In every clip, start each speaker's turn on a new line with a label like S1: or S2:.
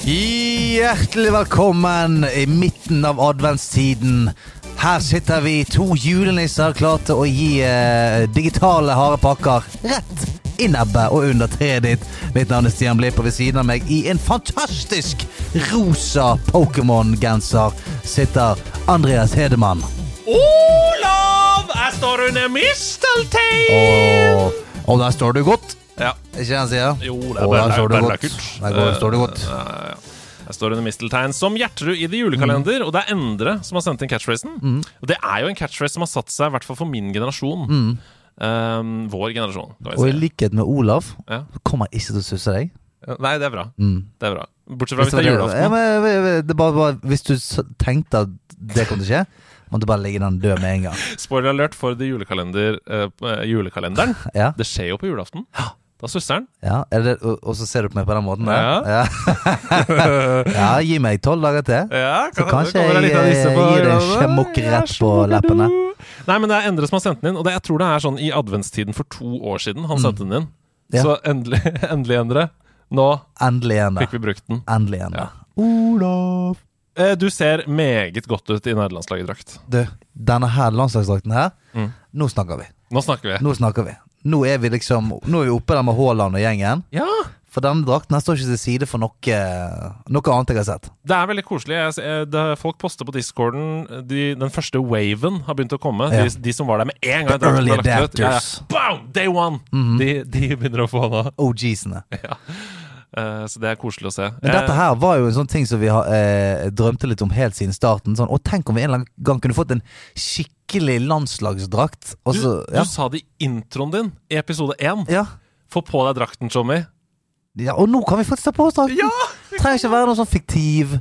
S1: Hjertelig velkommen i midten av adventstiden. Her sitter vi to julenisser klare til å gi eh, digitale harde pakker rett i nebbet og under treet ditt. Mitt navn er Stian Blipp, og ved siden av meg i en fantastisk rosa Pokémon-genser sitter Andreas Hedemann.
S2: Olav! Jeg står under misteltein!
S1: Og, og der står du godt.
S2: Ja.
S1: Ikke han sier?
S2: Jo, det er
S1: Og
S2: bare,
S1: der står du
S2: bare
S1: godt.
S2: lekkert.
S1: Der går, står du godt.
S2: Eh, ja, ja. Jeg står under misteltein som Gjertrud i The
S1: Mm.
S2: Julekalender, og det er Endre som har sendt inn catchphrasen. Og det er jo en catchphrase som har satt seg, i hvert fall for min generasjon. Eh, vår generasjon, kan
S1: Mm. Og
S2: vi
S1: i
S2: si.
S1: likhet med Olav
S2: Ja.
S1: kommer jeg ikke til å susse deg. Mm.
S2: Ja, Nei, det er bra. Det er bra. Bortsett fra
S1: Hvis
S2: hvis det er
S1: det var- Ja,
S2: julaften.
S1: men, men, men, det bare, bare, hvis du s- tenkte at det kom til å skje, måtte du bare legge den død med en gang.
S2: Spoiler alert for The Julekalender, eh, julekalenderen.
S1: Ja,
S2: Det skjer jo på julaften. Da susser den.
S1: ja. Er det, og, og så ser du på meg på den måten?
S2: Ja.
S1: Ja, ja. gi meg tolv dager til.
S2: Ja,
S1: Så
S2: kan-
S1: kanskje
S2: kommer det litt av
S1: jeg,
S2: disse på
S1: eh, gir deg en
S2: radioen.
S1: sjemokk rett
S2: Jeg
S1: på
S2: sjokker
S1: leppene.
S2: du. Nei, men det er Endre som har sendt den inn, og det, jeg tror det er sånn i adventstiden for to år siden han sendte den inn.
S1: Mm. Ja.
S2: Så endelig, endelig, Endre. Nå
S1: Endelig igjen, da.
S2: fikk vi brukt den.
S1: Endelig igjen, da.
S2: Ja. Eh, Du ser meget godt ut i nederlandslagerdrakt.
S1: Du, denne her landslagsdrakten her,
S2: Mm.
S1: nå snakker vi.
S2: Nå snakker vi.
S1: Nå snakker vi. Nå er vi liksom Nå er vi oppe der med Haaland og gjengen.
S2: Ja,
S1: For denne drakten her står ikke til side for noe, noe annet jeg har sett.
S2: Det er veldig koselig. Jeg, ser- det, folk poster på discorden de, Den første waven har begynt å komme.
S1: Ja.
S2: De, de som var der med en gang.
S1: The
S2: drakten ble
S1: early
S2: lagt ut. Ja, ja.
S1: adapters. Mhm.
S2: Boom! Day one! de, de begynner å få nå.
S1: OGs-ene.
S2: Eh, så det er koselig å se.
S1: Men dette her var jo en sånn ting som vi har, eh, drømte litt om helt siden starten. Sånn, og tenk om vi en eller annen gang kunne fått en skikkelig landslagsdrakt. Og
S2: Du,
S1: så, ja,
S2: du sa det i introen din i episode 1.
S1: ja,
S2: Få på deg drakten, Tommy.
S1: ja, og nå kan vi faktisk ta på oss drakten! Trenger ikke være noen sånn fiktiv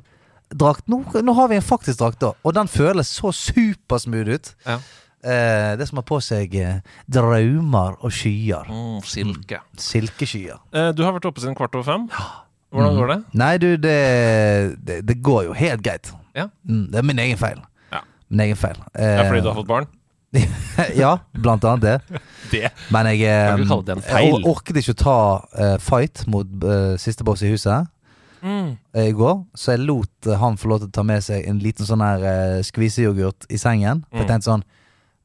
S1: drakt. Nå, nå har vi en faktisk drakt, da. Og den føles så supersmooth ut.
S2: Ja.
S1: Eh, det som har på seg eh, drømmer og skyer.
S2: Mm, silke.
S1: Silkeskyer.
S2: Eh, du har vært oppe siden kvart over fem. Hvordan går det?
S1: Nei, du, det, det, det går jo helt greit.
S2: Ja.
S1: Mm, det er min egen feil.
S2: Ja.
S1: Min egen feil.
S2: Det er
S1: Eh,
S2: fordi du har fått barn?
S1: ja, blant annet det.
S2: Det.
S1: Men jeg,
S2: Kan ikke
S1: eh,
S2: kalle det en
S1: jeg
S2: feil.
S1: or- orket ikke å ta eh, fight mot eh, siste boss i huset
S2: Mm.
S1: eh, i går, så jeg lot eh, han få lov til å ta med seg en liten sånn her eh, skviseyoghurt i sengen. For
S2: Mm.
S1: jeg tenkte sånn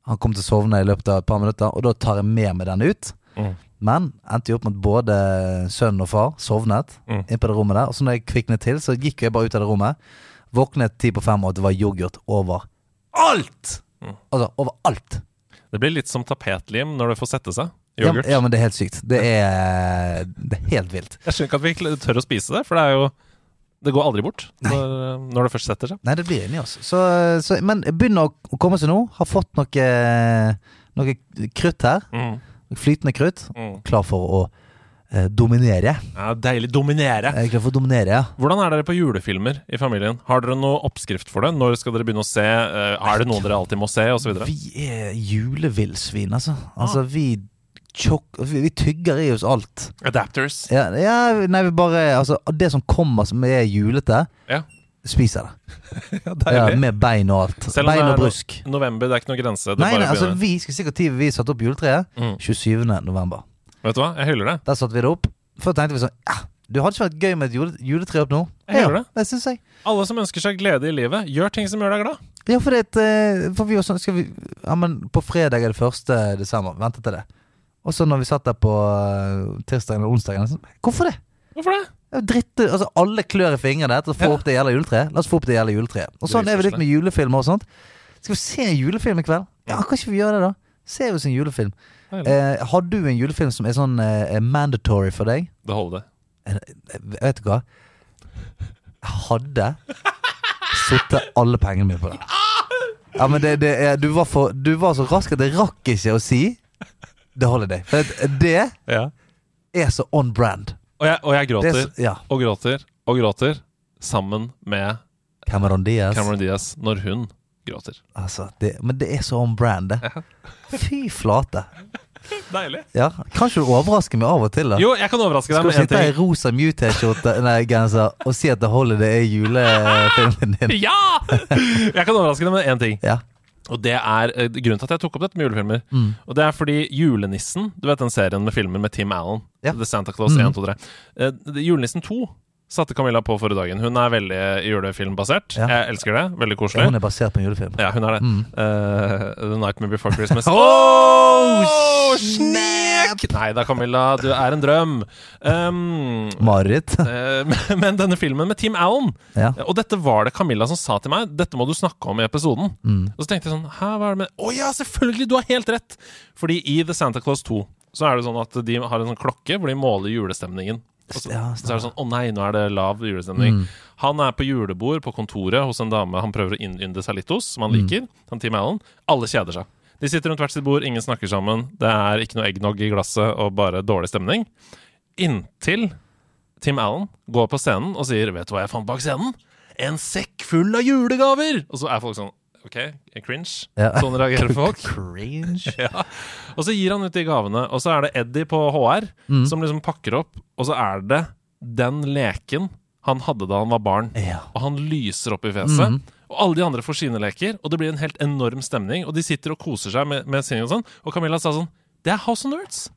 S1: Han kom til å sovne i løpet av et par minutter, og da tar jeg med meg den ut.
S2: Mm.
S1: Men endte jo opp med at både sønn og far sovnet
S2: Mm.
S1: inn på det rommet der. Og så når jeg kviknet til, så gikk jeg bare ut av det rommet. Våknet ti på fem, og det var yoghurt over alt!
S2: Mm.
S1: Altså overalt.
S2: Det blir litt som tapetlim når det får sette seg.
S1: Ja,
S2: Yoghurt.
S1: ja, men det er helt sykt. Det er, det er helt vilt.
S2: Jeg skjønner ikke at vi ikke tør å spise det, for det er jo Det går aldri bort når, eh, når det først setter seg.
S1: Nei, det blir inni oss. Så, så, men begynner å komme seg nå. Har fått noe, noe krutt her.
S2: Mm.
S1: Flytende krutt.
S2: Mm.
S1: Klar for å eh, dominere.
S2: Ja, deilig. Dominere.
S1: Jeg er klar for å dominere, ja.
S2: Hvordan er dere på julefilmer i familien? Har dere noe oppskrift for det? Når skal dere begynne å se? eh, Er det noe dere alltid må se? Og så videre? Ah.
S1: Vi er julevillsvin, altså. Altså, vi tjokk... Vi, vi tygger i oss alt.
S2: Adapters.
S1: Ja, ja, nei, vi bare Altså, det som kommer som er julete,
S2: Ja.
S1: spiser det.
S2: Ja,
S1: Ja,
S2: deilig.
S1: med bein og alt.
S2: Selv om
S1: bein
S2: det
S1: og
S2: er no-
S1: brusk.
S2: November, det er ikke noe grense. Det
S1: Nei,
S2: bare
S1: nei, altså,
S2: begynner.
S1: vi skal sikkert tid vi satte opp juletreet.
S2: Mm.
S1: 27. november.
S2: Vet du hva, jeg hyller det.
S1: Der satte vi det opp. Før tenkte vi sånn ja, Du hadde ikke vært gøy med et jule, juletre opp nå?
S2: Jeg gjør det.
S1: det syns jeg.
S2: Alle som ønsker seg glede i livet, gjør ting som gjør deg glad.
S1: Ja, for, det, eh, for vi var sånn Skal vi Ja, men på fredag er det 1. desember. Vente til det. Og så når vi satt der på eh, tirsdagen eller onsdagen sånn, Hvorfor det?
S2: Hvorfor det?
S1: Det er jo Dritt, altså Alle klør i fingrene til å få
S2: Ja.
S1: opp det gjelder juletreet. La oss få opp det gjelder juletreet. Og sånn
S2: Det er
S1: er vi litt
S2: koselig.
S1: med julefilmer og sånt. Skal vi se en julefilm i kveld? Ja, kan ikke vi gjøre det, da? Ser vi oss en julefilm.
S2: Deilig.
S1: Eh, har du en julefilm som er sånn eh, mandatory for deg?
S2: Det holder, det.
S1: Eh, Vet du hva? Jeg hadde sittet alle pengene mine på det. Ja, men det, det er, du, var for, du var så rask at jeg rakk ikke å si The Holiday. For at eh, det
S2: Ja.
S1: er så on brand.
S2: Og, jeg, og jeg
S1: Det er
S2: gråter
S1: så, ja.
S2: og gråter og gråter sammen med
S1: Cameron Diaz.
S2: Cameron Diaz når hun gråter.
S1: Altså, det, men det er så on brand, det. Fy flate.
S2: Deilig.
S1: Ja, Kanskje du overrasker meg av og til, da?
S2: Jo, jeg kan overraske deg
S1: Skal du
S2: med én
S1: sitte i
S2: ting.
S1: rosa Mew-T-skjorte Nei, genser og si at The Holiday er julefilmen din?
S2: Ja! Jeg kan overraske deg med én ting.
S1: Ja.
S2: Og det er eh, grunnen til at jeg tok opp dette med julefilmer. Og det er fordi Julenissen, du vet den serien med filmer med Tim Allen,
S1: Ja. Mhm.
S2: The Santa Claus 1, 2, 3 Eh, det- Julenissen 2 satte Camilla på forrige dagen. Hun er veldig julefilmbasert.
S1: Ja.
S2: Jeg elsker det. Veldig koselig.
S1: Hun er Mm. basert på en julefilm.
S2: Ja, hun er det. Eh, the Nightmare Before Christmas.
S1: Oh,
S2: Åh, snek! Nei da, Camilla. Du er en drøm. Um,
S1: Marit.
S2: eh, men- men denne filmen med Tim Allen
S1: Ja.
S2: og dette var det Camilla som sa til meg. Dette må du snakke om i episoden. Og så tenkte jeg sånn Hæ, hva er det med Å ja, selvfølgelig! Du har helt rett! Fordi i The Santa Claus 2 så er det sånn at de har en sånn klokke hvor de måler julestemningen. Og så,
S1: Ja, Mm.
S2: så er det sånn Å nei, nå er det lav julestemning. Han er på julebord på kontoret hos en dame han prøver å innynde seg litt hos,
S1: Mm.
S2: som han liker. Han Tim Allen. Alle kjeder seg. De sitter rundt hvert sitt bord, ingen snakker sammen. Det er ikke noe eggnog i glasset og bare dårlig stemning. Inntil Tim Allen går på scenen og sier 'Vet du hva jeg fant bak scenen?' En sekk full av julegaver! Og så er folk sånn OK, cringe.
S1: Ja.
S2: Sånn reagerer folk.
S1: Cringe.
S2: Ja. Og så gir han ut de gavene, og så er det Eddie på HR
S1: Mm.
S2: som liksom pakker opp, og så er det den leken han hadde da han var barn,
S1: Ja.
S2: og han lyser opp i fjeset.
S1: Mhm.
S2: Og alle de andre får sine leker, og det blir en helt enorm stemning. Og de sitter og koser seg med, med sin og sånn. Og Camilla sa sånn Det er House of Nerds!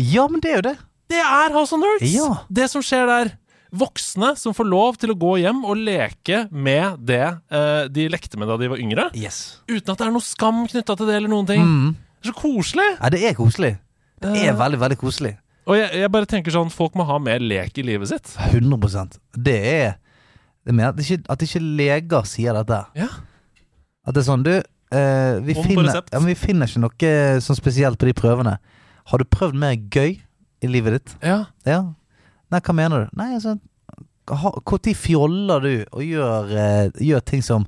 S1: Ja, men det er jo det.
S2: Det er House of Nerds!
S1: Ja.
S2: Det som skjer der. Voksne som får lov til å gå hjem og leke med det eh, de lekte med da de var yngre.
S1: Yes.
S2: Uten at det er noe skam knytta til det eller noen ting.
S1: Mm.
S2: Det er så koselig!
S1: Ja, det er koselig. Det
S2: Eh.
S1: er veldig, veldig koselig.
S2: Og jeg, jeg bare tenker sånn, folk må ha mer lek i livet sitt.
S1: 100 Det er det mener, at, ikke, at ikke leger sier dette.
S2: Ja.
S1: At det er sånn, du eh, vi,
S2: Om på
S1: finner,
S2: resept.
S1: ja, men vi finner ikke noe sånn spesielt på de prøvene. Har du prøvd mer gøy i livet ditt?
S2: ja.
S1: Ja. Nei, hva mener du? Nei, altså ha- Hvor tid fjoller du og gjør, eh, gjør ting som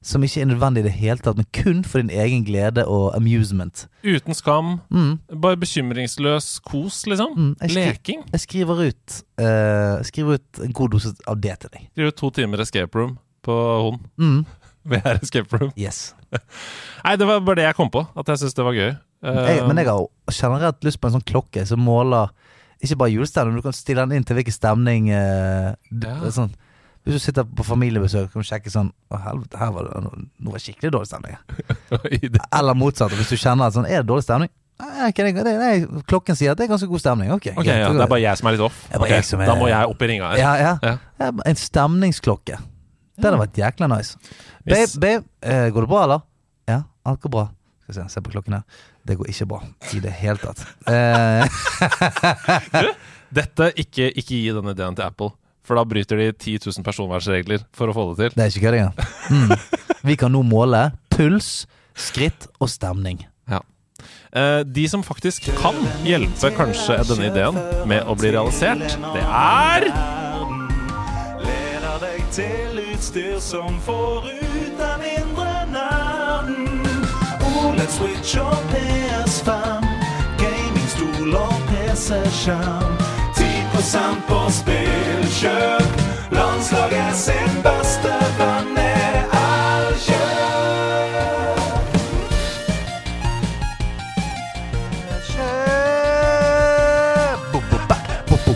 S1: som ikke er nødvendig i det hele tatt, men kun for din egen glede og amusement.
S2: Uten skam.
S1: Mm,
S2: Bare bekymringsløs kos, liksom.
S1: mm, jeg, skri
S2: Leking.
S1: jeg skriver ut eh, Skriver ut en god dose av det til deg.
S2: Skriver to timer escape room på hånd.
S1: Mm,
S2: VR escape room.
S1: yes.
S2: Nei, det var bare det jeg kom på. At jeg syntes det var gøy.
S1: Jeg, men jeg har generelt lyst på en sånn klokke som måler ikke bare julestemning, men du kan stille den inn til hvilken stemning eh, d-
S2: Ja.
S1: det er sånn. Hvis du sitter på familiebesøk, kan du sjekke sånn Å, helvete, her var det nå var det skikkelig dårlig stemning.
S2: har
S1: Eller motsatt, hvis du kjenner at sånn Er det dårlig stemning? Nei, ok, det, det, nei, klokken sier at det er ganske god stemning. Ok,
S2: Ok,
S1: greit,
S2: ja,
S1: da-
S2: Det er bare jeg som er litt off.
S1: Det er bare
S2: Ok,
S1: jeg som er-
S2: Da må jeg opp i ringa her.
S1: ja, ja.
S2: Ja.
S1: Ja, En stemningsklokke. Det hadde vært jækla nice. Babe,
S2: Hvis-
S1: babe eh, går det bra, eller? Ja, alt går bra. Skal vi se, se på klokken her. Det går ikke bra i det hele tatt. Eh,
S2: Dette, ikke, ikke gi den ideen til Apple. For da bryter de 10 000 personvernregler for å få det til.
S1: det er ikke kødd engang. Mm. Vi kan nå måle puls, skritt og stemning.
S2: Eh, de som faktisk kan hjelpe kanskje denne ideen med å bli realisert, det er
S3: Leder deg til utstyr som får ut den indre nerden. OLED Switch og PS5. Gamingstol og PC-skjerm. 10 på spillkjøp. Landslaget sin beste venn er Elkjøp.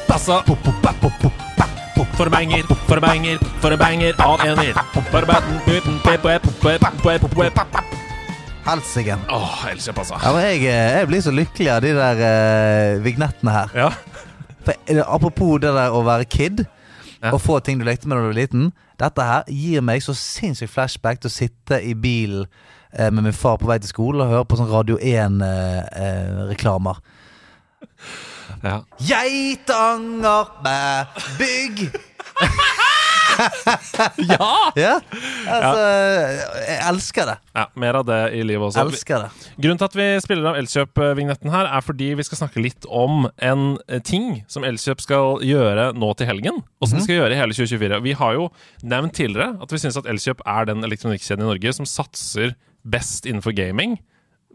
S2: Altså, Formenger, formenger, formenger av ener. Forbatten uten pepe, pepe, pepe, pepe.
S1: Helsike.
S2: Åh, Elkjøp, altså.
S1: Ja, men jeg, eh, jeg blir så lykkelig av de der eh, vignettene her.
S2: Ja.
S1: For, eh, apropos det der å være kid
S2: Ja.
S1: og få ting du lekte med da du var liten. Dette her gir meg så sinnssykt flashback til å sitte i bilen eh, med min far på vei til skolen og høre på sånn Radio eh, 1-reklamer.
S2: ja.
S1: Geitanger med bygg!
S2: Ja!
S1: Ja, altså Jeg elsker det.
S2: Mer av det i livet også.
S1: Elsker det.
S2: Grunnen til at vi spiller av Elkjøp-vignetten her, er fordi vi skal snakke litt om en eh, ting som Elkjøp skal gjøre nå til helgen, og som de skal gjøre i hele 2024. Vi har jo nevnt tidligere at vi syns at Elkjøp er den elektronikkjeden i Norge som satser best innenfor gaming.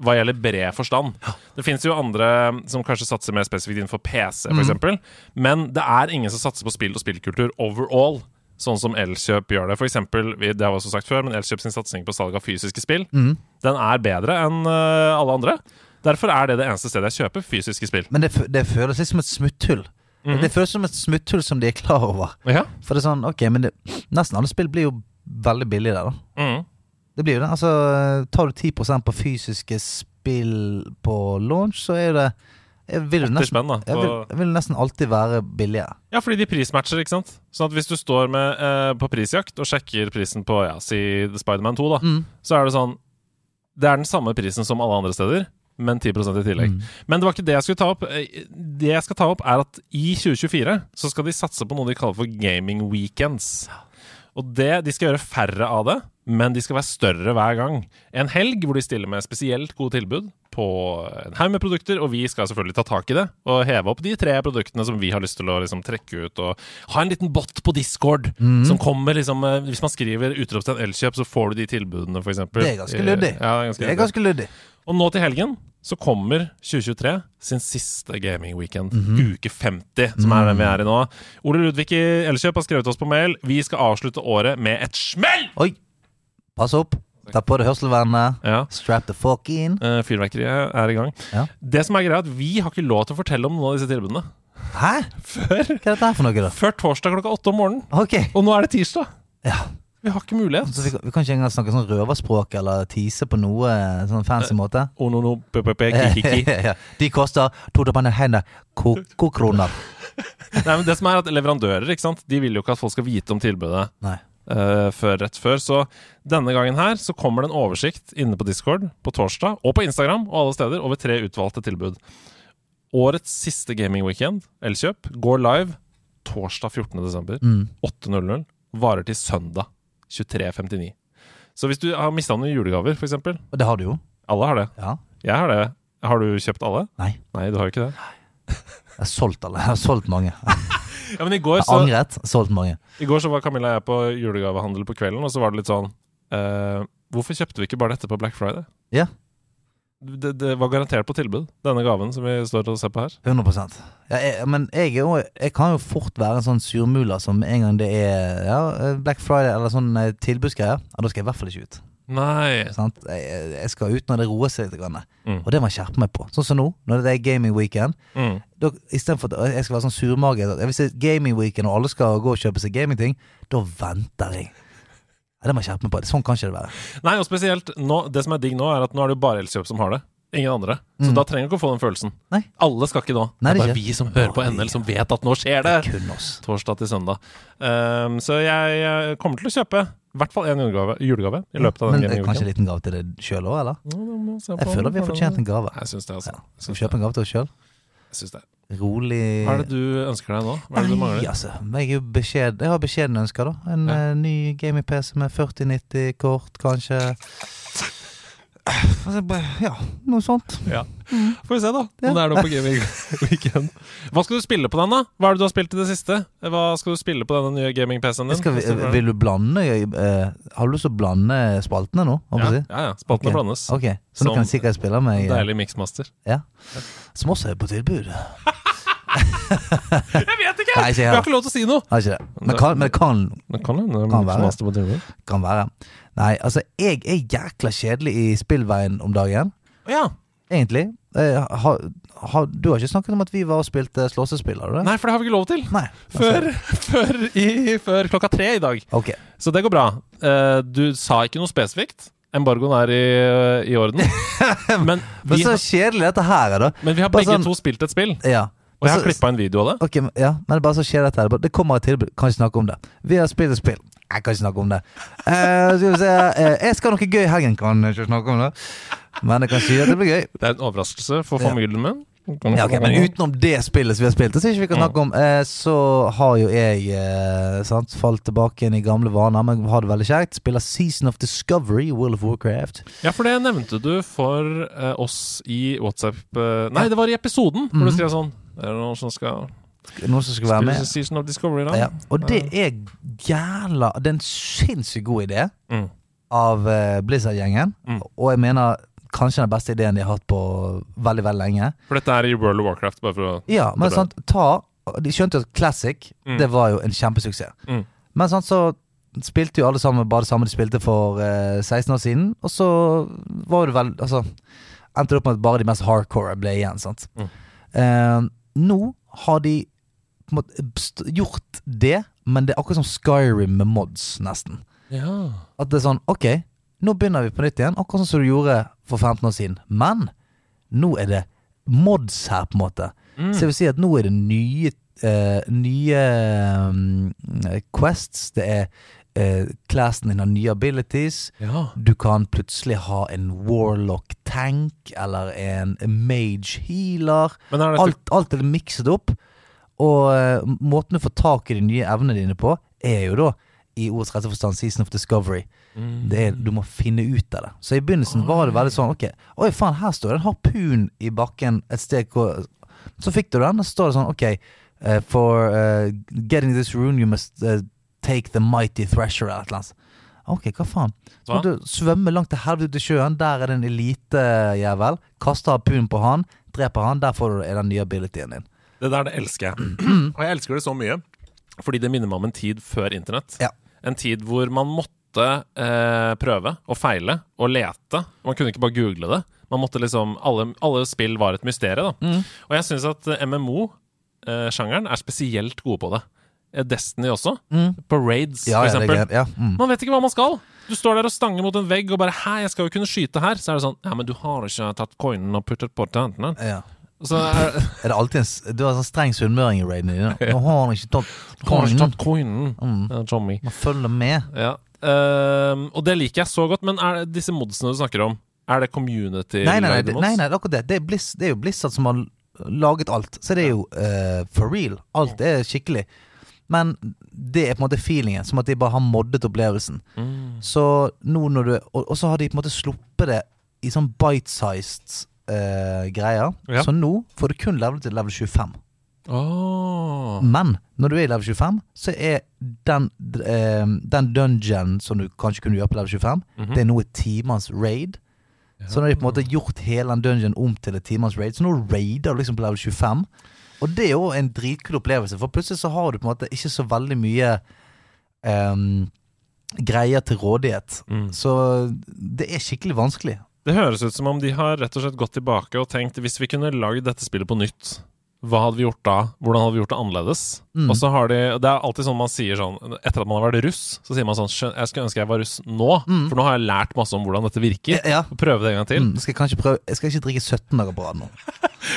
S2: Hva gjelder bred forstand. Det fins jo andre som kanskje satser mer spesifikt innenfor PC,
S1: Mm.
S2: f.eks. eksempel Men det er ingen som satser på spill og spillkultur overall, sånn som Elkjøp gjør det. For eksempel, vi- det har vi
S1: Mm.
S2: også sagt før, men Elkjøp sin satsing på salg av fysiske spill den er bedre enn eh, alle andre. Derfor er det det eneste stedet jeg kjøper fysiske spill.
S1: Men det, fø- det føles litt som et smutthull.
S2: Mhm.
S1: Det føles som et smutthull som de er klar over.
S2: Ja.
S1: For det er sånn, ok, men det, nesten alle spill blir jo veldig billige der, da.
S2: Mm.
S1: Det blir jo det. Altså, tar du 10 på fysiske spill på launch, så er jo det jeg vil, jo
S2: 80
S1: nesten,
S2: spenn, da.
S1: jeg,
S2: på-
S1: vil, jeg vil nesten alltid være billigere.
S2: Ja, fordi de prismatcher, ikke sant? Sånn at hvis du står med, eh, på prisjakt og sjekker prisen på, ja, si Spiderman 2, da,
S1: Mm.
S2: så er det sånn Det er den samme prisen som alle andre steder, men 10 i tillegg. Men det var ikke det jeg skulle ta opp. Eh, Det jeg skal ta opp, er at i 2024 så skal de satse på noe de kaller for gaming weekends. Og det, De skal gjøre færre av det, men de skal være større hver gang. En helg hvor de stiller med spesielt gode tilbud på en haug med produkter, og vi skal selvfølgelig ta tak i det og heve opp de tre produktene som vi har lyst til å liksom trekke ut. Og ha en liten bot på Discord som kommer liksom eh, Hvis man skriver utropstegn Elkjøp, så får du de tilbudene, Eh, f.eks.
S1: Det er ganske luddig.
S2: Ja, det er ganske
S1: Det er
S2: luddig.
S1: ganske luddig.
S2: Og nå til helgen så kommer 2023 sin siste gaming-weekend. Uke 50, som er den vi er i nå. Ole Ludvig i Elkjøp har skrevet oss på mail. Vi skal avslutte året med et smell!
S1: Oi! Pass opp. Ta på deg hørselvernet.
S2: Ja.
S1: Strap the fuck in.
S2: eh, Fyrverkeriet er i gang.
S1: Ja.
S2: Det som er greia er at Vi har ikke lov til å fortelle om noen av disse tilbudene
S1: Hæ?
S2: før,
S1: Hva er dette her for noe, da?
S2: før torsdag klokka åtte om morgenen.
S1: Ok.
S2: Og nå er det tirsdag.
S1: Ja.
S2: Vi har ikke mulighet.
S1: Så vi, vi kan ikke engang snakke sånn røverspråk eller tise på noe sånn fancy måte?
S2: Oh, no, no, p -p -p -ki -ki -ki.
S1: Ja. De koster to til hender ko-ko kroner.
S2: Nei, men det som er at Leverandører ikke sant? De vil jo ikke at folk skal vite om tilbudet.
S1: Nei.
S2: eh, før, rett før. Så denne gangen her så kommer det en oversikt inne på Discord på torsdag og på Instagram og alle steder over tre utvalgte tilbud. Årets siste gaming-weekend, Elkjøp, går live torsdag 14.12.
S1: Mm.
S2: 8.00. Varer til søndag 23.59. Så hvis du har mista noen julegaver, f.eks.
S1: Og det har du jo.
S2: Alle har det.
S1: Ja.
S2: Jeg har det. Har du kjøpt alle?
S1: Nei.
S2: Nei, du har jo ikke det.
S1: Jeg har solgt alle. Jeg har solgt mange.
S2: Ja, men i går
S1: Jeg
S2: så
S1: har angret. Solgt mange.
S2: I går så var Camilla og jeg på julegavehandel på kvelden, og så var det litt sånn eh, Hvorfor kjøpte vi ikke bare dette på Black Friday?
S1: Ja.
S2: Det, det var garantert på tilbud, denne gaven som vi står og ser på her.
S1: 100 ja, jeg, Men jeg, er jo, jeg kan jo fort være en sånn surmula som en gang det er ja, Black Friday eller sånn eh, tilbudsgreier. Ja, da skal jeg i hvert fall ikke ut.
S2: Nei.
S1: Sant? Jeg, jeg- jeg skal ut når det roer seg litt. Grann.
S2: Mm.
S1: Og det må jeg skjerpe meg på. Sånn som nå, når det er gaming weekend.
S2: Mm.
S1: Da, istedenfor at jeg skal være sånn surmage at Hvis det er gaming weekend og alle skal gå og kjøpe seg gamingting, da venter jeg. Ja, det må jeg skjerpe meg på. Sånn kan ikke det være.
S2: Nei, og spesielt nå, Det som er digg nå, er at nå er det jo bare Elkjøp som har det. Ingen andre. Så da trenger du ikke å få den følelsen.
S1: Mm. Nei.
S2: Alle skal ikke nå. det
S1: Nei, det
S2: er
S1: er
S2: bare
S1: ikke.
S2: vi som hører på NL, som vet at nå skjer det.
S1: Kun oss.
S2: Torsdag til søndag. Ehm, så jeg, eh, kommer til å kjøpe i hvert fall én julegave, julegave i løpet av
S1: Men
S2: den
S1: eh, kanskje en liten gave til deg sjøl òg, eller? Jeg føler vi har fortjent en gave.
S2: Jeg syns det, altså.
S1: Ja.
S2: Jeg
S1: Skal vi
S2: syns det.
S1: kjøpe en gave til oss sjøl?
S2: Jeg syns det.
S1: Rolig
S2: Hva er det du ønsker deg nå? Hva er det du
S1: Nei,
S2: mangler?
S1: altså. Jeg, er jo beskjed, jeg har beskjedne ønsker, da. En
S2: Ja.
S1: eh, ny gaming-PC med 4090-kort, kanskje. Altså, bare- ja, noe sånt.
S2: Ja. Får vi se, da. Om
S1: Ja.
S2: det er noe på gaming weekend. Hva skal du spille på den, da? Hva er det du har spilt i det siste? Hva skal du spille på denne nye gaming-PC-en din?
S1: Skal vi, vil du blande eh, Har du lyst til å blande spaltene nå? Holdt
S2: ja,
S1: jeg på å si?
S2: ja, ja. Spaltene
S1: Ok.
S2: blandes.
S1: Ok, Så nå
S2: Som-
S1: kan jeg sikkert spille med eh,
S2: Deilig miksmaster.
S1: ja. Som også er på tilbud.
S2: Jeg vet ikke!
S1: Nei, ikke
S2: Vi
S1: jeg.
S2: har ikke lov til å si noe!
S1: Har ikke det. Men kan, men kan,
S2: Det kan hende
S1: Kan være.
S2: miksmaster på tilbud.
S1: kan være. Nei, altså, jeg er jækla kjedelig i spillveien om dagen.
S2: Ja.
S1: Egentlig. Eh, har- har- du har ikke snakket om at vi var og spilte slåssespill, har du det?
S2: Nei, for det har vi ikke lov til.
S1: Nei.
S2: Før, før, i, før klokka tre i dag.
S1: Altså, Ok.
S2: Så det går bra. Eh, Du sa ikke noe spesifikt. Embargoen er i, i orden. Men
S1: Men
S2: vi,
S1: så kjedelig dette her er, da.
S2: men vi har
S1: bare
S2: begge
S1: sånn-
S2: to spilt et spill.
S1: Ja.
S2: Og jeg har
S1: Så-
S2: klippa en video av det.
S1: Ok, men- ja, men det er bare så skjer dette her. Det kommer et tilbud. Kan ikke snakke om det. Vi har spilt et spill. Jeg kan ikke snakke om det. Eh, skal vi se eh, Jeg skal ha noe gøy i helgen. Kan ikke snakke om det. Men jeg kan si at det blir gøy.
S2: Det er en overraskelse for
S1: Ja.
S2: familien min.
S1: Ja, ok, Men utenom det spillet som vi har spilt, som ikke vi kan snakke om, eh, så har jo jeg eh, sant, falt tilbake inn i gamle vaner, men har det veldig kjekt. Spiller Season of Discovery, World of Warcraft.
S2: Ja, for det nevnte du for eh, oss i WhatsApp eh, Nei, det var i episoden hvor du skrev sånn Er det noen som skal
S1: Noen som skal være
S2: spille
S1: Mhm. med?
S2: Season of Discovery da?
S1: Ja. Og det er jævla Det er en sinnssykt god idé.
S2: Mm.
S1: av eh, Blizzard-gjengen.
S2: Mm.
S1: Og jeg mener kanskje den beste ideen de har hatt på veldig, veldig lenge.
S2: For dette er i World of Warcraft, bare for å
S1: Ja, men
S2: Det er bra.
S1: sant, ta De skjønte jo at Classic
S2: Mm.
S1: Det var jo en kjempesuksess.
S2: Mm.
S1: Men sant, så spilte jo alle sammen bare det samme de spilte for eh, 16 år siden, og så var det vel Altså endte det opp med at bare de mest hardcore ble igjen. Sant?
S2: Mm.
S1: Eh, nå har de på en måte st- gjort det, men det er akkurat som Skyrim med mods, nesten.
S2: Ja.
S1: At det er sånn, ok, nå begynner vi på nytt igjen, akkurat sånn som du gjorde for 15 år siden. Men nå er det mods her, på en måte.
S2: Mm.
S1: Så jeg vil si at nå er det nye, eh, nye mm, quests. Det er eh, classen din har nye abilities.
S2: Mm, ja.
S1: Du kan plutselig ha en warlock tank eller en mage healer.
S2: Men er dette-
S1: alt, alt er mikset opp. Og eh, måten du får tak i de nye evnene dine på, er jo da i ordets rette forstand Season of Discovery.
S2: Mm.
S1: Det er, du må finne ut av det. Så i begynnelsen var det veldig sånn Ok, oi faen, her står det en harpun i bakken et sted hvor Så fikk du den, og så står det sånn Ok, eh, for eh, getting this rune you must eh, take the mighty thresher eller et eller annet. Ok, hva faen?
S2: Hva?
S1: Så må du svømme langt til helvete ut i sjøen. Der er det en elitejævel. Kaste harpunen på han, dreper han. Der får du er den nye abilityen din.
S2: Det der det elsker jeg. Og jeg elsker det så mye fordi det minner meg om en tid før internett.
S1: Ja.
S2: En tid hvor man måtte eh, prøve og feile og lete. Man kunne ikke bare google det. Man måtte liksom, alle, alle spill var et mysterium. da.
S1: Mm.
S2: Og jeg syns at eh, MMO-sjangeren eh, er spesielt gode på det. Eh, Destiny også. På raids, for
S1: Ja, ja, det er
S2: eksempel.
S1: greit. Ja, mm.
S2: Man vet ikke hva man skal. Du står der og stanger mot en vegg og bare 'Hæ, jeg skal jo kunne skyte her.' Så er det sånn 'Ja, men du har ikke tatt coinen og puttet på til hendene.'
S1: ja.
S2: Og så er,
S1: Er det alltid en, s- du har sånn streng sunnmøring i raidene dine. Nå har han ikke tatt Mm.
S2: Har ikke
S1: kongen.
S2: tatt coinen, eh, Tommy.
S1: Man følger med.
S2: Ja. Ehm, og det liker jeg så godt, men er disse modsene du snakker om, er det community
S1: Nei, nei, nei,
S2: lagde
S1: det-
S2: mods?
S1: nei, nei det er akkurat det. Det er, Blizz, det er jo Blizzard som har laget alt. Så det er jo eh, for real. Alt er skikkelig. Men det er på en måte feelingen, som at de bare har moddet opplevelsen.
S2: Mm.
S1: Så nå når du og, og så har de på en måte sluppet det i sånn bite-sized eh, greier.
S2: Ja.
S1: Så nå får du kun level til level 25.
S2: Åh.
S1: Men når du er i level 25, så er den, eh, den dungeon som du kanskje kunne gjøre på level 25,
S2: Mm.
S1: det er nå et timers raid. Mm, Så nå har de på en måte gjort hele den dungeon om til et timers raid. Så nå raider du liksom på level 25. Og det er jo en dritkul opplevelse, for plutselig så har du på en måte ikke så veldig mye ehm, greier til rådighet. Så det er skikkelig vanskelig.
S2: Mm. Det høres ut som om de har rett og slett gått tilbake og tenkt hvis vi kunne lagd dette spillet på nytt, hva hadde vi gjort da? Hvordan hadde vi gjort det annerledes?
S1: Mm.
S2: Og så har de, Det er alltid sånn man sier sånn Etter at man har vært russ, så sier man sånn «Skjø- Jeg skulle ønske jeg var russ nå, for nå har jeg lært masse om hvordan dette virker.
S1: Ja, ja.
S2: Prøve det en gang til.
S1: Eh, Mm, skal jeg, kanskje prøve, jeg skal ikke drikke 17 dager på rad nå.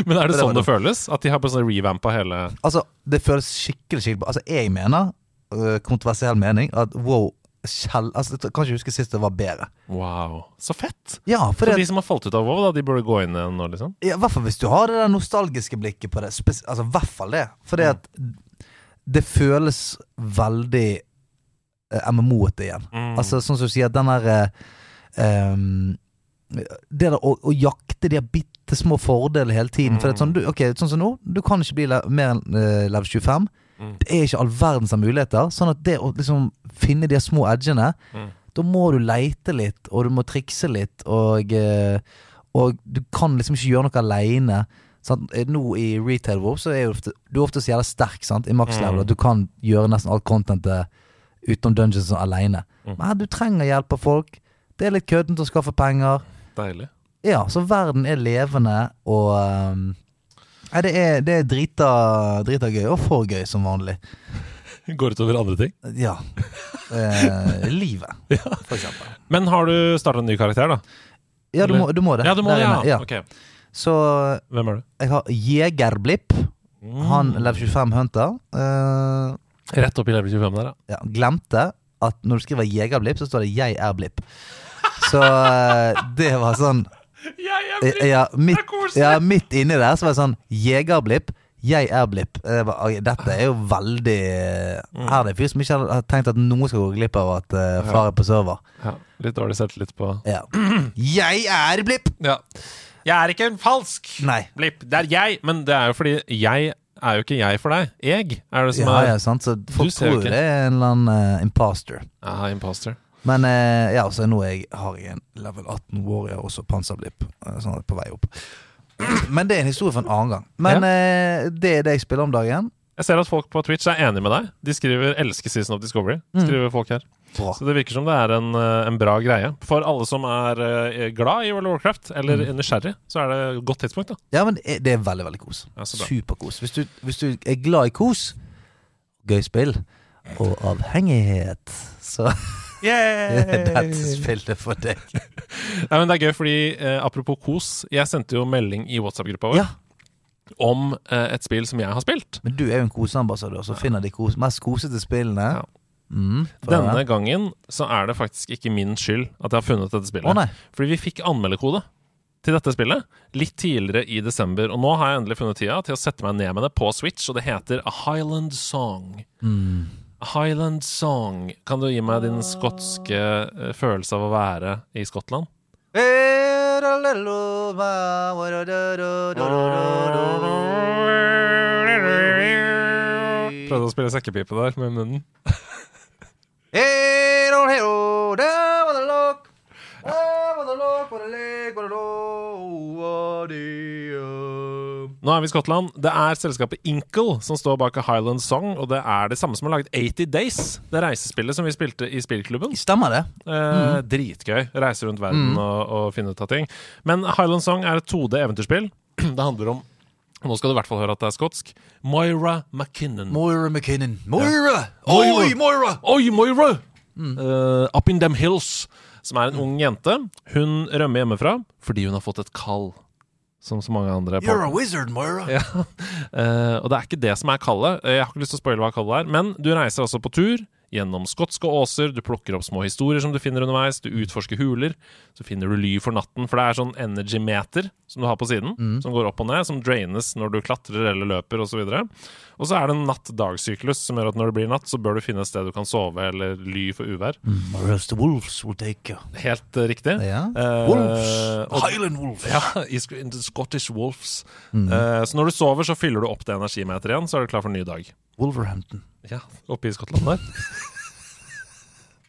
S2: Men er det
S1: Det
S2: sånn
S1: var
S2: det føles? At de har på sånn revampa hele
S1: Altså, det føles skikkelig skikkelig bra. Altså, jeg mener, øh, kontroversiell mening, at wow sjel, altså, Jeg kan ikke huske sist det var bedre.
S2: Wow, så fett!
S1: Ja, for
S2: Så
S1: det,
S2: de som har falt ut av WoW, da, de burde gå inn igjen nå, liksom?
S1: ja, i hvert fall hvis du har det der nostalgiske blikket på det. Spes, altså, i hvert fall det. For det at det føles veldig eh, MMO-ete igjen.
S2: Mm.
S1: Altså, sånn som du sier, den der eh, ehm, det der å, å jakte de bitte små fordelene hele tiden. For det er sånn, du, ok, sånn som nå, du kan ikke bli le mer enn eh, level 25. Det er ikke all verdens av muligheter. Sånn at det å liksom finne de små edgene Da må du leite litt, og du må trikse litt, og, eh, og du kan liksom ikke gjøre noe aleine. Sant? Eh, Nå i retail wow så er du ofte, du er ofte så jævla sterk sant? i max level at du kan gjøre nesten alt contentet utenom dungeons aleine. Men her, du trenger hjelp av folk. Det er litt køddent å skaffe penger.
S2: Deilig.
S1: Ja, så verden er levende, og ehm, Nei, det er, det er drita, drita gøy, og for gøy som vanlig.
S2: Går utover andre ting.
S1: Ja. Eh, livet, for eksempel.
S2: Men har du starta en ny karakter, da?
S1: Ja, du må, du må det.
S2: Ja, du må
S1: Der
S2: det, ja.
S1: inne, ja.
S2: Ok.
S1: Så
S2: Hvem er du?
S1: Jeg har Jegerblipp. Mm. Han
S2: Mm.
S1: lever 25 Hunter. Eh,
S2: Rett opp i level 25 der, ja.
S1: ja, glemte at når du skriver Jegerblipp, så står det 'Jeg er blipp'. Så eh, det var sånn eh, ja, midt, ja, midt inni der så var det sånn Jegerblipp, jeg er blipp. Eh, jeg bare, «Oi, Dette er jo veldig
S2: Mm.
S1: Er det en fyr som ikke har tenkt at noen skal gå glipp av at eh, far er på server?
S2: ja. Litt dårlig selvtillit på
S1: Ja. Jeg er blipp!
S2: Ja. Jeg er ikke en falsk
S1: Nei.
S2: blipp. Det er jeg. Men det er jo fordi jeg er jo ikke jeg for deg. Jeg er det som
S1: Ja,
S2: er
S1: ja, sant? Så folk
S2: ser jo
S1: tror
S2: ikke.
S1: det er en eller annen eh, imposter.
S2: Ah, imposter.
S1: Men eh, ja, så nå er jeg, har jeg en level 18 warrior og så panserblipp. eh, Sånn at jeg er på vei opp. Men det er en historie for en annen gang. Men eh, det er det jeg spiller om dagen.
S2: Jeg ser at folk på Twitch er enig med deg. De skriver 'elsker Season of Discovery'.
S1: Mm.
S2: Skriver folk her
S1: Bra.
S2: Så det virker som det er en, eh, en bra greie. For alle som er eh, glad i World of Warcraft, eller nysgjerrig, så er det et godt tidspunkt. da
S1: Ja, men det er veldig, veldig kos.
S2: Ja, så bra.
S1: Superkos. Hvis du, hvis du er glad i kos, gøy spill og avhengighet, så er dette spillet for deg.
S2: Nei, men Det er gøy, fordi eh, apropos kos, jeg sendte jo melding i WhatsApp-gruppa vår
S1: Ja,
S2: om eh, et spill som jeg har spilt.
S1: men du er jo en koseambassadør, så finner de kos, mest kosete spillene.
S2: Ja.
S1: Mm, for-
S2: Denne gangen så er det faktisk ikke min skyld at jeg har funnet dette spillet.
S1: Å, nei.
S2: Fordi vi fikk anmeldekode til dette spillet litt tidligere i desember. Og nå har jeg endelig funnet tida til å sette meg ned med det på Switch, og det heter A Highland Song. A Highland Song. Kan du gi meg din skotske eh, følelse av å være i Skottland? Prøvde å spille sekkepipe der med munnen. Nå er vi i Skottland. Det er selskapet Inkle som står bak A Highland Song, og det er det samme som har laget 80 Days, det reisespillet som vi spilte i spillklubben.
S1: Stemmer det?
S2: Eh, Dritgøy. Reise rundt verden og, og finne ut av ting. Men Highland Song er et 2D-eventyrspill. Det handler om og Nå skal du i hvert fall høre at det er skotsk. Moira McKinnon.
S1: Moira McKinnon. Moira!
S2: Moira!
S1: Oi, Moira!
S2: Oi, Moira! Eh, up in them hills. Som er en ung jente. Hun rømmer hjemmefra fordi hun har fått et kall. Som så mange andre. på-
S1: You're a wizard, Moira.
S2: Ja. Eh, og det er ikke det som er kallet. Eh, Jeg har ikke lyst til å spoile hva kallet er, men du reiser altså på tur gjennom skotske åser, du plukker opp små historier som du finner underveis, du utforsker huler, så finner du ly for natten, for det er sånn energy-meter som du har på siden, som går opp og ned, som draines når du klatrer eller løper osv. Og så er det en natt-dag-syklus som gjør at når det blir natt, så bør du finne et sted du kan sove eller ly for uvær.
S1: Moira's the wolves will take you.
S2: Helt eh, riktig.
S1: Mm. Ja.
S2: Eh,
S1: Wolves.
S2: og-
S1: Highland wolves.
S2: ja, i Sk- in the Scottish Wolves. Eh, så når du sover, så fyller du opp det energimeteret igjen, så er du klar for en ny dag.
S1: Wolverhampton.
S2: Ja, oppe i Skottland der.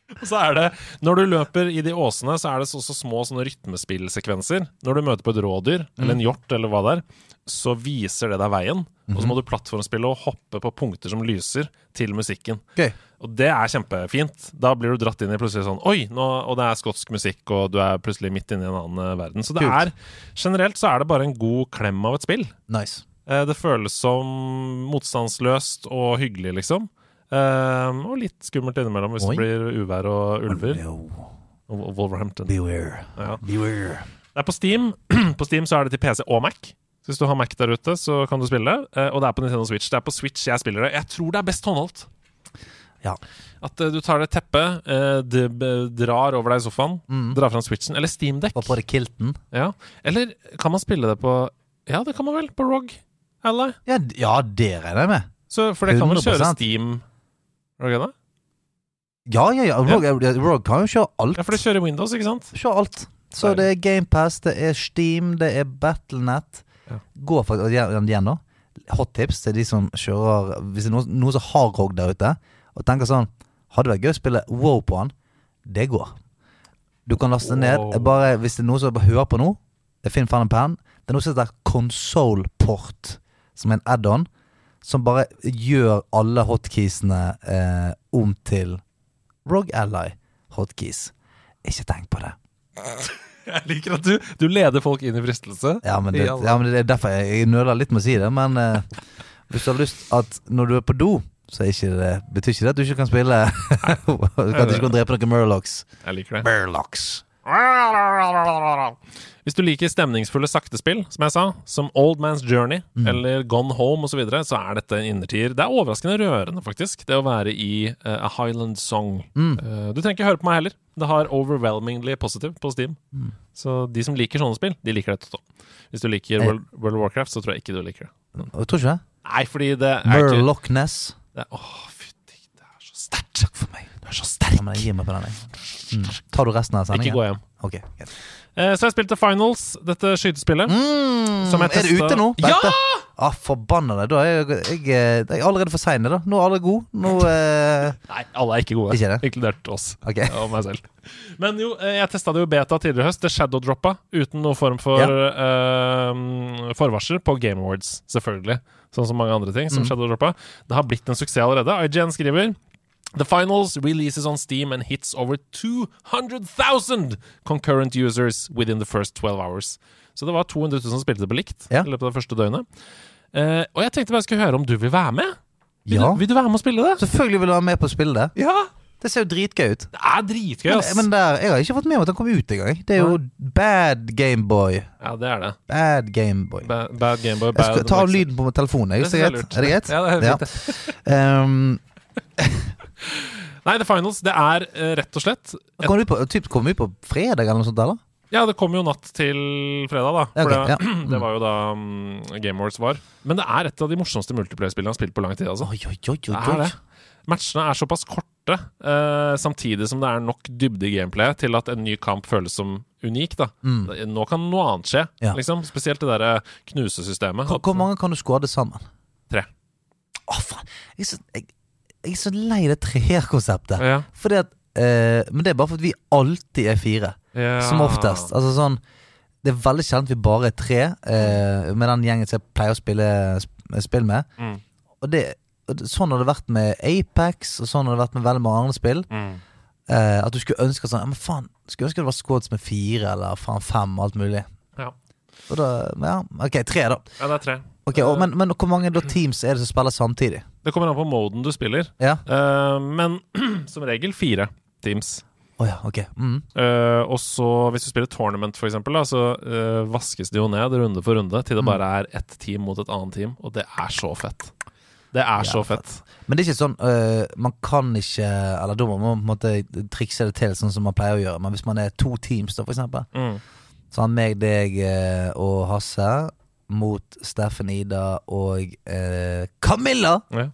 S2: Og så er det, Når du løper i de åsene, så er det så, så små sånne rytmespillsekvenser. Når du møter på et rådyr, eller en hjort, eller hva det er, så viser det deg veien. Og så må du plattformspille og hoppe på punkter som lyser, til musikken.
S1: Gøy.
S2: Og det er kjempefint. Da blir du dratt inn i plutselig sånn Oi! Nå, og det er skotsk musikk, og du er plutselig midt inne i en annen eh, verden. Så det
S1: Kult.
S2: er generelt så er det bare en god klem av et spill.
S1: Nice.
S2: Eh, Det føles som motstandsløst og hyggelig, liksom. Eh, og litt skummelt innimellom hvis
S1: Oi.
S2: det blir uvær og ulver.
S1: No.
S2: Og og Wolverhampton.
S1: Beware.
S2: Ja.
S1: Beware.
S2: Det er på Steam. på Steam så er det til PC og Mac. Så hvis du har Mac der ute, så kan du spille det. Eh, og det er på Nintendo Switch. Det er på Switch jeg spiller det. Jeg tror det er best håndholdt.
S1: Ja.
S2: At eh, du tar det teppet, eh, det b- drar over deg i sofaen, drar fram Switchen, eller Steamdekk.
S1: Var på deg kilten.
S2: Ja. Eller kan man spille det på Ja, det kan man vel. På ROG. Ally.
S1: Ja, d- ja, det regner jeg med.
S2: Så, for det kan vel kjøre
S1: 100%.
S2: Steam Er det ikke det?
S1: Ja, ja, ja. Rog, Rog kan jo kjøre alt.
S2: Ja, for det kjører Windows, ikke sant?
S1: Kjøre alt. Så det er GamePass, det er Steam, det er BattleNet.
S2: Ja.
S1: Gå for igjen, igjen nå. Hot tips til de som kjører Hvis det er noen, noen som har Rog der ute, og tenker sånn Hadde vært gøy å spille Wow på han. Det går. Du kan laste den ned.
S2: Wow.
S1: Jeg Bare, hvis det er noen som bare hører på nå, jeg finner faen en penn. Det er noe som heter Consolport, som er en add-on, som bare gjør alle hotkeysene eh, om til Rog Ally hotkeys. Ikke tenk på det.
S2: Jeg liker at du, du leder folk inn i fristelse.
S1: Ja, men det,
S2: I alle-
S1: ja, men det er derfor jeg, jeg nøler litt med å si det. Men eh, hvis du har lyst at når du er på do, så er ikke det, betyr ikke det at du ikke kan spille At du ikke kan drepe noen Murlocs.
S2: Jeg liker det.
S1: Murlocs.
S2: Hvis du liker stemningsfulle saktespill, som jeg sa, som Old Man's Journey
S1: Mm.
S2: eller Gone Home osv., så, videre, så er dette en innertier. Det er overraskende rørende, faktisk, det å være i eh, A Highland Song.
S1: Mm.
S2: Eh, du trenger ikke høre på meg heller. Det har overwhelmingly positive på Steam.
S1: Mm.
S2: Så de som liker sånne spill, de liker dette også. Hvis du liker
S1: Eh.
S2: World, World of Warcraft, så tror jeg ikke du liker det.
S1: Jeg tror ikke det.
S2: Nei, fordi det er ikke
S1: Murloc Ness.
S2: det er- Åh, fytti, det er så sterkt. Takk for meg. Du er så sterk.
S1: Ja, men jeg gir meg på den, jeg. Mm. Tar du resten av
S2: Ikke
S1: sendingen?
S2: gå hjem.
S1: Ok, greit.
S2: Eh, Så jeg spilte Finals, dette skytespillet.
S1: Mm,
S2: Som jeg
S1: er det
S2: testet-
S1: ute nå?
S2: Ja!
S1: Dette? Ah, forbanna deg. Da er jeg, jeg, eh, jeg er allerede for sein, da. Nå er alle gode. Nå eh,
S2: Nei, alle er ikke gode.
S1: Ikke det?
S2: Inkludert oss. eh,
S1: Ok.
S2: Og meg selv. Men jo, eh, jeg testa det jo beta tidligere i høst. Det shadowdroppa uten noen form for
S1: Ja.
S2: eh, forvarsel på Game Awards, selvfølgelig. Sånn som mange andre ting
S1: Mm.
S2: som shadowdroppa. Det har blitt en suksess allerede. IGN skriver The finals releases on Steam and hits over 200,000 concurrent users within the first 12 hours. Så det var 200 000 som spilte det på likt
S1: Ja.
S2: i løpet av det første døgnet. Eh, og jeg tenkte bare jeg skulle høre om du vil være med? Vil,
S1: Ja.
S2: du, vil du være med og spille det?
S1: Selvfølgelig vil du være med på å spille det.
S2: Ja!
S1: Det ser jo dritgøy ut.
S2: Det er dritgøy,
S1: Men,
S2: ass.
S1: men der, jeg har ikke fått med meg at han kom ut engang. Det er jo Bad Gameboy.
S2: ja, det er det.
S1: Bad Gameboy.
S2: Bad, bad Gameboy,
S1: Jeg
S2: bad
S1: skal ta av lyden på telefonen. Jeg,
S2: Det
S1: så
S2: synes jeg er
S1: greit.
S2: lurt.
S1: Er det greit?
S2: Ja, det er helt fint,
S1: Um,
S2: Nei, The Finals, det er eh, rett og slett et,
S1: kom, du på, typ, kom du på fredag eller noe sånt? eller?
S2: Ja, det kom jo natt til fredag, da. For
S1: Ok,
S2: det, det var jo da um, Game Awards var. Men det er et av de morsomste multiplayer-spillene jeg har spilt på lang tid. altså.
S1: Oi, oi, oi, oi,
S2: Det er
S1: oi.
S2: det. Matchene er såpass korte, eh, samtidig som det er nok dybde i gameplayet til at en ny kamp føles som unik. da.
S1: Mm.
S2: Nå kan noe annet skje,
S1: Ja.
S2: liksom. Spesielt det derre knusesystemet.
S1: Hvor, hvor mange kan du skåde sammen?
S2: Tre.
S1: Å, faen. Jeg er, så, jeg, jeg er så lei det treerkonseptet.
S2: Ja.
S1: Fordi at eh, Men det er bare fordi vi alltid er fire.
S2: Ja.
S1: Som oftest. Altså sånn Det er veldig sjelden vi bare er tre eh, med den gjengen som jeg pleier å spille sp- spill med.
S2: Mm.
S1: Og det og det- Sånn har det vært med Apex, og sånn har det vært med veldig mange andre spill.
S2: Mm.
S1: Eh, at du skulle ønske sånn Ja, men faen, skulle ønske det var squads med fire eller faen fem og alt mulig.
S2: Ja.
S1: Og da, ja, ok, tre, da.
S2: ja, det er tre.
S1: Ok, og, men, men hvor mange da teams er det som spiller samtidig?
S2: Det kommer an på moden du spiller.
S1: Ja?
S2: Eh, men som regel fire teams.
S1: Å ja, ok. Mm.
S2: Eh, og så hvis du spiller tournament, for eksempel, da, så eh, vaskes det jo ned runde for runde til det
S1: Mm.
S2: bare er ett team mot et annet team, og det er så fett. Det er så fett.
S1: Men det er ikke sånn øh, Man kan ikke Eller da må man på en måte trikse det til sånn som man pleier å gjøre. Men hvis man er to teams, da, for eksempel.
S2: Mm.
S1: Så har meg, deg øh, og Hasse mot Steffen Ida og øh, Camilla!
S2: Ja.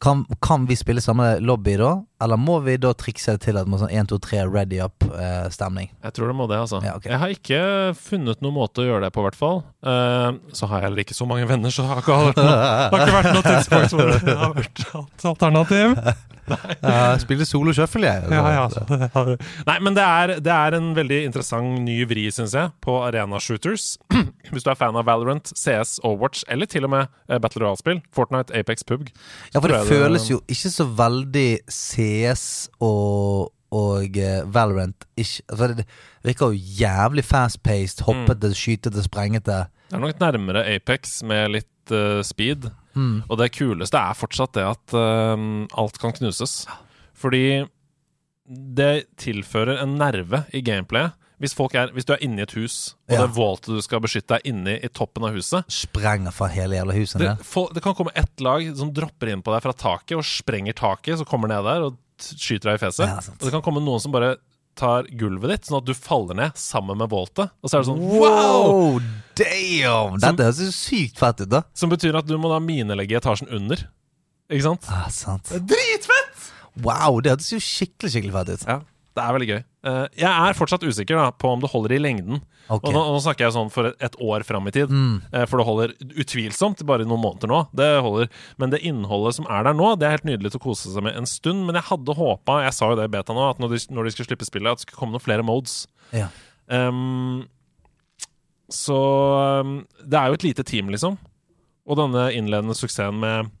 S1: Kan, kan vi spille samme lobby da? Eller må vi da trikse det til at man sånn 1, 2, 3, ready eh, up-stemning?
S2: Jeg tror det må det, altså.
S1: Ja, ok.
S2: Jeg har ikke funnet noen måte å gjøre det på, i hvert fall. Eh, så har jeg heller ikke så mange venner, så det har ikke vært noe, det har ikke vært noe tidspunkt hvor det har vært et alternativ.
S1: Uh, spille solo shuffle, jeg.
S2: Nei, men det er, det er en veldig interessant ny vri, syns jeg, på arena shooters. Hvis du er fan av Valorant, CS, Overwatch eller til og med eh, Battle Royale-spill, Fortnite, Apex, PUBG
S1: Ja, for det
S2: tror jeg det-
S1: føles jo ikke så veldig CS og, og eh, Valorant ikke, for Det det virker jo jævlig fast-paced,
S2: Mm.
S1: hoppete, skytete, sprengete.
S2: Det er nok nærmere Apex med litt eh, speed. Og det kuleste er fortsatt det at eh, alt kan knuses. Fordi det tilfører en nerve i gameplayet. Hvis, folk er, hvis du er inni et hus, og
S1: Ja.
S2: det er vaultet du skal beskytte deg inni i toppen av huset,
S1: Sprenger fra hele jævla huset.
S2: Det,
S1: ned.
S2: fol- det kan komme ett lag som dropper inn på deg fra taket og sprenger taket, så kommer ned der og t- skyter deg i fjeset.
S1: Ja, sant.
S2: og det kan komme noen som bare tar gulvet ditt, sånn at du faller ned sammen med voltet. Og så er det sånn wow!
S1: Wow, damn! Dette høres jo sykt fett ut, da.
S2: Som betyr at du må da minelegge etasjen under. Ikke sant?
S1: Ah, sant.
S2: Dritfett!
S1: Wow, det hørtes jo skikkelig skikkelig fett ut.
S2: Ja, det er veldig gøy. Eh, jeg er fortsatt usikker da, på om det holder i lengden.
S1: Ok.
S2: Og, nå, og nå snakker jeg sånn for et, et år fram i tid, Eh, for det holder utvilsomt bare noen måneder nå. Det holder. Men det innholdet som er der nå, det er helt nydelig til å kose seg med en stund. Men jeg hadde håpa, jeg sa jo det i beta nå, at når de, når de skulle slippe spillet, at det skulle komme noen flere modes.
S1: Ja.
S2: Ehm, så ehm, det er jo et lite team, liksom. Og denne innledende suksessen med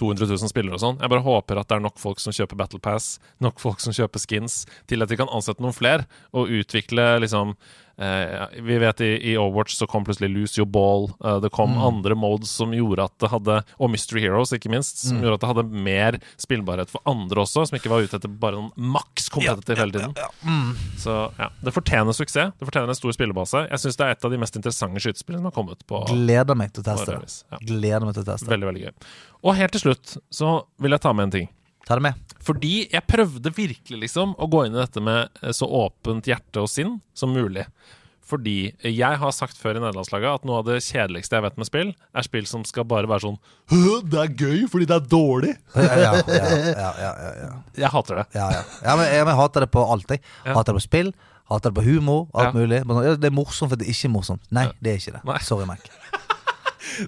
S2: 200 000 spillere og sånn. Jeg bare håper at det er nok folk som kjøper Battle Pass, nok folk som kjøper skins, til at de kan ansette noen flere og utvikle liksom eh, Vi vet i, i Overwatch så kom plutselig Lose Your Ball. eh, det kom andre modes som gjorde at det hadde Og Mystery Heroes, ikke minst. Som gjorde at det hadde mer spillbarhet for andre også, som ikke var ute etter bare noen maks kompetitiv hele tiden. Så ja, det fortjener suksess. Det fortjener en stor spillebase. Jeg syns det er et av de mest interessante skytespillene som har kommet på
S1: Gleder meg til å teste det.
S2: årevis. Ja.
S1: Gleder meg til å teste det.
S2: Veldig, veldig gøy. Og helt til slutt så vil jeg ta med en ting.
S1: Ta det med.
S2: Fordi jeg prøvde virkelig liksom å gå inn i dette med eh, så åpent hjerte og sinn som mulig. Fordi jeg har sagt før i nederlandslaget at noe av det kjedeligste jeg vet med spill, er spill som skal bare være sånn «Hø, Det er gøy fordi det er dårlig.
S1: Ja, ja, ja, ja, ja, ja, ja.
S2: Jeg hater det.
S1: ja, ja. ja men, jeg, men jeg hater det på alt. Jeg. Hater det på spill, hater det på humor, alt
S2: Ja.
S1: mulig. Men sånn, ja, det er morsomt fordi det ikke er morsomt. Nei, det er ikke det.
S2: Nei.
S1: Sorry, Mac.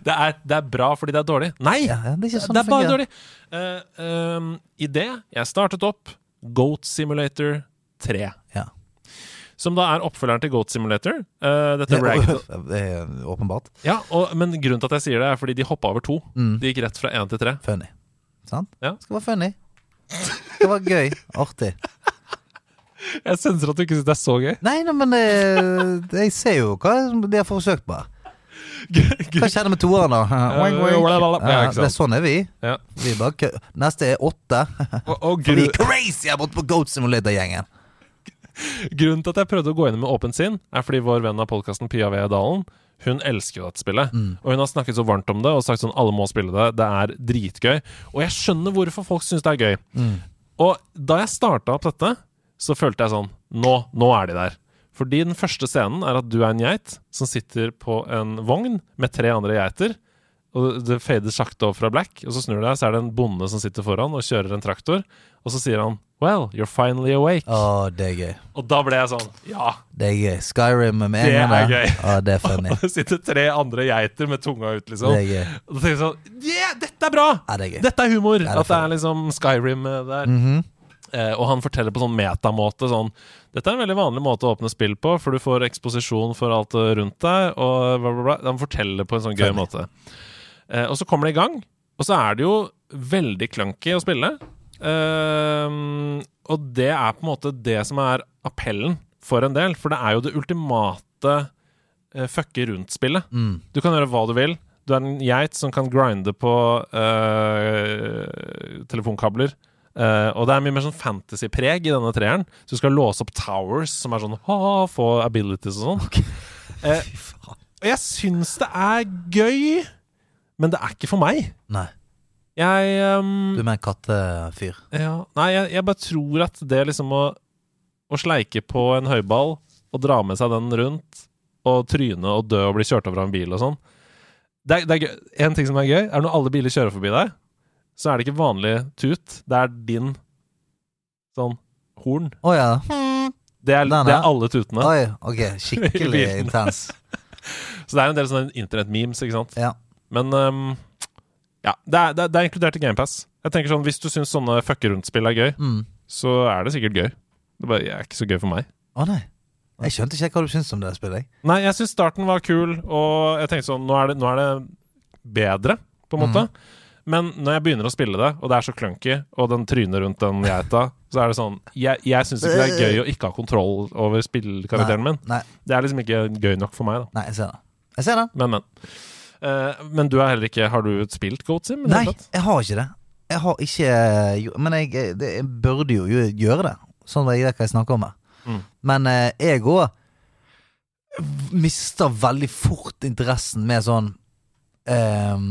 S2: Det er, det er bra fordi det er dårlig. Nei!
S1: Ja, ja, det er ikke sånn
S2: det er bare
S1: fungerer.
S2: dårlig. Eh, ehm, I det jeg startet opp Goat Simulator 3.
S1: Ja.
S2: Som da er oppfølgeren til Goat Simulator. Eh, dette
S1: Det
S2: rag...
S1: er, det er åpenbart.
S2: ja, og, men grunnen til at jeg sier det, er fordi de hoppa over to.
S1: Mm.
S2: De gikk rett fra én til tre.
S1: Funny. Sant?
S2: Ja.
S1: Skal være funny. Skal være gøy. Artig.
S2: Jeg senser at du ikke syns det er så gøy.
S1: Nei, nei men eh, jeg ser jo hva som de har forsøkt på. Hva skjedde med toeren, da?
S2: Eh,
S1: Oink, oink.
S2: Ja,
S1: Ja,
S2: ikke
S1: det er
S2: sant?
S1: sånn er vi.
S2: Ja.
S1: vi er bare kø Neste er åtte.
S2: Og, og
S1: For
S2: gru,
S1: vi er crazy her borte på Goat Simulator-gjengen.
S2: grunnen til at jeg prøvde å gå inn med åpent sinn, er fordi vår venn av podkasten Pia V. Dalen hun elsker jo dette spillet. Og hun har snakket så varmt om det og sagt sånn alle må spille det, det er dritgøy. Og jeg skjønner hvorfor folk syns det er gøy. Og da jeg starta opp dette, så følte jeg sånn Nå, nå er de der. Fordi den første scenen er at du er en geit som sitter på en vogn med tre andre geiter. Og det fader sakte over fra black, og så snur du deg, så er det en bonde som sitter foran og kjører en traktor. Og så sier han 'Well, you're finally awake'.
S1: Å, det er gøy.
S2: Og da ble jeg sånn Ja!
S1: Det er gøy. Skyrim med en
S2: Det
S1: gang.
S2: er
S1: da.
S2: gøy.
S1: Å, det er funny.
S2: Og det sitter tre andre geiter med tunga ut, liksom.
S1: Det er gøy.
S2: Og da tenker jeg sånn Yeah, dette er bra!
S1: Ja, det er gøy. Mhm.
S2: Dette er humor!
S1: er
S2: at det er liksom Skyrim eh, der. eh, og han forteller på sånn metamåte sånn Dette er en veldig vanlig måte å åpne spill på, for du får eksposisjon for alt eh, rundt deg, og bla, bla, bla. Han forteller på en sånn gøy
S1: Funny.
S2: måte. Eh, og så kommer det i gang, og så er det jo veldig clunky å spille. Ehm, og det er på en måte det som er appellen for en del, for det er jo det ultimate eh, fucke rundt-spillet.
S1: Mm.
S2: Du kan gjøre hva du vil. Du er en geit som kan grinde på eh, telefonkabler. Eh, og det er mye mer sånn fantasy-preg i denne treeren. Så du skal låse opp towers, som er sånn ha, få abilities og sånn. Eh, og jeg syns det er gøy, men det er ikke for meg.
S1: Nei.
S2: Jeg
S1: Du
S2: ehm,
S1: er mer en kattefyr.
S2: ja, Nei, jeg, jeg bare tror at det liksom å, å sleike på en høyball og dra med seg den rundt, og tryne og dø og bli kjørt over av en bil og sånn det er, det er gøy. En ting som er gøy, er når alle biler kjører forbi deg, så er det ikke vanlig tut. Det er din sånn horn.
S1: Å ja.
S2: Det er,
S1: Den
S2: det
S1: er-
S2: er alle tutene.
S1: Oi, ok. Skikkelig
S2: Lyden.
S1: intens.
S2: Så det er en del sånne internettmemes, ikke sant?
S1: Ja.
S2: Men ehm, ja, det er, det, er, det er inkludert i GamePass. Jeg tenker sånn, Hvis du syns sånne fucke rundt-spill er gøy,
S1: Mm.
S2: så er det sikkert gøy. Det bare er ikke så gøy for meg.
S1: Å nei. Jeg skjønte ikke hva du syntes om det spillet. jeg.
S2: Nei, jeg syns starten var kul, og jeg tenkte sånn Nå er det, nå er det bedre, på en måte.
S1: Mhm.
S2: Men når jeg begynner å spille det, og det er så clunky, og den tryner rundt den geita, så er det sånn Jeg, jeg syns ikke det er gøy å ikke ha kontroll over spillkarakteren min.
S1: Nei,
S2: Det er liksom ikke gøy nok for meg, da.
S1: nei, jeg ser det. Jeg ser det.
S2: Men, men. Eh, men du er heller ikke Har du spilt Goat Sim? i det
S1: Nei,
S2: hele tatt?
S1: jeg har ikke det. Jeg har ikke eh, jo- Men jeg, eh, det, jeg burde jo gjø- gjøre det. Sånn at jeg vet hva jeg snakker om her.
S2: Mm.
S1: Men eh, jeg òg mister veldig fort interessen med sånn ehm,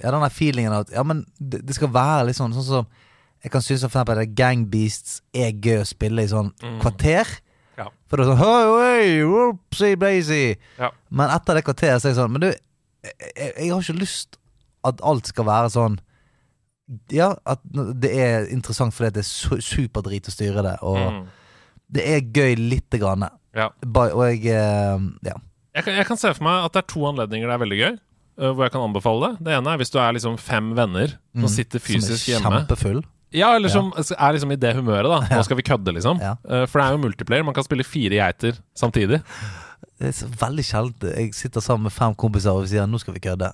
S1: Ja, den der feelingen av at Ja, men det, det skal være litt sånn Sånn som jeg kan synes for eksempel at Gang Beasts er gøy å spille i sånn kvarter.
S2: Mm. Ja.
S1: For det er sånn Hei, hei, whoopsie, blazy.
S2: Ja.
S1: Men etter det kvarteret så er jeg sånn Men du, jeg, jeg jeg har ikke lyst at alt skal være sånn Ja, at det er interessant fordi at det er su superdrit å styre det, og
S2: Mm.
S1: det er gøy lite grann.
S2: Ja.
S1: Ba- Og jeg eh, Ja.
S2: Jeg, kan, jeg kan se for meg at det er to anledninger det er veldig gøy, øh, hvor jeg kan anbefale det. Det ene er hvis du er liksom fem venner som sitter fysisk
S1: Mm. Som er
S2: hjemme.
S1: kjempefull.
S2: Ja, eller som er liksom i det humøret, da. Nå skal vi kødde, liksom.
S1: Ja.
S2: Eh, For det er jo multiplayer, man kan spille fire geiter samtidig.
S1: Det er så veldig sjelden jeg sitter sammen med fem kompiser og vi sier 'nå skal vi kødde'.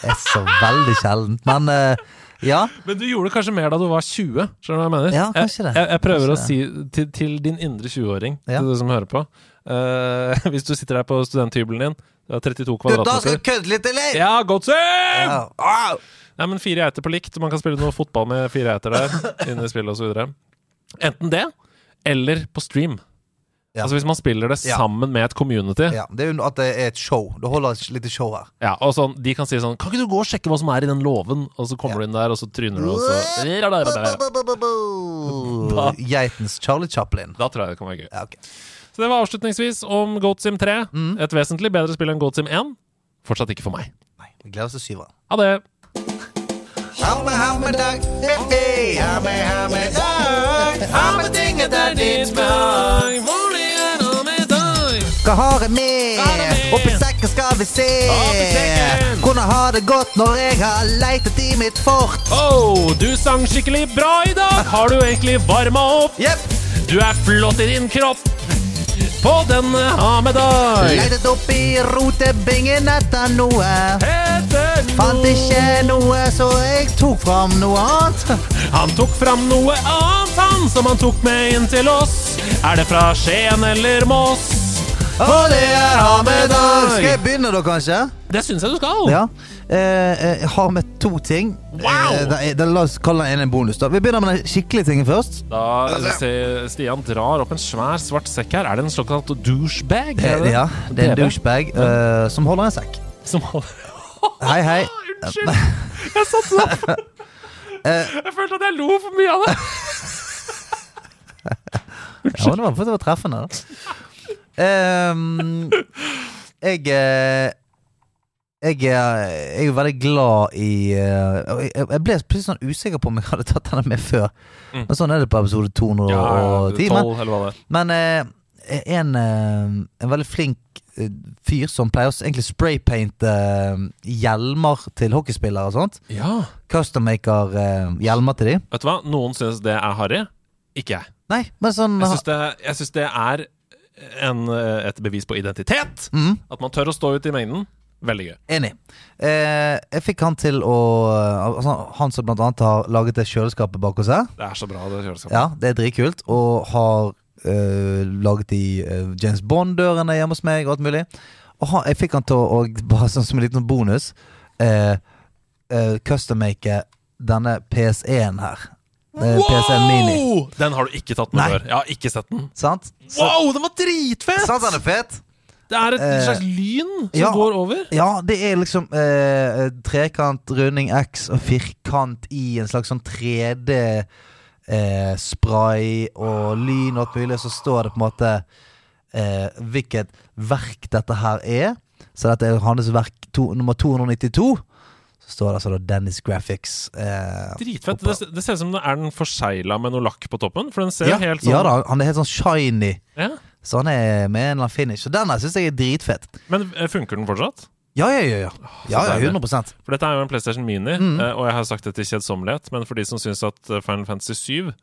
S1: Det er så veldig sjeldent. Men eh, ja.
S2: Men du gjorde kanskje mer da du var 20, skjønner du hva jeg mener?
S1: Ja, kanskje det.
S2: Jeg, jeg, jeg prøver
S1: Kanskje
S2: å si til, til din indre 20-åring,
S1: Ja.
S2: til du som hører på eh, Hvis du sitter der på studenthybelen din, du har 32
S1: Gutta, skal vi
S2: kvadratmeter
S1: kødde litt, eller?
S2: Ja, godt syn!
S1: Ja. Au!
S2: Nei, men fire geiter på likt. Man kan spille noe fotball med fire geiter der. Inne i spillet og så videre. Enten det, eller på stream.
S1: Ja.
S2: Altså Hvis man spiller det
S1: Ja.
S2: sammen med et community. Ja.
S1: Ja, det er jo at det er et show. Du holder et lite show her.
S2: og sånn, De kan si sånn 'Kan ikke du gå og sjekke hva som er i den låven?' Og så kommer du inn der, og så tryner du, og så Da-
S1: Geitens Charlie Chaplin.
S2: Da tror jeg det kan være gøy.
S1: Ja, ok.
S2: Så det var avslutningsvis om GoatSim 3.
S1: Mm.
S2: Et vesentlig bedre spill enn GoatSim 1. Fortsatt ikke for meg.
S1: Nei, vi gleder oss til syveren.
S2: Ha det.
S1: Hamme, hamme, dag. Hei, hamme, hamme, dag. Hamme, dinge, dag, ditt dag.
S2: Hvor er det med deg?
S1: Hva har jeg med?
S2: med?
S1: Oppi sekken skal vi se.
S2: Oppi sekken!
S1: Hvordan har det gått når jeg har leitet i mitt fort?
S2: Oh, du sang skikkelig bra i dag! Har du egentlig varma opp?
S1: Jepp.
S2: Du er flott i din kropp på denne hamedag.
S1: Leitet oppi rotebingen etter noe.
S2: Petter
S1: Fant ikke noe, så jeg tok fram noe annet.
S2: Han tok fram noe annet, han, som han tok med inn til oss. Er det fra Skien eller Moss?
S1: Og det er hamedag. Skal jeg begynne da, kanskje?
S2: Det syns jeg du skal.
S1: Ja. Eh, eh, jeg har med to ting.
S2: Wow!
S1: Eh, da, da, la oss kalle den ene en bonus. da Vi begynner med den skikkelige tingen først.
S2: Da se- Stian drar opp en svær, svart sekk her. Er det en såkalt douchebag?
S1: Eh,
S2: Er det det?
S1: ja, det er en
S2: TV?
S1: douchebag eh, som holder en sekk.
S2: Som holder
S1: Hei, hei.
S2: Unnskyld! Jeg satt sånn.
S1: Eh.
S2: Jeg følte at jeg lo for mye av det.
S1: Ja, men det var, for det var treffende, da. Ehm, jeg eh, jeg, eh, jeg er jo veldig glad i eh, og Jeg jeg ble plutselig sånn usikker på om jeg hadde tatt denne med før.
S2: Mm.
S1: Men sånn er det på episode 210. men
S2: tolv, eller hva det er.
S1: Men eh, en, eh, en veldig flink eh, fyr som pleier å s- egentlig spraypainte eh, hjelmer til hockeyspillere og sånt.
S2: Ja.
S1: Custommaker eh, hjelmer til de.
S2: Vet du hva? Noen syns det er harry. Ikke jeg.
S1: Nei, men sånn
S2: Jeg syns det, jeg synes det er en, eh, et bevis på identitet.
S1: mm,
S2: At man tør å stå ut i mengden. Veldig gøy.
S1: Enig. Eh, jeg fikk han til å altså, Han som blant annet har laget det kjøleskapet bak hos her.
S2: Det er så bra, det kjøleskapet.
S1: Ja, det er dritkult. Og har eh, laget de eh, James Bond-dørene hjemme hos meg og alt mulig. Og han, jeg fikk han til å og bare sånn som en liten bonus uh, custom-make denne PS1 her. Eh, PS1 Mini.
S2: Wow! Den har du ikke tatt med
S1: Nei.
S2: før. Jeg har ikke sett den.
S1: Sant?
S2: Wow, den var dritfett!
S1: Sant han er fet?
S2: Det er et
S1: Eh,
S2: slags lyn som
S1: ja.
S2: går over.
S1: Ja, det er liksom eh, trekant, runding X og firkant i en slags sånn 3D eh, spray og lyn og alt mulig. Så står det på en måte eh, hvilket verk dette her er. Så dette er hans verk to, nummer 292. Så står det altså da Dennis Graphics. Eh,
S2: Dritfett.
S1: oppå.
S2: Det, det ser ut som den er den forsegla med noe lakk på toppen. For den ser
S1: ja,
S2: helt sånn
S1: ja da, han er helt sånn shiny.
S2: Ja.
S1: Så han er med en eller annen finish. Så den her syns jeg er dritfett.
S2: Men eh, funker den fortsatt?
S1: Ja, ja, ja. ja. ja, ja
S2: deilig.
S1: 100
S2: For dette er jo en PlayStation Mini,
S1: Mm.
S2: eh, og jeg har sagt det til kjedsommelighet, men for de som syns at eh, Final Fantasy 7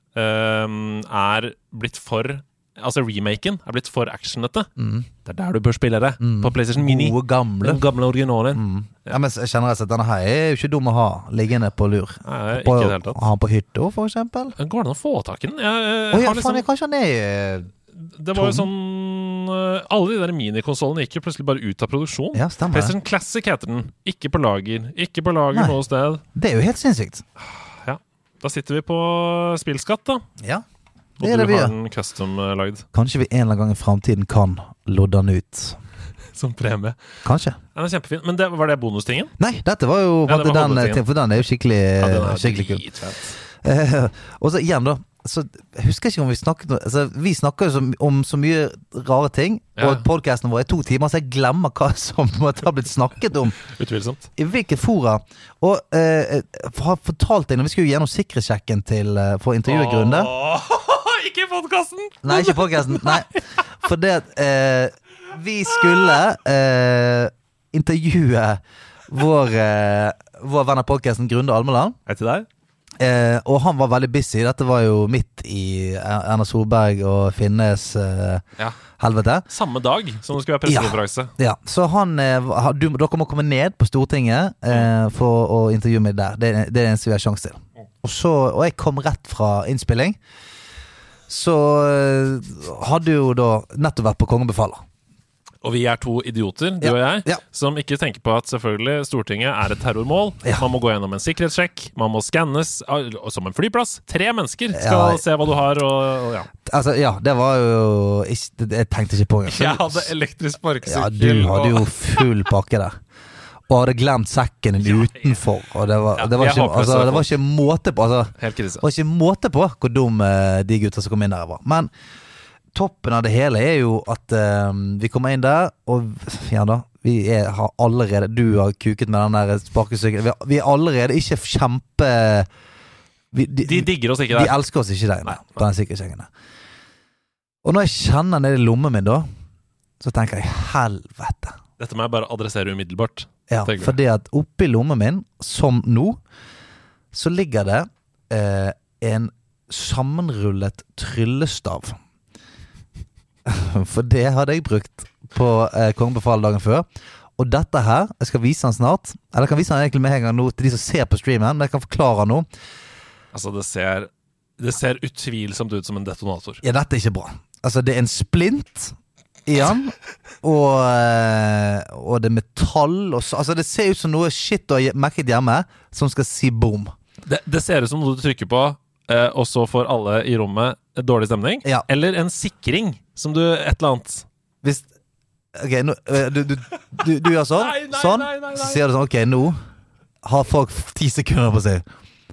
S2: er blitt for Altså remaken er blitt for actionete. Det er der du bør spille det. På PlayStation Mini.
S1: Mm. Gode, gamle. Mm.
S2: Den gamle originalen.
S1: Ja, men jeg kjenner altså at denne her er jo ikke dum å ha liggende på lur.
S2: Nei, ikke
S1: på,
S2: i det hele tatt.
S1: Ha den på hytta, for eksempel.
S2: Går det an å få tak i den? Jeg, eh,
S1: Å ja,
S2: har liksom,
S1: faen, jeg, kanskje han er eh,
S2: det var jo sånn eh, Alle de der minikonsollene gikk jo plutselig bare ut av produksjon.
S1: Ja, stemmer det.
S2: PlayStation Classic heter den. Ikke på lager. Ikke på lager
S1: Nei.
S2: noe sted.
S1: Det er jo helt sinnssykt.
S2: Ja. Da sitter vi på eh, spillskatt, da.
S1: Ja.
S2: Og
S1: Det er det
S2: du
S1: vi
S2: har
S1: gjør.
S2: den custom eh, lagd
S1: Kanskje vi en eller annen gang i framtiden kan lodde den ut.
S2: som premie.
S1: Kanskje.
S2: Ja, den er kjempefin. Men det, var det bonustingen?
S1: Nei, dette var jo
S2: Ja, det
S1: den,
S2: var
S1: eh,
S2: hovedtingen.
S1: ting- For den er jo skikkelig, eh,
S2: den er
S1: skikkelig kul.
S2: dritfett.
S1: Eh, og så igjen, da. Så jeg husker ikke om Vi snakket noe- altså, Vi snakker jo så, om så mye rare ting,
S2: Ja.
S1: og podkasten vår er to timer, så jeg glemmer hva som på en måte har blitt snakket om.
S2: Utvilsomt.
S1: I hvilke fora? Og eh, har fortalt deg når vi skulle gjennom sikkerhetssjekken til, eh, for intervjugrunner
S2: Åh, ikke i podkasten!
S1: Nei, ikke podkasten. Nei. For det at eh, Vi skulle eh, intervjue vår, eh, vår venn av podkasten Grunde Almeland.
S2: Hei til deg.
S1: Eh, og han var veldig busy. Dette var jo midt i Er- Erna Solberg og Finnes eh,
S2: Ja.
S1: helvete.
S2: Samme dag som det skulle være
S1: Ja.
S2: pressekonferanse.
S1: Ja, så han eh, ha- du, Dere må komme ned på Stortinget eh, for å intervjue meg der. Det, er- det er det eneste vi har sjanse til. Og, så, og jeg kom rett fra innspilling. Så eh, hadde jo da nettopp vært på Kongen befaler.
S2: Og vi er to idioter, du
S1: Ja.
S2: og jeg,
S1: Ja.
S2: som ikke tenker på at selvfølgelig Stortinget er et terrormål.
S1: Ja.
S2: Man må gå gjennom en sikkerhetssjekk, man må skannes al- som en flyplass. Tre mennesker skal
S1: Ja.
S2: se hva du har, og, og ja.
S1: Altså, ja, det var jo ikke, det- Jeg tenkte ikke på engang.
S2: Jeg hadde elektrisk
S1: Ja,
S2: sparkesykkel.
S1: du hadde jo
S2: og-
S1: full pakke der. Og hadde glemt sekken din utenfor. Og det var,
S2: Ja,
S1: det var,
S2: jeg
S1: ikke,
S2: håper
S1: altså,
S2: så.
S1: det var ikke måte på altså,
S2: Helt krise.
S1: Det var ikke måte på hvor dum eh, de gutta som kom inn der var. Men toppen av det hele er jo at eh, vi kommer inn der, og ja da vi er, har allerede Du har kuket med den der sparkesykkelen. Vi, vi er allerede ikke kjempe... Vi, de,
S2: De digger oss ikke
S1: de
S2: der.
S1: elsker oss ikke der inne,
S2: Nei, nei.
S1: på den sikkerhetssjengen der. Og når jeg kjenner nedi lommen min, da så tenker jeg helvete.
S2: Dette må jeg bare adressere umiddelbart.
S1: Ja,
S2: tenker jeg.
S1: fordi at oppi lommen min, som nå, så ligger det eh, en sammenrullet tryllestav. For det hadde jeg brukt på eh, Kongen befaler dagen før. Og dette her, jeg skal vise den snart. Eller jeg kan vise den egentlig med en gang nå til de som ser på streamen. Men jeg kan forklare den nå.
S2: Altså, det ser, det ser utvilsomt ut som en detonator.
S1: Ja, dette er ikke bra. Altså, det er en splint i den, og, eh, og det er metall og så, Altså, det ser ut som noe shit du har merket hjemme, som skal si boom.
S2: Det, det ser ut som noe du trykker på, eh, og så får alle i rommet eh, dårlig stemning.
S1: Ja.
S2: Eller en sikring, som du Et eller annet.
S1: Hvis Ok, nå, eh, du, du, du, du gjør sånn,
S2: Nei, nei,
S1: sånn,
S2: nei, nei, nei.
S1: så sier du sånn Ok, nå har folk ti sekunder på seg.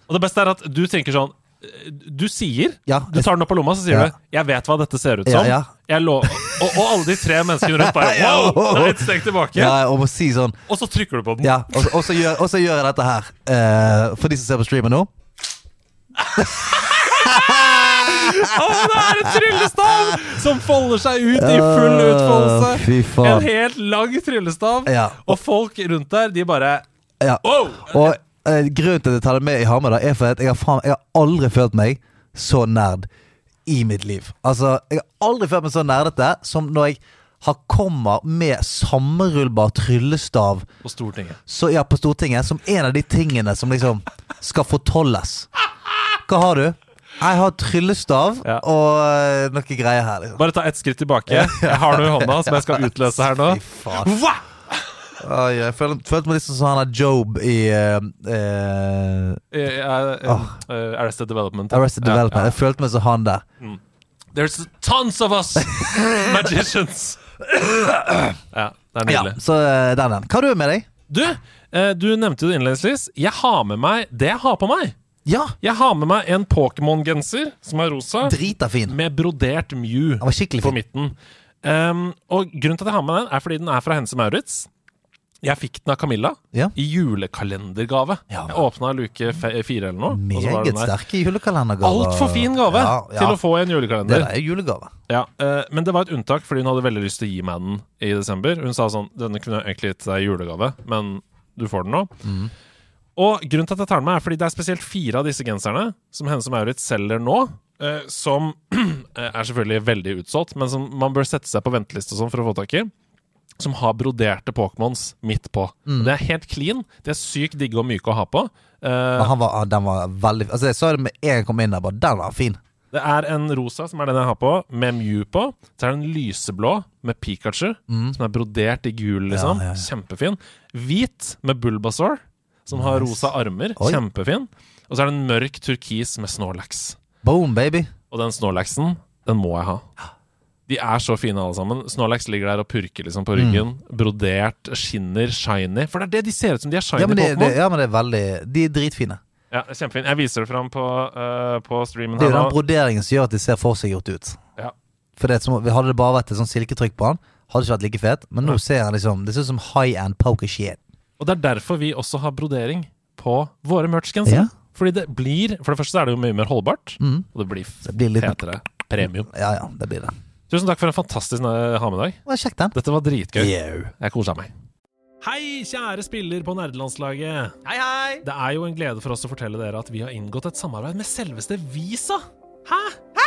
S2: Og det beste er at du tenker sånn eh, Du sier
S1: Ja,
S2: Du tar den opp av lomma, så sier
S1: Ja.
S2: du 'Jeg vet hva dette ser ut
S1: Ja,
S2: som'.
S1: ja.
S2: Jeg lå, og, og alle de tre menneskene rundt bare
S1: Ja,
S2: Wow!
S1: wow.
S2: Det er et steg tilbake.
S1: ja, og må si sånn
S2: Og så trykker du på den.
S1: Ja, og, og, så, gjør, og så gjør jeg dette her eh, for de som ser på streamen nå.
S2: Å, det er en tryllestav som folder seg ut i full utfoldelse.
S1: Åh, Eh, Fy
S2: En
S1: faen.
S2: helt lang tryllestav.
S1: Ja.
S2: Og folk rundt der, de bare
S1: Ja.
S2: Wow!
S1: Og eh, grunnen til at jeg tar det med i Hamar, da, er for at jeg har, faen, jeg har aldri følt meg så nerd i mitt liv. Altså, jeg har aldri følt meg så nerdete som når jeg har kommer med sammenrullbar tryllestav
S2: På Stortinget.
S1: så ja, på Stortinget som en av de tingene som liksom skal fortolles. Hva har du? Jeg har tryllestav
S2: Ja.
S1: og eh, noe greier her. Liksom.
S2: Bare ta ett skritt tilbake. Jeg har noe i hånda som jeg skal utløse her nå.
S1: Fy faen.
S2: Hva?
S1: Oi, jeg følte, følte meg litt som han er Job i eh, eh,
S2: Eh, eh, eh, Arrested Development.
S1: Arrested
S2: Ja,
S1: Development.
S2: ja.
S1: Jeg følte meg som han der.
S2: There's tons of us magicians! Ja, det er
S1: Ja,
S2: nydelig.
S1: så eh, den, den. Hva har du med deg?
S2: Du, eh, du nevnte jo det innledningsvis. Jeg har med meg det jeg har på meg.
S1: Ja,
S2: Jeg har med meg en Pokémon-genser som er rosa,
S1: drita fin.
S2: med brodert Mew
S1: Den var skikkelig
S2: på
S1: fin.
S2: midten. Um, og grunnen til at jeg har med den, er fordi den er fra Hense Maurits. Jeg fikk den av Camilla
S1: Ja.
S2: i julekalendergave.
S1: Ja.
S2: Jeg åpna luke fe- fire eller noe. og så var
S1: Meget
S2: den der.
S1: sterke julekalendergaver.
S2: Altfor fin gave
S1: Ja, ja.
S2: til å få i en
S1: Det
S2: julekalender.
S1: der er julegave.
S2: Ja, eh, Men det var et unntak, fordi hun hadde veldig lyst til å gi meg den i desember. Hun sa sånn Denne kunne jeg egentlig gitt deg i julegave, men du får den nå. Og grunnen til at jeg tar den med, er fordi det er spesielt fire av disse genserne som Hennes og Maurits selger nå. eh, som eh, er selvfølgelig veldig utsolgt, men som man bør sette seg på venteliste og sånn for å få tak i. Som har broderte Pokémons midt på. Det er helt clean. De er sykt digge og myke å ha på. Eh,
S1: Men han var, den var veldig Altså Jeg sa det med en gang jeg kom inn der, bare den var fin.
S2: Det er en rosa, som er den jeg har på, med Mew på. Så er det en lyseblå med Pikachu, som er brodert i gul, liksom.
S1: Mm. Ja, ja, ja.
S2: Kjempefin. Hvit med Bulbasaur, som har rosa armer.
S1: Oi.
S2: Kjempefin. Og så er det en mørk turkis med Snorlax.
S1: Boom, baby.
S2: Og den Snorlaxen, den må jeg ha. De er så fine, alle sammen. Snorlax ligger der og purker liksom
S1: Mm.
S2: på ryggen. Brodert, skinner, shiny. For det er det de ser ut som. De er shiny
S1: Ja men, det, det,
S2: Pokémon.
S1: ja, men det er veldig De er dritfine.
S2: Ja, kjempefin. Jeg viser det fram på, eh, på streamen
S1: Det
S2: her
S1: er jo
S2: nå.
S1: den broderingen som gjør at de ser forseggjort ut.
S2: Ja.
S1: For det er som, Hadde det bare vært et sånn silketrykk på han, hadde det ikke vært like fet. Men nå ser han liksom Det ser ut som high end poker shit.
S2: Og det er derfor vi også har brodering på våre merch-gensere.
S1: Ja.
S2: Fordi det blir, For det første så er det jo mye mer holdbart,
S1: Mm.
S2: og det blir,
S1: Det blir litt
S2: fetere premium.
S1: Ja ja, det blir det.
S2: Tusen takk for en fantastisk eh, ha med dag.
S1: Å, Sjekk den.
S2: Dette var dritgøy.
S1: Yo.
S2: Jeg kosa meg. Hei, kjære spiller på nerdelandslaget.
S4: Hei, hei!
S2: Det er jo en glede for oss å fortelle dere at vi har inngått et samarbeid med selveste Visa. Hæ?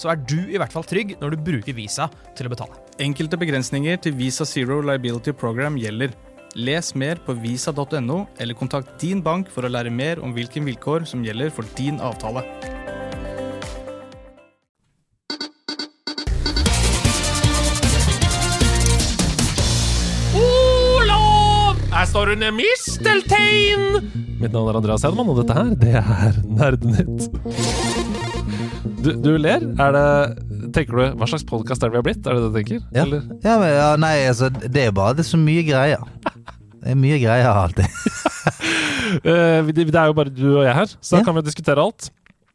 S4: så er du i hvert fall trygg når du bruker Visa til å betale.
S5: Enkelte begrensninger til Visa Zero Liability Program gjelder. Les mer på visa.no, eller kontakt din bank for å lære mer om hvilke vilkår som gjelder for din avtale.
S2: Olav! Her står hun misteltein! Mitt navn er Andreas Hedman, og dette her, det er Nerdenytt. Du, du ler. Er det Tenker du Hva slags podkast er det vi har blitt? Er det det du tenker?
S1: Ja.
S2: Eller?
S1: Ja, men, ja, nei, altså, det er jo bare det er så mye greier. Det er mye greier alltid.
S2: Eh, vi- det er jo bare du og jeg her, så
S1: Ja.
S2: da kan vi diskutere alt.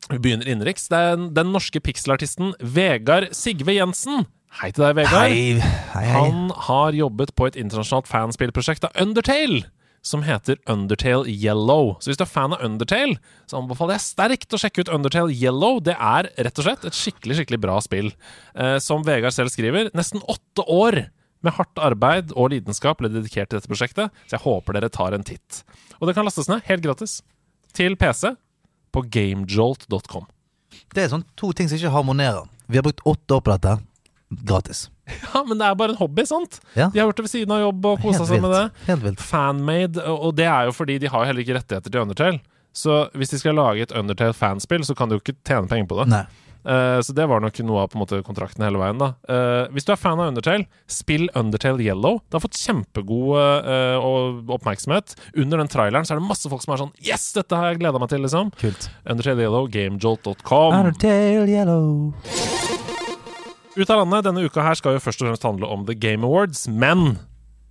S2: Vi begynner innenriks. Det er den, den norske pixelartisten Vegard Sigve Jensen. Hei til deg, Vegard.
S1: Hei, hei, hei.
S2: Han har jobbet på et internasjonalt fanspillprosjekt av Undertale, som heter Undertale Yellow. Så hvis du er fan av Undertale, så anbefaler jeg sterkt å sjekke ut Undertale Yellow. Det er rett og slett et skikkelig, skikkelig bra spill. Eh, som Vegard selv skriver, nesten åtte år med hardt arbeid og lidenskap ble dedikert til dette prosjektet, så jeg håper dere tar en titt. Og det kan lastes ned, helt gratis, til PC på gamejolt.com.
S1: Det er sånn to ting som ikke harmonerer. Vi har brukt åtte år på dette. Gratis.
S2: Ja, men det er bare en hobby, sant?
S1: Ja.
S2: De har gjort det ved siden av jobb og kosa
S1: Helt
S2: seg med det.
S1: vilt. Helt vilt.
S2: fanmade, og og det er jo fordi de har jo heller ikke rettigheter til Undertale. Så hvis de skal lage et Undertale-fanspill, så kan de jo ikke tjene penger på det.
S1: Nei.
S2: Eh, så det var nok noe av på en måte kontrakten hele veien, da. Eh, hvis du er fan av Undertale, spill Undertale Yellow. Det har fått kjempegod eh, og- oppmerksomhet. Under den traileren så er det masse folk som er sånn Yes, dette har jeg gleda meg til, liksom.
S1: Kult.
S2: Undertale Yellow, gamejolt.com.
S1: Undertale yellow.
S2: Ut av landet denne uka her skal jo først og fremst handle om The Game Awards, men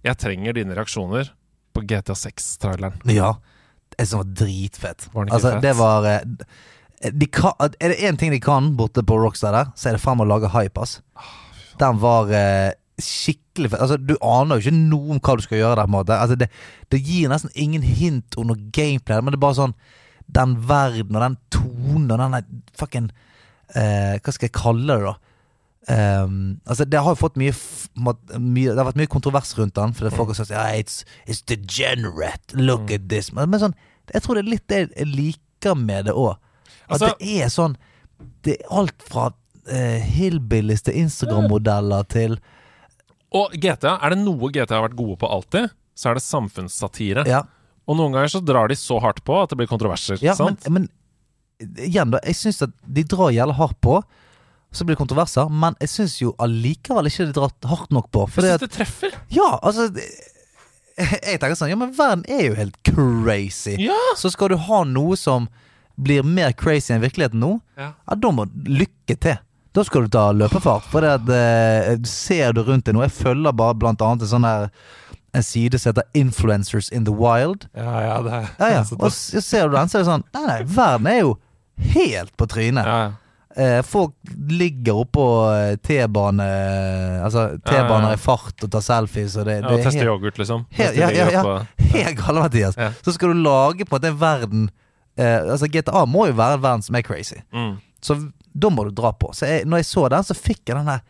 S2: jeg trenger dine reaksjoner på GTA6-traileren.
S1: Ja. Jeg synes det var dritfett.
S2: Var den ikke
S1: altså,
S2: fett?
S1: det var eh, de kan, Er det én ting de kan borte på Rockstar der, så er det faen meg å lage hype, ass.
S2: Ah,
S1: Den var eh, skikkelig fett. Altså, du aner jo ikke noe om hva du skal gjøre der, på en måte. Altså, det, det gir nesten ingen hint om noe gameplay, men det er bare sånn Den verden og den tonen og den der fucking eh, Hva skal jeg kalle det, da? Ehm, altså Det har jo fått mye, f- mat- mye Det har vært mye kontrovers rundt den. Fordi folk har sagt ja, it's, it's degenerate.
S2: Mm.
S1: Look at this. Men, men sånn, jeg tror det er litt det jeg liker med det òg. At
S2: Altså-
S1: det er sånn Det er alt fra eh, hillbillies til Instagram-modeller til
S2: Og GTA, er det noe GTA har vært gode på alltid, så er det samfunnssatire.
S1: Ja,
S2: Og noen ganger så drar de så hardt på at det blir kontroverser.
S1: ja men,
S2: sant?
S1: men igjen, da. Jeg syns at de drar jævla hardt på. Så blir det kontroverser, men jeg syns jo allikevel ikke de drar hardt nok på. Fordi
S2: jeg
S1: at
S2: syns det treffer.
S1: Ja, altså det- Jeg tenker sånn Ja, men verden er jo helt crazy.
S2: Ja.
S1: Så skal du ha noe som blir mer crazy enn virkeligheten nå,
S2: Ja.
S1: ja, da må du lykke til. Da skal du ta løpefart. For det at eh, Ser du rundt deg nå Jeg følger bare blant annet en sånn her En side som heter Influencers in the Wild.
S2: Ja, det er
S1: Ja, ja. Og s- ser du den, så er det sånn Nei, nei, verden er jo helt på trynet.
S2: ja, ja.
S1: Eh, folk ligger oppå eh, T-bane Altså
S2: Ja,
S1: T-baner
S2: ja, ja.
S1: i fart og tar selfies, og det,
S2: Ja,
S1: det
S2: og teste
S1: helt-
S2: yoghurt, liksom.
S1: Helt-
S2: Mens de
S1: ja, ja,
S2: ligger
S1: ja.
S2: oppå-
S1: Helt gale, Mathias.
S2: Ja.
S1: Så skal du lage på at det er verden eh, Altså GTA må jo være en verden som er crazy.
S2: Mm.
S1: Så da må du dra på. Så jeg, når jeg så den, så fikk jeg den der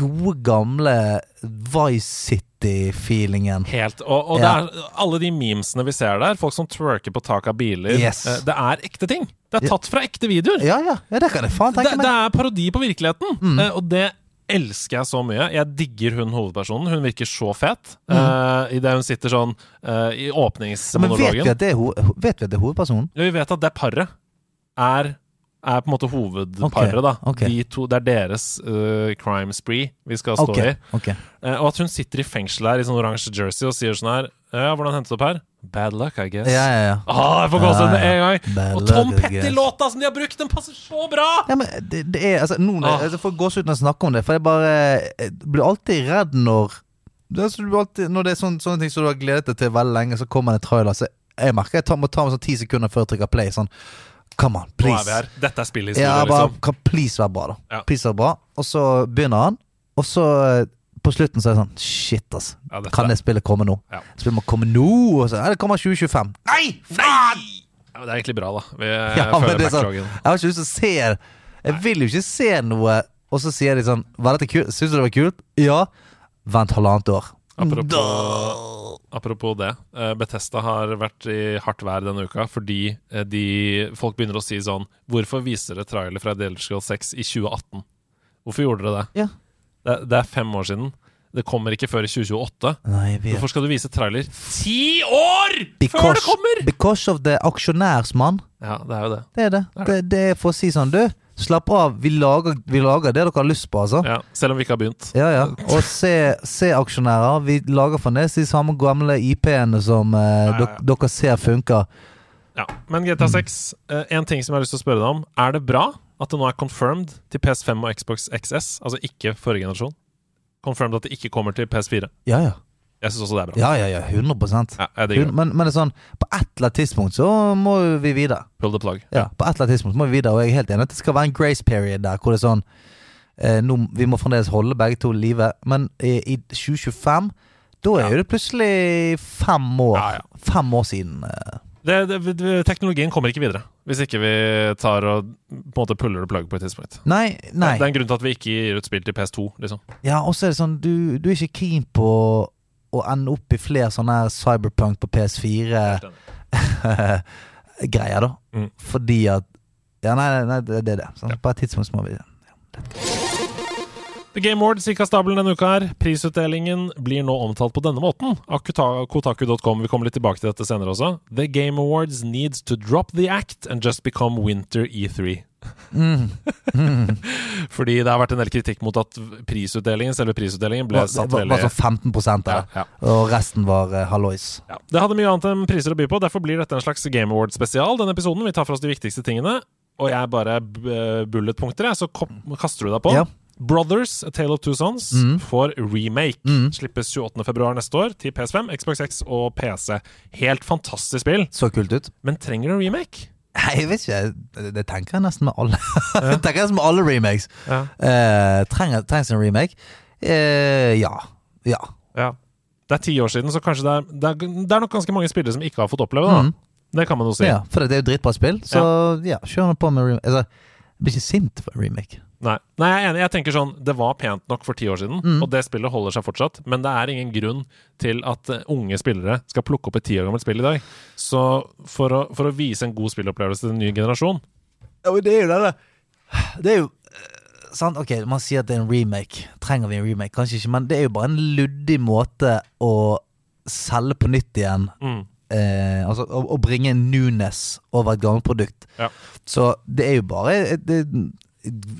S1: gode, gamle Vice City-feelingen.
S2: Helt. Og, og
S1: Ja.
S2: det er alle de memesene vi ser der, folk som twerker på tak av biler,
S1: Yes.
S2: eh, det er ekte ting. Det
S1: Ja.
S2: er tatt fra ekte videoer.
S1: Ja, ja, ja, det kan jeg faen
S2: det,
S1: tenke
S2: det
S1: meg.
S2: er parodi på virkeligheten,
S1: Mm.
S2: eh, og det elsker jeg så mye. Jeg digger hun hovedpersonen. Hun virker så fet eh, I det hun sitter sånn eh, i
S1: Mm. Men vet vi,
S2: åpningsmonologen.
S1: at det er ho ho- vet vi at det er hovedpersonen?
S2: Ja, vi vet at det paret er er på en måte hovedparet,
S1: Ok,
S2: da.
S1: ok.
S2: De to, det er deres eh, crime spree vi skal stå
S1: Ok,
S2: i.
S1: ok.
S2: Eh, og at hun sitter i fengsel her i sånn oransje jersey og sier sånn her Ja, hvordan hentet du opp her? Bad luck, I guess.
S1: Ja, ja, ja.
S2: Ah, jeg får gåsehud med
S1: Ja,
S2: en
S1: ja.
S2: gang.
S1: Bad
S2: og Tom
S1: luck, I guess.
S2: Petty-låta som de har brukt, den passer så bra!
S1: Ja, men det, det er altså, nå,
S2: Ah.
S1: altså, Jeg får gåsehud når jeg snakker om det, for jeg bare jeg blir alltid redd når det, altså, du blir alltid, Når det er sånne, sånne ting som du har gledet deg til veldig lenge, så kommer det en trailer. Så jeg merker jeg tar, må ta meg sånn ti sekunder før jeg trykker play. Sånn Come
S2: Nå
S1: on,
S2: er vi
S1: please.
S2: her. Dette er spillhistorie,
S1: Ja, bare
S2: liksom.
S1: kan please være bra, da.
S2: Ja.
S1: Please være bra. Og så begynner han, og så eh, på slutten så er det sånn Shit, ass.
S2: Ja, dette-
S1: Kan det spillet komme nå?
S2: Ja.
S1: Spillet må komme nå! Og så, ja, det kommer 2025.
S2: Nei! Faen! Ja, men det er egentlig bra, da. Vi eh,
S1: Ja, men
S2: føler
S1: det er sånn,
S2: backlogen.
S1: jeg har ikke lyst til å se Jeg vil jo ikke se noe, og så sier de sånn Var dette kult? Syns du det var kult? Ja. Vent halvannet år.
S2: Apropos, apropos det. eh, Bethesda har vært i hardt vær denne uka fordi eh, de, folk begynner å si sånn Hvorfor viser dere trailer fra Dealers Girl 6 i 2018? Hvorfor gjorde dere det?
S1: Ja.
S2: Det, det er fem år siden. Det kommer ikke før i 2028.
S1: Nei, vi
S2: Hvorfor skal du vise trailer ti år før det
S1: Because,
S2: kommer?!
S1: because of the aksjonærsmann.
S2: Ja, det er jo det.
S1: Det er det.
S2: Det er
S1: Det, det er for å si sånn, du, slapp av. Vi lager, vi lager det dere har lyst på, altså.
S2: Ja, selv om vi ikke har begynt.
S1: Ja, ja. Og se, se aksjonærer. Vi lager fremdeles de samme gamle IP-ene som eh,
S2: ja, ja.
S1: dok- dere ser funker.
S2: Ja, Men GTA
S1: Mm.
S2: 6, eh, en ting som jeg har lyst til å spørre deg om. Er det bra at det nå er confirmed til PS5 og Xbox XS? Altså ikke forrige generasjon. Confirmed at det ikke kommer til PS4.
S1: Ja, ja.
S2: Jeg syns også det er bra.
S1: Ja, ja, ja. 100
S2: Ja, jeg digger
S1: Hun,
S2: det.
S1: men, men det er sånn, på et eller annet tidspunkt så må jo vi videre.
S2: Pull the plug.
S1: Ja, på et eller annet tidspunkt så må vi videre, og jeg er helt enig at det skal være en grace period der, hvor det er sånn eh, nå, Vi må fremdeles holde begge to i live, men i, i 2025 da er jo det plutselig fem år
S2: Ja, ja.
S1: Fem år siden. eh.
S2: Det, det, det, teknologien kommer ikke videre hvis ikke vi tar og på en måte puller the plug på et tidspunkt.
S1: Nei, nei.
S2: Det er en grunn til at vi ikke gir ut spill til PS2, liksom.
S1: Ja, og så er det sånn Du, du er ikke keen på å, å ende opp i flere sånne her cyberpunk på PS4 greier, da.
S2: Mm.
S1: Fordi at Ja, nei, nei, nei, det det er det. Sånn, På et tidspunkt så må vi
S2: The Game Awards gikk av stabelen denne uka. her. Prisutdelingen blir nå omtalt på denne måten. av Kuta- Kotaku.com, vi kommer litt tilbake til dette senere også. The Game Awards needs to drop the act and just become winter E3. Fordi det har vært en del kritikk mot at prisutdelingen, selve prisutdelingen ble
S1: Det
S2: satt
S1: var, var
S2: veldig
S1: sånn 15
S2: ja,
S1: av det.
S2: ja.
S1: Og resten var eh, hallois.
S2: Ja. Det hadde mye annet enn priser å by på, derfor blir dette en slags Game Award-spesial. Denne episoden, Vi tar for oss de viktigste tingene, og jeg bare eh, bulletpunkter, jeg, så kom- kaster du deg på.
S1: Ja.
S2: Brothers, A Tale of Two Sons,
S1: Mm.
S2: får remake.
S1: Mm.
S2: Slippes 28.2 neste år til PS5, Xbox X og PC. Helt fantastisk spill,
S1: Så kult ut.
S2: men trenger du en remake?
S1: Nei, jeg vet ikke. Det, det tenker jeg nesten med alle Det tenker jeg nesten med alle remakes.
S2: Ja.
S1: Eh, trenger, trengs en remake? Eh, ja. Ja.
S2: ja. Det er ti år siden, så kanskje det er, det er, det er nok ganske mange spillere som ikke har fått oppleve det. da.
S1: Mm.
S2: Det kan man jo si.
S1: ja. For det er jo dritbra spill, så ja, kjør nå på med remake. Altså, jeg blir ikke sint for en remake.
S2: Nei. Nei, jeg er enig. Jeg tenker sånn, Det var pent nok for ti år siden, og det spillet holder seg fortsatt. Men det er ingen grunn til at eh, unge spillere skal plukke opp et ti år gammelt spill i dag. Så for å, for å vise en god spillopplevelse til en ny generasjon
S1: Ja, men det er jo det, da. Det er jo eh, Sant, ok, man sier at det er en remake. Trenger vi en remake? Kanskje ikke, men det er jo bare en luddig måte å selge på nytt igjen
S2: mm.
S1: eh, Altså å, å bringe en newness over et gammelt produkt.
S2: Ja.
S1: Så det er jo bare et, det,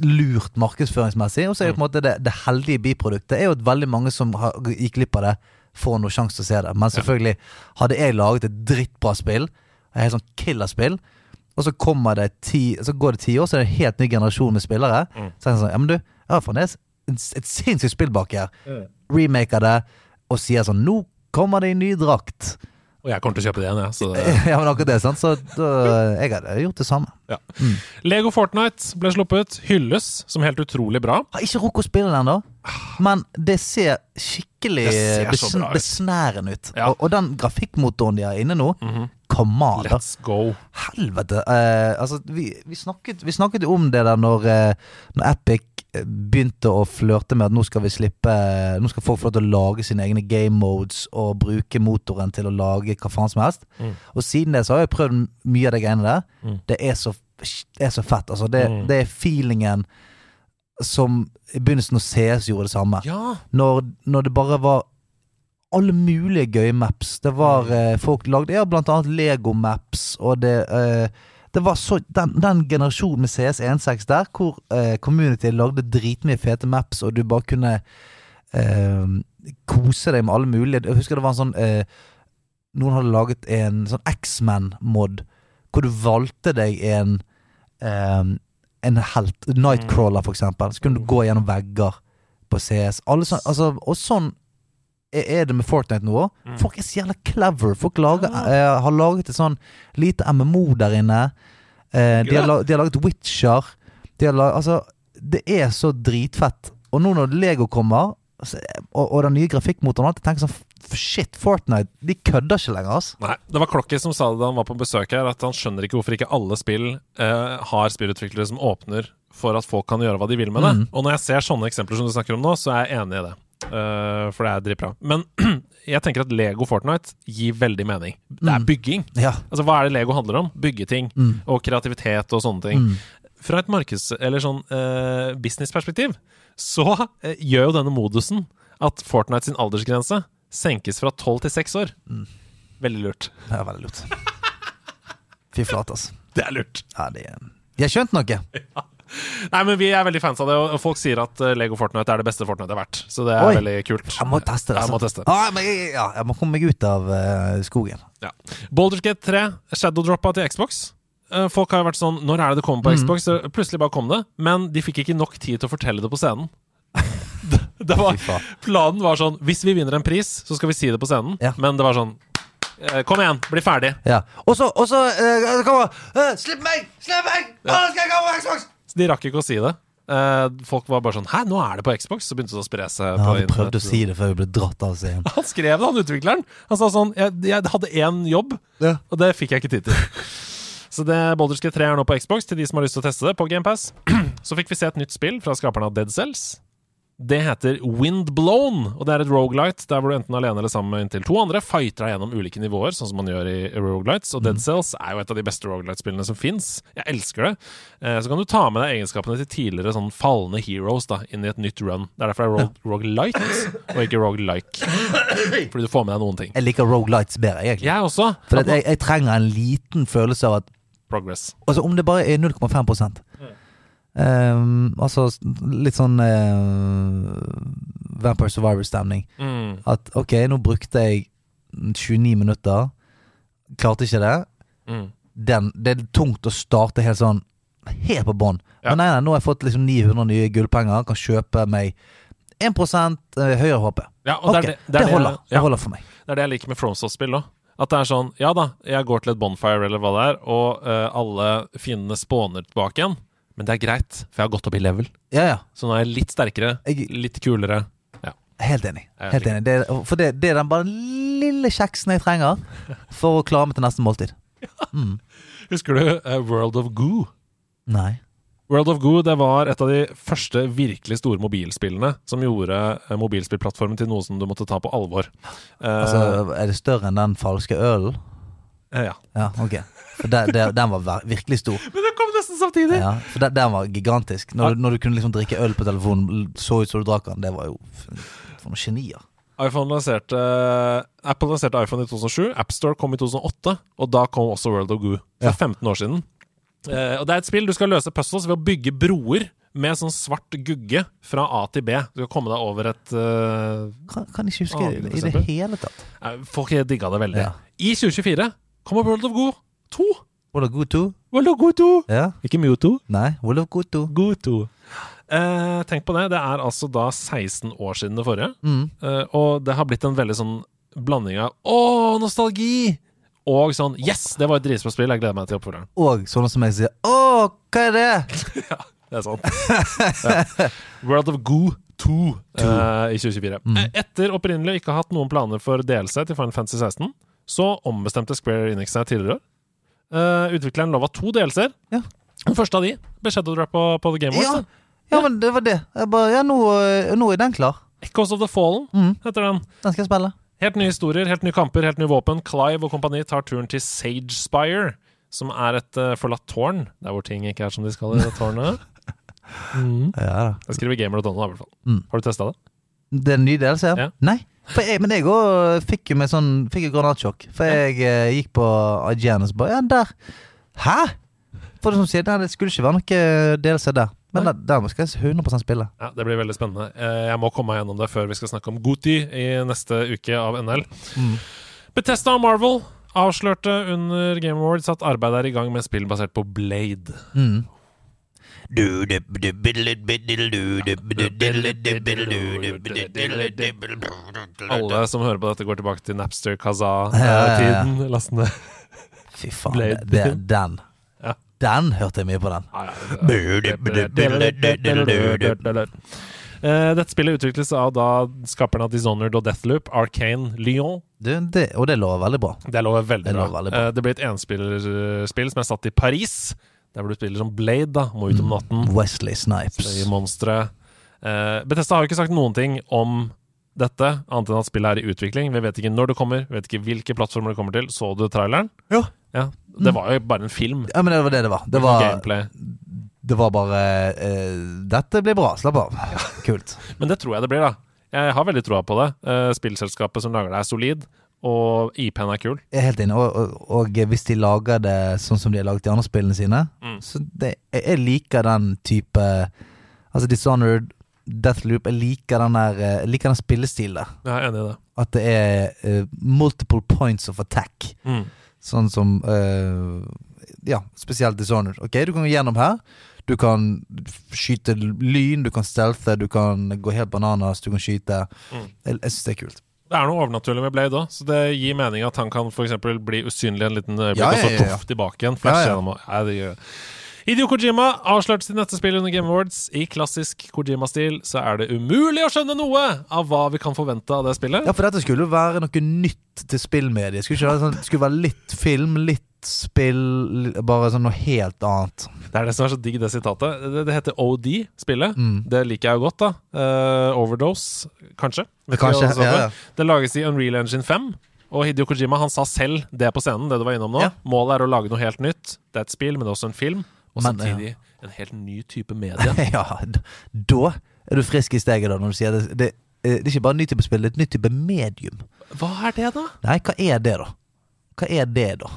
S1: lurt markedsføringsmessig. Og så er jo på en måte det, det heldige biproduktet er jo at veldig mange som har, gikk glipp av det, får noen sjanse til å se det. Men selvfølgelig, hadde jeg laget et drittbra spill, et helt sånn killerspill, og så, kommer det ti, så går det ti år, så er det en helt ny generasjon med spillere. Så er det sånn, ja men du, jeg har fremdeles en s- et sinnssykt spill bak her. Remaker det, og sier sånn, nå kommer det i ny drakt.
S2: Og jeg kommer til å kjøpe det igjen, jeg. Så det,
S1: Ja, men akkurat det, sant? Så da, jeg hadde gjort det samme.
S2: Lego Fortnite ble sluppet. Hylles som helt utrolig bra.
S1: Har ikke rukket å spille den ennå, men det ser skikkelig
S2: Det ser så
S1: besn
S2: bra ut.
S1: besnærende ut.
S2: Ja. Mhm.
S1: Og, og den grafikkmotoren de har inne nå, kamaler.
S2: Let's go.
S1: Helvete. Eh, altså, vi, vi, snakket, vi snakket jo om det der når, eh, når Epic eh, begynte å flørte med at nå skal vi slippe eh, Nå skal folk få lov til å lage sine egne game modes og bruke motoren til å lage hva faen som helst.
S2: Mm.
S1: Og siden det så har jeg prøvd m- mye av de greiene der.
S2: Mm.
S1: Det er så, det er så fett. Altså, det,
S2: Mm.
S1: det er feelingen som i begynnelsen når CS gjorde det samme
S2: Ja.
S1: når, når det bare var alle mulige gøye maps. Det var eh, folk lagde ja, blant annet Lego-maps, og det eh, Det var så Den, den generasjonen med CS16 der, hvor eh, community lagde dritmye fete maps, og du bare kunne eh, kose deg med alle mulige Jeg husker det var en sånn eh, Noen hadde laget en sånn X-Man-mod, hvor du valgte deg en eh, en helt. Nightcrawler, for eksempel. Så kunne du gå gjennom vegger på CS. Alle sånn, altså, og sånn er er det med Fortnite nå òg. Folk er så jævla clever. Folk lager, eh, har laget et sånn lite MMO der inne. Eh, de, har la, de har laget Witcher. De har laget, altså, det er så dritfett. Og nå når Lego kommer, så, og, og den nye grafikkmotoren, og alt, jeg tenker sånn f- Shit, Fortnite, de kødder ikke lenger, altså.
S2: Nei, Det var Klokki som sa det da han var på besøk her, at han skjønner ikke hvorfor ikke alle spill eh, har spillutviklere som åpner for at folk kan gjøre hva de vil med det. Og når jeg ser sånne eksempler som du snakker om nå, så er jeg enig i det. Eh, for det er dritbra. Men jeg tenker at Lego Fortnite gir veldig mening. Det er bygging.
S1: Ja.
S2: Altså, Hva er det Lego handler om? Byggeting
S1: Mm.
S2: og kreativitet og sånne ting. Fra et markeds- eller sånn eh, businessperspektiv så eh, gjør jo denne modusen at Fortnite sin aldersgrense senkes fra 12 til 6 år. Veldig lurt.
S1: Det er veldig lurt. Fy flate, altså.
S2: Det er lurt.
S1: Ja, de, de har skjønt noe.
S2: Nei, men Vi er veldig fans av det, og folk sier at eh, Lego Fortnite er det beste Fortnite har vært. Så det er
S1: Oi.
S2: veldig kult.
S1: Jeg må teste det.
S2: Jeg må
S1: sant?
S2: teste.
S1: Ah, men jeg, ja, jeg må komme meg ut av eh, skogen.
S2: Ja. Baldur's Gate 3, shadowdroppa til Xbox. Eh, Folk har jo vært sånn Når er det det kommer
S1: Mm.
S2: på Xbox? Så Plutselig bare kom det. Men de fikk ikke nok tid til å fortelle det på scenen. Det, det var,
S1: Fy faen.
S2: planen var sånn Hvis vi vinner en pris, så skal vi si det på scenen.
S1: Ja.
S2: Men det var sånn eh, Kom igjen, bli ferdig.
S1: Ja. Og så, og så eh, kommer eh, Slipp meg! Slipp meg! Nå skal jeg komme på Xbox!
S2: Så de rakk ikke å si det. Eh, folk var bare sånn Hæ, nå er det på Xbox? Så begynte det å spre seg.
S1: Jeg
S2: på
S1: hadde prøvd å
S2: internett.
S1: si det før vi ble dratt av scenen.
S2: Han skrev det, han utvikleren. Han sa sånn Jeg, jeg hadde én jobb,
S1: Ja.
S2: og det fikk jeg ikke tid til. Så det Baldur's Gate 3 er nå på Xbox, til de som har lyst til å teste det, på GamePass. Så fikk vi se et nytt spill fra skaperne av Dead Cells. Det heter Windblown, og det er et roguelite der hvor du enten alene eller sammen med inntil to andre fighter deg gjennom ulike nivåer, sånn som man gjør i rogelites. Og Dead Cells er jo et av de beste roguelite-spillene som fins. Jeg elsker det. Eh, Så kan du ta med deg egenskapene til tidligere sånn falne heroes da, inn i et nytt run. Det er derfor det er rogelite og ikke rogelike, fordi du får med deg noen ting.
S1: Jeg liker Rogue Lights bedre, jeg, egentlig.
S2: Jeg også.
S1: For at jeg, jeg trenger en liten følelse av at
S2: Progress.
S1: Altså Om det bare er 0,5 Ehm, Altså s- litt sånn eh, Vampire Survivor-stemning.
S2: Mm.
S1: At ok, nå brukte jeg 29 minutter, klarte ikke det.
S2: Mm.
S1: den, det er tungt å starte helt sånn Helt på bånn.
S2: Ja.
S1: Men nei, nei, nå har jeg fått liksom 900 nye gullpenger. Kan kjøpe meg 1 høyere HP.
S2: Ja, og
S1: Ok,
S2: det, er
S1: det,
S2: det, det, er
S1: holder.
S2: Det,
S1: Det
S2: ja,
S1: holder for meg.
S2: det er det jeg liker med FromSoft-spill òg. At det er sånn Ja da, jeg går til et bonfire eller hva det er, og eh, alle fiendene spawner tilbake igjen. Men det er greit, for jeg har gått opp i level.
S1: Ja, ja.
S2: Så nå er jeg litt sterkere,
S1: Jeg-
S2: litt kulere. Eh,
S1: Helt enig.
S2: Jeg
S1: Helt
S2: liker
S1: enig. Det, er- for det, det er den bare lille kjeksen jeg trenger for å klare meg til neste måltid. Mm,
S2: Husker du eh, World of Goo?
S1: Nei.
S2: World of Goo det var et av de første virkelig store mobilspillene som gjorde eh, mobilspillplattformen til noe som du måtte ta på alvor. Eh,
S1: Altså, er det større enn den falske ølen?
S2: eh, ja.
S1: Ja, ok. For det, det, den var ver- virkelig stor.
S2: Men det kom nesten samtidig!
S1: Ja, for det, Den var gigantisk. Når du, når du kunne liksom drikke øl på telefonen, så ut som du drakk den. Det var jo for, for noen genier.
S2: iPhone lanserte, Apple lanserte iPhone i 2007, AppStore kom i 2008, og da kom også World of Goo. For
S1: Ja.
S2: 15 år siden. Eh, og det er et spill du skal løse puzzles ved å bygge broer med sånn svart gugge fra A til B. Du skal komme deg over et eh,
S1: Kan, kan ikke huske
S2: Aner
S1: det
S2: ikke,
S1: i det
S2: Sepper.
S1: hele tatt.
S2: eh, Folk digga det veldig.
S1: Ja.
S2: I 2024 kommer World of Goo 2.
S1: World of Good 2?
S2: World of Goo 2!
S1: Ja?
S2: Ikke Mewtwo.
S1: Nei, World of Good 2.
S2: Goo 2. Eh, tenk på det. Det er altså da 16 år siden det forrige.
S1: Mm.
S2: Eh, og det har blitt en veldig sånn blanding av Åh, nostalgi! Og sånn Yes, det var et dritbra spill. Jeg gleder meg til oppfølgeren.
S1: Og sånne som jeg sier Å, hva er det?
S2: Det er sånn. Ja. World of Goo 2 eh, i 2024.
S1: Mm.
S2: Eh, Etter opprinnelig å ikke ha hatt noen planer for delelse til Final Fantasy 16, så ombestemte Square Enix seg tidligere i år. Eh, utvikleren lova to delelser.
S1: Ja.
S2: Den første av de ble shadowdrop på, på The Game Awards.
S1: Ja,
S2: da.
S1: ja men det var det. Jeg bare, ja, nå, øh, nå er den klar. Mm.
S2: Echoes of the Fallen heter den.
S1: Den skal jeg spille.
S2: Helt nye historier, helt nye kamper, helt nye våpen. Clive og kompani tar turen til Sage Spire, som er et eh, forlatt tårn. Der hvor ting ikke er som de skal i det tårnet.
S1: Ja da.
S2: Jeg skriver gamer.no, da, i hvert fall.
S1: Mm.
S2: Har du testa det?
S1: Det er en ny delelse? Ja.
S2: Ja.
S1: Nei. For jeg, men jeg òg fikk jo meg sånn Fikk jo granatsjokk. For jeg eh, gikk på IGN og så bare Ja, der! Hæ?! For det som sier, nei, det skulle ikke være noe eh, delelse der. Men der, der skal jeg 100 spille.
S2: Ja, Det blir veldig spennende. Eh, Jeg må komme meg gjennom det før vi skal snakke om Goti i neste uke av NL. Bethesda og Marvel avslørte under Game Awards at arbeidet er i gang med spill basert på Blade.
S1: Mm.
S2: Alle som hører på dette, går tilbake til Napster eh,
S1: Ja, ja, ja.
S2: Kazaa-tiden. Laste ned.
S1: Fy faen,
S2: Blade.
S1: det, det, den.
S2: Ja.
S1: Den hørte jeg mye på, den.
S2: Eh, Dette spillet utvikles av da skaperne av Dishonored og Deathloop, Arcane Lyon.
S1: Du, det. Og det lover veldig bra.
S2: Det lover veldig
S1: Det
S2: bra.
S1: lover veldig bra.
S2: Eh, Det blir et enspillerspill som er satt i Paris. Der hvor du spiller som Blade, da. Må ut om natten.
S1: Mm. Wesley Snipes.
S2: Sløye monstre. Eh, Bethesda har jo ikke sagt noen ting om dette, annet enn at spillet er i utvikling. Vi vet ikke når det kommer, vi vet ikke hvilke plattformer det kommer til. Så du traileren?
S1: Ja. Mm.
S2: Det var jo bare en film.
S1: Ja, men det var det det var. Det
S2: Ikke noe
S1: var,
S2: gameplay.
S1: det var bare eh, Dette blir bra. Slapp av. Kult.
S2: Men det tror jeg det blir, da. Jeg har veldig troa på det. Eh, Spillselskapet som lager det, er solid, og IP-en er kul.
S1: Jeg er helt enig. Og, og, og hvis de lager det sånn som de har laget de andre spillene sine
S2: Mm.
S1: Så det, jeg, jeg liker den type Altså Dishonored, Deathloop Jeg liker den der eh, Jeg liker den spillestilen der.
S2: Jeg er enig i det.
S1: At det er eh, multiple points of attack.
S2: Mm.
S1: Sånn som eh, Ja, spesielt Dishonored. Ok, du kan gå gjennom her. Du kan f- skyte lyn, du kan stelte, du kan gå helt bananas, du kan skyte.
S2: Mm.
S1: Jeg, jeg syns det er kult.
S2: Det er noe overnaturlig med Blade òg, så det gir mening at han kan for eksempel bli usynlig en liten øyeblikk,
S1: Ja, ja,
S2: og
S1: ja,
S2: så
S1: ja.
S2: poff tilbake igjen. Flash
S1: Ja, ja.
S2: gjennom og Nei, det gjør Idio Kojima avslørte sitt neste spill under Game Awards. I klassisk Kojima-stil så er det umulig å skjønne noe av hva vi kan forvente av det spillet.
S1: Ja, for dette skulle jo være noe nytt til spillmediet. Skulle ikke være sånn, skulle være litt film, litt spill, li- bare sånn noe helt annet.
S2: Det er det som er så digg, det sitatet. Det, det heter OD, spillet.
S1: Mm.
S2: Det liker jeg jo godt, da. Eh, overdose, kanskje. Vet ikke
S1: Kanskje,
S2: hva det står
S1: ja,
S2: for.
S1: ja.
S2: Det lages i Unreal Engine 5. Og Hidio Kojima han sa selv det på scenen. det du var innom nå.
S1: Ja.
S2: Målet er å lage noe helt nytt. Det er et spill, men også en film. Og
S1: Men,
S2: samtidig en helt ny type medie.
S1: ja, d- da er du frisk i steget, da, når du sier det. Det, eh, det er ikke bare en ny type spill, det er et nytt type medium.
S2: Hva er det, da?
S1: Nei, hva er det, da? Hva er det, da?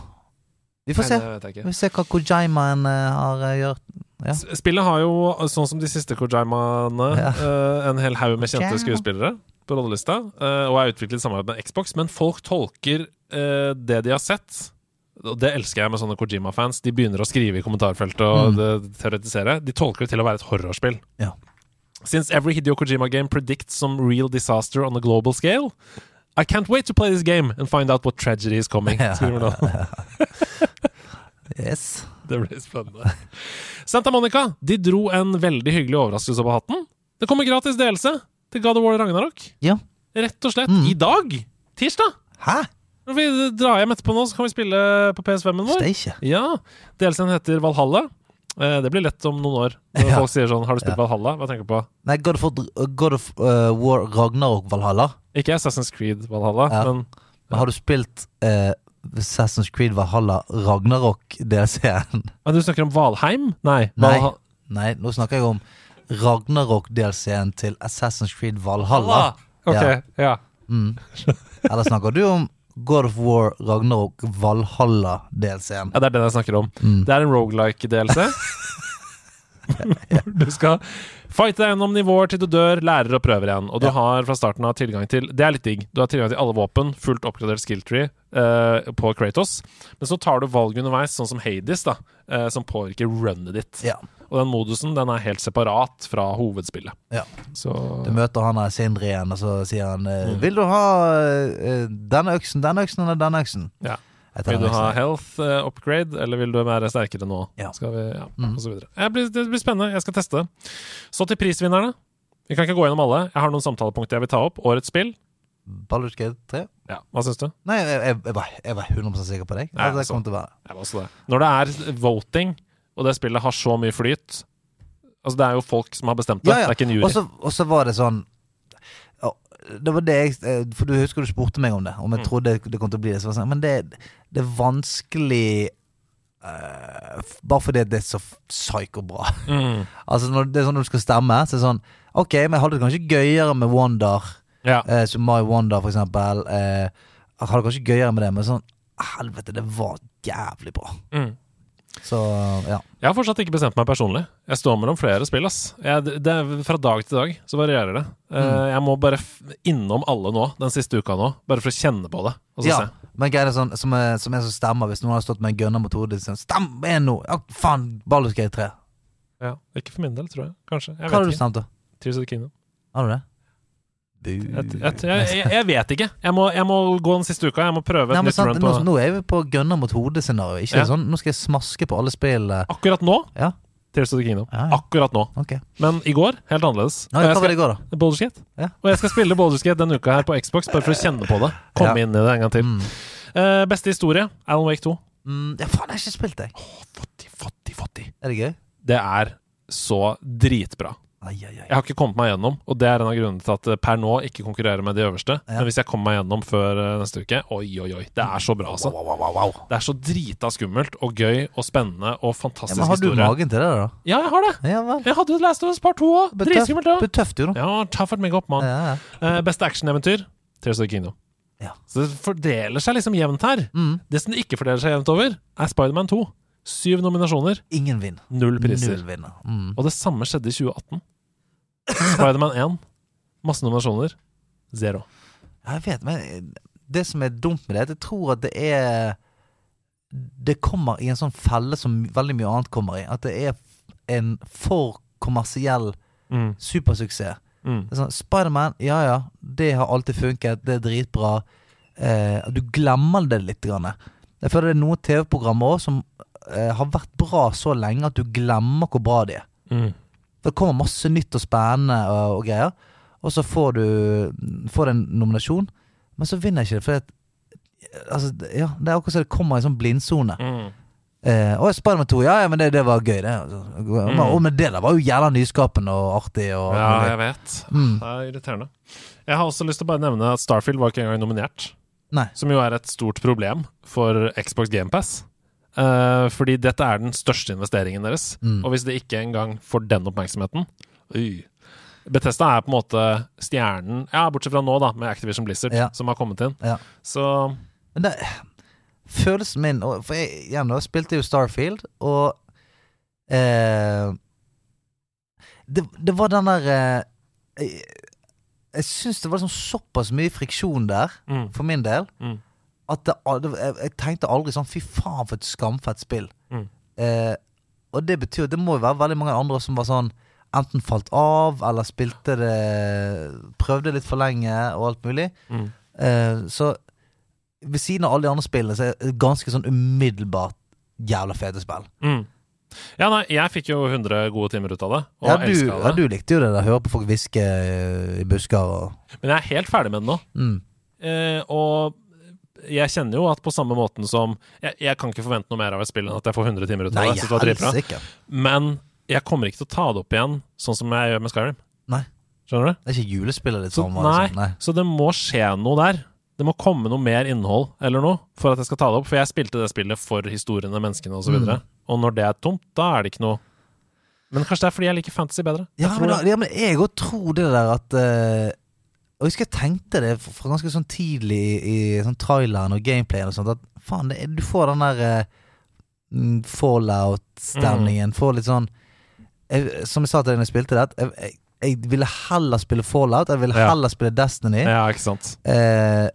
S1: Vi får
S2: Nei,
S1: se.
S2: det vet jeg ikke.
S1: Vi får se hva Kojimaen eh, har eh, gjort. Ja.
S2: S- Spillet har jo, sånn som de siste Kojimaene,
S1: Ja.
S2: eh, en hel haug med kjente
S1: Kojima.
S2: skuespillere på rollelista, eh, og er utviklet i samarbeid med Xbox, men folk tolker eh, det de har sett. Og det elsker jeg med sånne Kojima-fans. De begynner å skrive i kommentarfeltet og det- teoretisere. De tolker det til å være et horrorspill.
S1: Mm. Ja.
S2: Since every Hideo Kojima game predicts some real disaster on a global scale, I can't wait to play this game and find out what tragedy is coming. Skriver han.
S1: Yes.
S2: Det blir spennende. Santa Monica de dro en veldig hyggelig overraskelse på hatten. Det kommer gratis delelse til God of War Ragnarok.
S1: Ja. Mm.
S2: Rett og slett i dag. Tirsdag.
S1: Hæ?
S2: Når vi drar hjem etterpå nå, så kan vi spille på PS5-en vår.
S1: Steikje.
S2: Ja. Delelsen heter Valhalla. Eh, Det blir lett om noen år. Når
S1: Ja.
S2: folk sier sånn Har du spilt
S1: Ja.
S2: Valhalla? Hva tenker du på?
S1: Nei, God of, God of eh, War Ragnarok Valhalla.
S2: Ikke Assassin's Creed Valhalla,
S1: Ja.
S2: men
S1: Men har du spilt eh, Assassin's Creed Valhalla Ragnarok DLC-en?
S2: Men du snakker om Valheim? Nei.
S1: Nei.
S2: Valha-
S1: Nei, nå snakker jeg om Ragnarok DLC-en til Assassin's Creed Valhalla.
S2: Ok,
S1: Ja.
S2: ja.
S1: Mm. Eller snakker du om God of War Ragnarok Valhalla DLC-en?
S2: Ja, det er den jeg snakker om.
S1: Mm.
S2: Det er en rogelike-delelse. du skal fighte deg gjennom nivåer til du dør, lærer og prøver igjen. Og du har fra starten av tilgang til Det er litt digg. Du har tilgang til alle våpen, fullt oppgradert skill tree, eh, på Kratos. Men så tar du valg underveis, sånn som Hades, da, eh, som påvirker runnet ditt.
S1: Ja.
S2: Og den modusen den er helt separat fra hovedspillet.
S1: Ja.
S2: Så
S1: Du møter han her Sindre igjen, og så sier han
S2: Mm.
S1: eh, 'Vil du ha eh, denne øksen, denne øksen eller denne øksen?'
S2: Ja.
S1: Jeg tar
S2: vil du
S1: den
S2: ha
S1: øksen.
S2: health eh, upgrade, eller vil du være sterkere nå?
S1: Ja.
S2: Skal vi, ja,
S1: Mhm.
S2: og så videre. Jeg blir, det blir spennende. Jeg skal teste det. Så til prisvinnerne. Vi kan ikke gå gjennom alle. Jeg har noen samtalepunkter jeg vil ta opp. Årets spill.
S1: Baldur's Gate 3?
S2: Ja. Hva syns du?
S1: Nei, jeg, jeg, jeg, var, jeg var 100 sikker på deg.
S2: Nei,
S1: det
S2: altså.
S1: kom til å være.
S2: Jeg var også det. Når det er voting, og det spillet har så mye flyt Altså, det er jo folk som har bestemt det.
S1: Ja, ja.
S2: Det er ikke en jury.
S1: Og så- Og så var det sånn å, det var det jeg, eh, for Du husker du spurte meg om det, om jeg trodde det kom til å bli det. Så var jeg sånn, men det, det er vanskelig eh, f- bare fordi det er så f- psyko-bra.
S2: Mm.
S1: Altså når det er sånn når du skal stemme, så er det sånn Ok, men jeg hadde det kanskje gøyere med Wonder.
S2: Ja.
S1: Eh, som My Wonder, for eksempel. Eh, jeg hadde kanskje gøyere med det, men sånn Helvete, det var jævlig bra.
S2: Mm.
S1: Så ja.
S2: Jeg har fortsatt ikke bestemt meg personlig. Jeg står mellom flere spill. ass. Jeg, det er Fra dag til dag så varierer det. Eh,
S1: Mm.
S2: Jeg må bare f innom alle nå, den siste uka nå, bare for å kjenne på det. Og så
S1: ja.
S2: se.
S1: Men greia er sånn, som er, som er som stemmer, hvis noen hadde stått med en gunner mot hodet sånn, Stem en nå! Ja, faen! Baldur's Gate 3.
S2: Ja, Ikke for min del, tror jeg. Kanskje. Jeg
S1: Hva hadde
S2: vet
S1: du
S2: ikke.
S1: stemt, da?
S2: Tears of the Kingdom.
S1: Har du det?
S2: Jeg,
S1: Mm.
S2: jeg, jeg, jeg vet ikke. Jeg må, jeg må gå den siste uka. Jeg må prøve et
S1: Nei, men
S2: nytt
S1: sant,
S2: run
S1: nå,
S2: på
S1: nå er vi på gunner mot hodet-scenario. Ikke
S2: Ja.
S1: sånn nå skal jeg smaske på alle spill. eh.
S2: Akkurat nå,
S1: Ja.
S2: Tears of the Kingdom.
S1: Ja, ja.
S2: Akkurat nå.
S1: Ok.
S2: Men i går, helt annerledes. Og
S1: Nå,
S2: jeg
S1: hva var
S2: skal,
S1: det i går, da?
S2: Baldur's Gate.
S1: Ja.
S2: Og jeg skal spille Baldur's Gate denne uka her på Xbox, bare for å kjenne på det. Komme
S1: Ja.
S2: inn i det en gang til.
S1: Mm.
S2: Eh, beste historie, Alan Wake 2.
S1: Mm, ja, faen, jeg har ikke spilt, jeg.
S2: Fotti, fotti, fotti.
S1: Er det gøy?
S2: Det er så dritbra.
S1: Ai, ai, ai.
S2: Jeg har ikke kommet meg gjennom, og det er en av grunnene til at det per nå ikke konkurrerer med de øverste.
S1: Ja.
S2: Men hvis jeg kommer meg gjennom før eh, neste uke, oi, oi, oi. Det er så bra, altså. Det er så drita skummelt og gøy og spennende og
S1: Ja,
S2: fantastisk
S1: men har du
S2: historie.
S1: magen til det, da?
S2: Ja, jeg har det!
S1: Ja vel.
S2: Jeg hadde jo Last of Us Part 2 òg. Dritskummelt òg.
S1: Betøft, jo, da.
S2: Ja, taffert meg opp, mann.
S1: Ja, uh, ja.
S2: Eh, beste actioneventyr? Tears of the Kingdom.
S1: Ja.
S2: Så det fordeler seg liksom jevnt her.
S1: Mm.
S2: Det som det ikke fordeler seg jevnt over, er Spiderman 2. Syv nominasjoner,
S1: Ingen vinner.
S2: null priser.
S1: Null vinner. Mm.
S2: Og det samme skjedde i 2018. Spiderman 1, masse nominasjoner. Zero.
S1: Jeg vet, men eh, det som er dumt med det, er at jeg tror at det er Det kommer i en sånn felle som veldig mye annet kommer i. At det er en for kommersiell
S2: Mm.
S1: supersuksess.
S2: Mm.
S1: Det er Sånn, Spiderman, ja ja, det har alltid funket, det er dritbra. Eh, du glemmer det litt. Grann. Jeg føler det er noen TV-programmer også som eh, har vært bra så lenge at du glemmer hvor bra de er.
S2: Mm.
S1: For det kommer masse nytt og spennende og, og greier. Og så får du får du en nominasjon, men så vinner jeg ikke det. For at, altså, ja, det er akkurat som det kommer i en sånn blindsone.
S2: Mm.
S1: Eh, og Spiderman 2, ja, ja, men det, det var gøy, det. Altså. Og men det der var jo jævla nyskapende og artig. Og,
S2: Mm. Ja, jeg vet.
S1: Mm.
S2: Det er irriterende. Jeg har også lyst til å bare nevne at Starfield var ikke engang nominert.
S1: Nei.
S2: Som jo er et stort problem for Xbox GamePass. Uh, fordi dette er den største investeringen deres.
S1: Mm.
S2: Og hvis det ikke engang får den oppmerksomheten øy. Bethesda er på en måte stjernen Ja, bortsett fra nå, da, med Activision Blizzard,
S1: Ja.
S2: som har kommet inn.
S1: Ja.
S2: Så
S1: Men det, følelsen min og- For jeg, igjen, da, jeg spilte jo Starfield, og eh, det, det var den der eh, Jeg, jeg syns det var sånn såpass mye friksjon der,
S2: mm,
S1: for min del,
S2: Mm.
S1: at det, al- det, jeg, jeg tenkte aldri sånn Fy faen, for et skamfett spill.
S2: Mm.
S1: Eh, og det betyr at det må jo være veldig mange andre som var sånn Enten falt av, eller spilte det Prøvde litt for lenge, og alt mulig.
S2: mm.
S1: Eh, så ved siden av alle de andre spillene, så er det ganske sånn umiddelbart jævla fete spill.
S2: Mm. Ja, nei, jeg fikk jo 100 gode timer ut av det, og
S1: Ja du,
S2: elska
S1: ja,
S2: det.
S1: du likte jo det der, høre på folk hviske eh, i busker og
S2: Men jeg er helt ferdig med det nå.
S1: mm.
S2: Eh, og jeg kjenner jo at på samme måten som jeg, jeg kan ikke forvente noe mer av et spill enn at jeg får 100 timer ut av det. Jeg synes det var dritbra.
S1: helsike.
S2: Men jeg kommer ikke til å ta det opp igjen sånn som jeg gjør med Skyrim.
S1: Nei.
S2: Skjønner du?
S1: Det er ikke julespillet ditt
S2: Så,
S1: som var
S2: nei,
S1: liksom. Nei.
S2: så det må skje noe der. Det må komme noe mer innhold eller noe for at jeg skal ta det opp. For jeg spilte det spillet for historiene, menneskene osv. videre
S1: Mm.
S2: Og når det er tomt, da er det ikke noe Men kanskje det er fordi jeg liker fantasy bedre. Jeg
S1: Ja,
S2: tror
S1: men, da,
S2: det.
S1: ja, men jeg òg tror det der at eh, Og jeg husker jeg tenkte det fra- fra ganske sånn tidlig i sånn traileren og gameplayen og sånt, at faen, det, er- du får den der eh, mm, fallout-stemningen.
S2: Mm.
S1: Får litt sånn jeg, Som jeg sa til deg da jeg spilte det, at jeg, jeg, jeg ville heller spille fallout. Jeg ville
S2: Ja.
S1: heller spille Destiny.
S2: ja, ikke sant.
S1: Eh,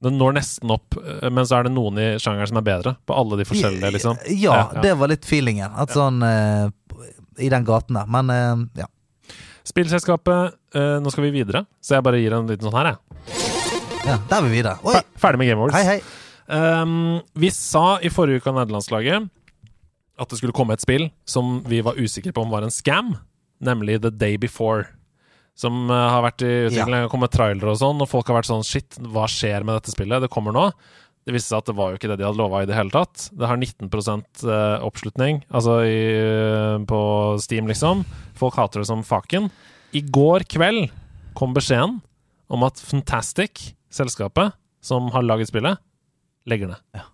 S2: Den når nesten opp, eh, men så er det noen i sjangeren som er bedre på alle de forskjellige, liksom.
S1: Ja, det var litt feelingen. At sånn eh, I den gaten der. Men eh, ja.
S2: Spillselskapet, eh, nå skal vi videre, så jeg bare gir en liten sånn her, jeg.
S1: ja. Der er vi videre. Oi!
S2: Fer- Ferdig med Game Awards.
S1: Hei, hei.
S2: Um, vi sa i forrige uke av nederlandslaget at det skulle komme et spill som vi var usikre på om var en scam, nemlig The Day Before. Som uh, har vært i utvikling, det kommet trailere og sånn, og folk har vært sånn Shit, hva skjer med dette spillet? Det kommer nå. Det viste seg at det var jo ikke det de hadde lova i det hele tatt. Det har 19 eh, oppslutning, altså i, eh, på Steam, liksom. Folk hater det som faken. I går kveld kom beskjeden om at Fantastic, selskapet som har laget spillet, legger ned.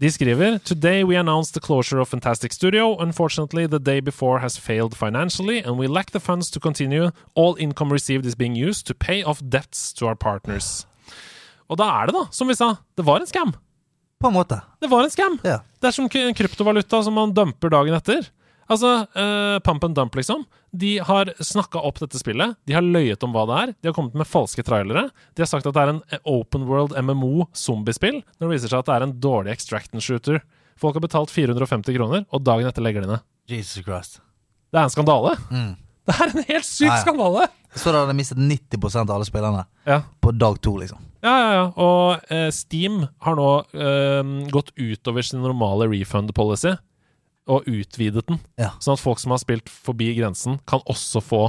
S2: De skriver Today we announce the closure of Fantastic Studio. Unfortunately, the day before has failed financially, and we lack the funds to continue. All income received is being used to pay off debts to our partners. Og da er det, da, som vi sa, det var en scam.
S1: På en måte.
S2: Det var en scam.
S1: Ja.
S2: Det er som k- en kryptovaluta som man dumper dagen etter. Altså, eh, pump and dump, liksom. De har snakka opp dette spillet. De har løyet om hva det er. De har kommet med falske trailere. De har sagt at det er en eh, open world MMO-zombiespill, når det viser seg at det er en dårlig extraction shooter. Folk har betalt 450 kroner, og dagen etter legger de ned.
S1: Jesus Christ.
S2: Det er en skandale.
S1: Mm.
S2: Det er en helt syk
S1: Ja, ja.
S2: skandale!
S1: Så da hadde jeg mistet 90 av alle spillerne
S2: Ja.
S1: på dag to, liksom.
S2: Ja, ja, ja. Og eh, Steam har nå eh, gått utover sin normale refund policy og utvidet den.
S1: Ja.
S2: Sånn at folk som har spilt forbi grensen, kan også få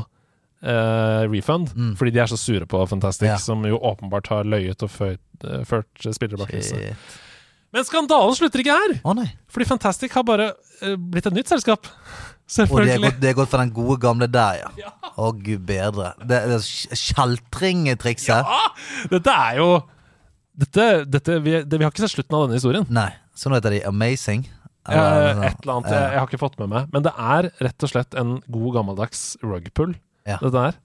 S2: eh, refund.
S1: Mm.
S2: Fordi de er så sure på Fantastic,
S1: Ja.
S2: som jo åpenbart har løyet og ført, eh, ført spillere bak lyset.
S1: Shit.
S2: Men skandalen slutter ikke her!
S1: Å nei.
S2: Fordi Fantastic har bare eh, blitt et nytt selskap.
S1: Og det er,
S2: Selvfølgelig.
S1: gått, det er gått for den gode gamle der, ja. Å, gud bedre. Det, det er skj- Kjeltringtrikset.
S2: Dette er jo dette, dette, vi, det, vi har ikke sett slutten av denne historien.
S1: Nei. Så nå heter de Amazing.
S2: Eh,
S1: Eller-
S2: et eller annet. Jeg, jeg har ikke fått med meg. Men det er rett og slett en god gammeldags rugpull,
S1: Ja.
S2: dette her.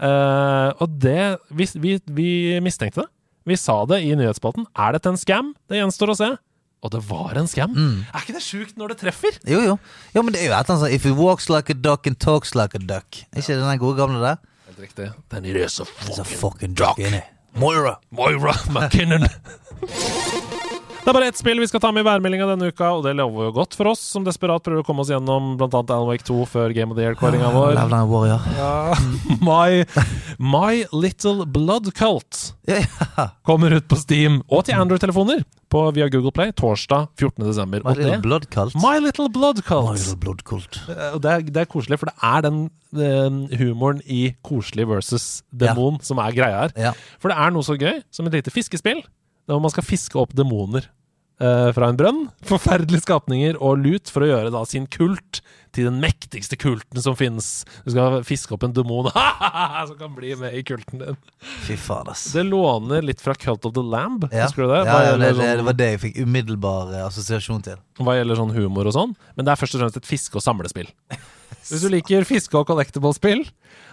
S2: Eh, og det vi, vi, vi mistenkte det. Vi sa det i nyhetsspalten. Er dette en scam? Det gjenstår å se. Og det var en scam. Er ikke det sjukt når det treffer?
S1: Jo, jo. Jo, men det er jo et eller annet sånn If he walks like a duck and talks like a duck. Er ikke det den gode gamle der?
S2: Helt riktig. Den er så
S1: It's a fucking duck inni. Moira.
S2: Moira McKinnon. Det er bare ett spill vi skal ta med i værmeldinga denne uka, og det lover jo godt for oss som desperat prøver å komme oss gjennom bl.a. Alan Wake 2 før Game of the Year-kåringa vår.
S1: Levde han warrior?
S2: My, My Little Blood Cult
S1: Ja,
S2: kommer ut på Steam og til Android-telefoner på via Google Play torsdag 14.12.
S1: My
S2: Og
S1: little
S2: det
S1: blood cult.
S2: My Little Blood
S1: My
S2: Cult.
S1: little blood cult.
S2: Eh, Og det er, det er koselig, for det er den, eh, humoren i koselig versus demon som er greia her.
S1: Ja.
S2: For det er noe så gøy som et lite fiskespill, der man skal fiske opp demoner eh, fra en brønn. Forferdelige skapninger og lut for å gjøre da sin kult til den mektigste kulten som finnes. Du skal fiske opp en demon som kan bli med i kulten din.
S1: Fy faen, ass.
S2: Det låner litt fra Cult of the Lamb,
S1: Ja.
S2: husker du det?
S1: Ja,
S2: Hva
S1: ja, det,
S2: gjelder,
S1: det, det var
S2: sånn,
S1: det jeg fikk umiddelbar eh, assosiasjon til.
S2: hva gjelder sånn humor og sånn. Men det er først og fremst et fiske- og samlespill. Hvis du liker fiske- og collectible-spill,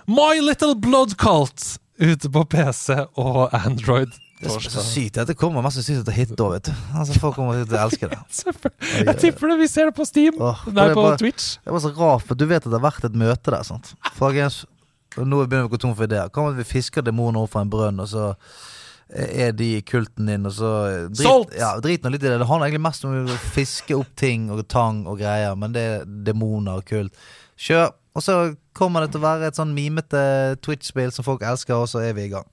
S2: My Little Blood Cult ute på PC og Android.
S1: Det er så
S2: torsdag.
S1: sykt at det kommer mest sannsynlig til å hitte over, vet du. Altså, folk kommer til å elske det.
S2: Selvfølgelig. Jeg tipper det. Vi ser det på Steam.
S1: Åh,
S2: Nei,
S1: det er
S2: på
S1: bare-
S2: Twitch.
S1: Det var så rart, for du vet at det har vært et møte der, sant? Folkens, nå begynner vi å gå tom for ideer. Hva om vi fisker demoner opp fra en brønn, og så er de i kulten din, og så drit,
S2: Solgt!
S1: Ja, drit nå litt i det. Det handler egentlig mest om å fiske opp ting og tang og greier, men det er demoner og kult. Kjør! Og så kommer det til å være et sånn mimete Twitch-spill som folk elsker, og så er vi i gang.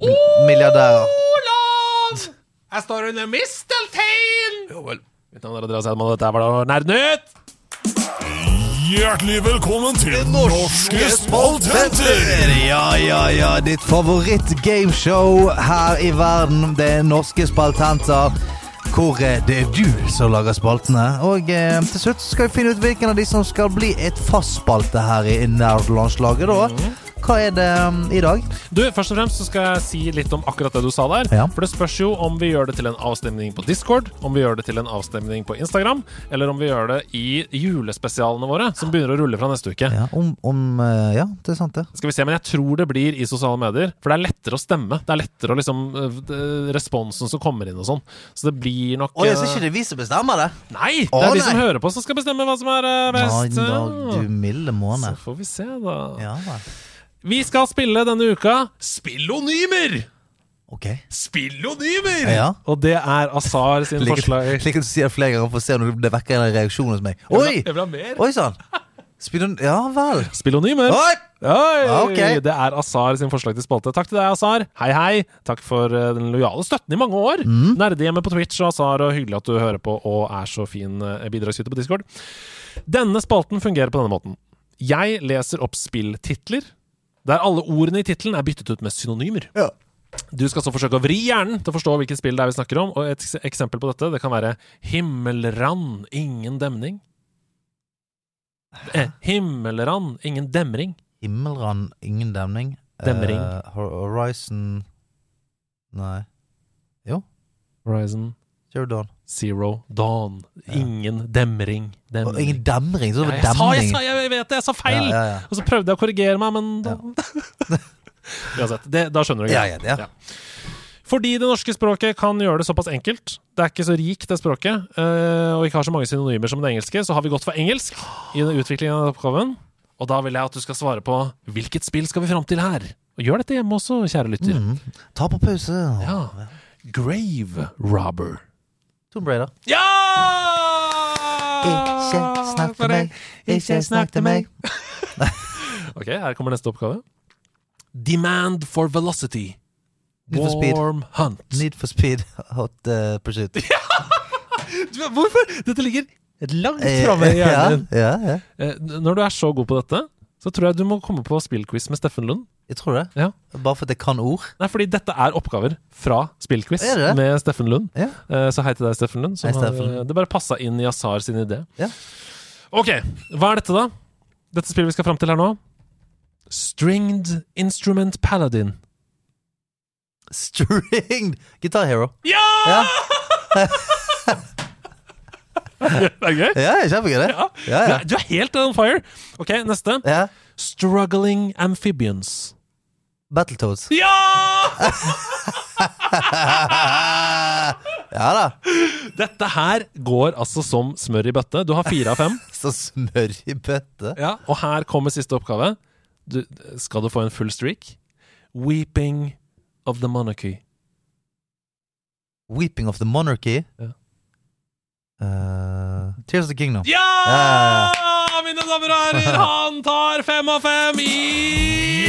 S1: Mil- Milliardærer.
S2: Olav! Jeg står under misteltein! Jo vel. Mitt navn er Andreas Hedman, og dette var da Nerdnytt!
S3: Hjertelig velkommen til Norske spaltenter!
S1: Ja, ja, ja. Ditt favoritt-gameshow her i verden. Det er norske spaltenter. Hvor eh, det er du som lager spaltene. Og eh, til slutt skal vi finne ut hvilken av de som skal bli et fast spalte her i Nerdlandslaget, da. Hva er det mm, i dag?
S2: Du, Først og fremst så skal jeg si litt om akkurat det du sa der.
S1: Ja.
S2: For det spørs jo om vi gjør det til en avstemning på Discord, om vi gjør det til en avstemning på Instagram, eller om vi gjør det i julespesialene våre, som begynner å rulle fra neste uke.
S1: Ja, om, om eh, Ja, det er sant, det.
S2: Skal vi se, men jeg tror det blir i sosiale medier, for det er lettere å stemme. Det er lettere å liksom øh, d- Responsen som kommer inn og sånn. Så det blir nok
S1: Å, jeg
S2: øh,
S1: syns ikke det er vi som bestemmer det.
S2: Nei! Det
S1: Å,
S2: er de
S1: nei.
S2: som hører på, som skal bestemme hva som er øh,
S1: Nei,
S2: best.
S1: da,
S2: Ja.
S1: du milde måne.
S2: Så får vi se, da.
S1: Ja, vel.
S2: Vi skal spille denne uka Spillonymer!
S1: Ok.
S6: Spillonymer!
S1: Ja.
S6: Og det er Azar sin
S1: Slik
S6: forslag.
S1: slik at du sier det flere ganger for å se om det vekker en reaksjon hos meg. Oi!
S6: Jeg vil ha mer.
S1: Oi sann! Spiller Ja vel.
S6: Spillonymer.
S1: Oi!
S6: Oi!
S1: Ok.
S6: Det er Azar sin forslag til spalte. Takk til deg, Azar. Hei, hei. Takk for eh, den lojale støtten i mange år.
S1: Mm.
S6: Nerdehjemmet på Twitch og Azar, og hyggelig at du hører på og er så fin eh, bidragsyter på Discord. Denne spalten fungerer på denne måten. Jeg leser opp spilltitler, der alle ordene i tittelen er byttet ut med synonymer.
S1: Ja.
S6: Du skal så forsøke å vri hjernen til å forstå hvilket spill det er vi snakker om. Og et eks- eksempel på dette det kan være Himmelrand, ingen demning. Eh, himmelrand, ingen demring.
S1: Himmelrand, ingen demning.
S6: Demring.
S1: Eh, Hor- Horizon Nei.
S6: Horizon
S1: Zero Dawn.
S6: Zero Dawn. Ingen demring.
S1: Å,
S6: demring.
S1: ingen demring! Så det
S6: ja,
S1: var
S6: jeg,
S1: demring.
S6: sa, jeg, sa, jeg vet det, jeg sa feil!
S1: Ja, ja, ja.
S6: Og så prøvde jeg å korrigere meg, men da, Uansett, det, da skjønner du
S1: Ja,
S6: greia.
S1: ja, ja.
S6: Fordi det norske språket kan gjøre det såpass enkelt, det er ikke så rikt det språket, eh, og ikke har så mange synonymer som det engelske, så har vi gått for engelsk i den utviklingen av denne oppgaven. Og da vil jeg at du skal svare på hvilket spill skal vi fram til her? Og gjør dette hjemme også, kjære lytter.
S1: Mm. Ta på pause.
S6: Ja. Grave Robber.
S1: Tomb Raider.
S6: Ja! Ah,
S1: Ikke snakk til meg, ikke snakk til meg.
S6: Ok, her kommer neste oppgave. Demand for velocity.
S1: Need for speed.
S6: Warm hunt.
S1: Need for speed, hot eh, pursuit.
S6: Hvorfor? Dette ligger langt
S1: Eh,
S6: framme i
S1: ja,
S6: hjernen din.
S1: ja, ja.
S6: Eh, Når du er så god på dette, så tror jeg du må komme på spillquiz med Steffen Lund.
S1: Jeg tror det.
S6: Ja.
S1: Bare for at jeg kan ord.
S6: Nei, fordi dette er oppgaver fra spillquiz
S1: Er det?
S6: med Steffen Lund.
S1: Ja.
S6: Eh, Så hei til deg, Steffen Lund. som
S1: Hei, Steffen.
S6: Har, det bare passa inn i Azar sin idé.
S1: Ja.
S6: Ok, hva er dette, da? Dette spillet vi skal fram til her nå. Stringed Instrument Paladin.
S1: Stringed Guitar Hero.
S6: Ja!
S1: Ja.
S6: Det er gøy.
S1: Ja, kjempegøy, det.
S6: Ja.
S1: Ja,
S6: Du
S1: ja.
S6: er- Du er helt on fire. Ok, neste.
S1: ja.
S6: Struggling Amphibians.
S1: Battletoads.
S6: Ja!
S1: Ja da.
S6: Dette her går altså som smør i bøtte. Du har fire av fem.
S1: Så smør i bøtte.
S6: Og her kommer siste oppgave. Du, skal du få en full streak? Weeping of the monarchy.
S1: Weeping of the Monarchy.
S6: Ja.
S1: Eh, Tears of the Kingdom.
S6: Ja!
S1: Ja,
S6: Mine damer og herrer, han tar fem av fem i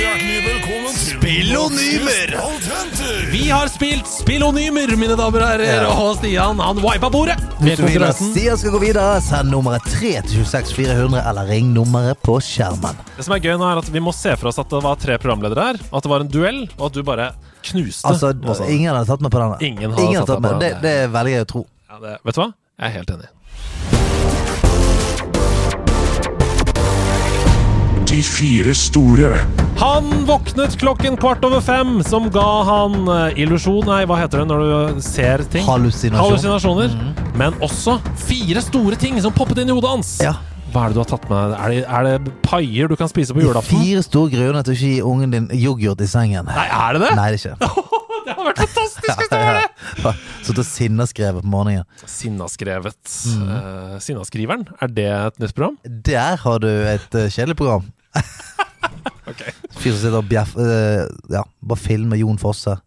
S7: Hjertelig velkommen til
S1: Spillonymer!
S7: Spalthenter!
S6: Vi har spilt spillonymer, mine damer og herrer,
S1: Ja.
S6: og Stian han wipa bordet.
S1: Hvis du vil at
S6: Konkurransen.
S1: Stian skal gå videre, send nummeret 3 til 26 400 eller ring nummeret på skjermen.
S6: Det som er gøy nå, er at vi må se for oss at det var tre programledere her, og at det var en duell, og at du bare knuste. sånn.
S1: Altså,
S6: Åsa.
S1: ingen hadde tatt meg på denne.
S6: Ingen hadde tatt meg
S1: meg.
S6: på
S1: Det,
S6: denne.
S1: det velger jeg å tro.
S6: Ja, det, vet du hva? Jeg er helt enig.
S7: De fire store.
S6: Han våknet klokken kvart over fem, som ga han eh, illusjon Nei, hva heter det når du eh, ser ting?
S1: Hallusinasjon. Mhm.
S6: Hallusinasjoner. Men også fire store ting som poppet inn i hodet hans.
S1: Ja.
S6: Hva er det du har tatt med? Er det, er det paier du kan spise på julaften?
S1: Fire store grunner til å ikke gi ungen din yoghurt i sengen.
S6: Nei, er det det?
S1: Nei, det er ikke.
S6: Det hadde vært fantastisk hvis det var det!
S1: Ja. Satt og sinneskrevet på morgenen.
S6: Sinnaskrevet.
S1: Mhm.
S6: Eh, sinnaskriveren, er det et nytt program?
S1: Der har du et eh, kjedelig program.
S6: Ok.
S1: Fyr som sitter og bjeff... eh, ja, bare filmer Jon Fosse.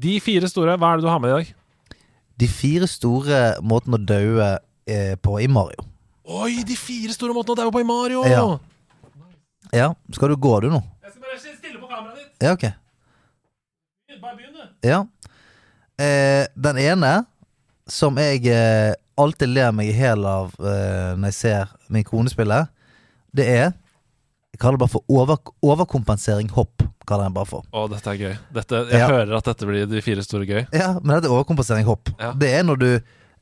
S6: De fire store, hva er det du har med i dag?
S1: De fire store måtene å daue eh, på i Mario.
S6: Oi, de fire store måtene å daue på i Mario!
S1: Ja. Ja, skal du gå du nå?
S6: Jeg skal bare stille på kameraet ditt.
S1: Ja, ok.
S6: Bare begynn, du.
S1: Ja. Eh, den ene som jeg eh, alltid ler meg i hæl av eh, når jeg ser min kone spille, det er Jeg kaller det bare for over, overkompensering hopp. kaller jeg det bare for.
S6: Å, dette er gøy. Dette, jeg
S1: Ja.
S6: hører at dette blir de fire store gøy.
S1: Ja, Men dette er overkompensering hopp.
S6: Ja.
S1: Det er når du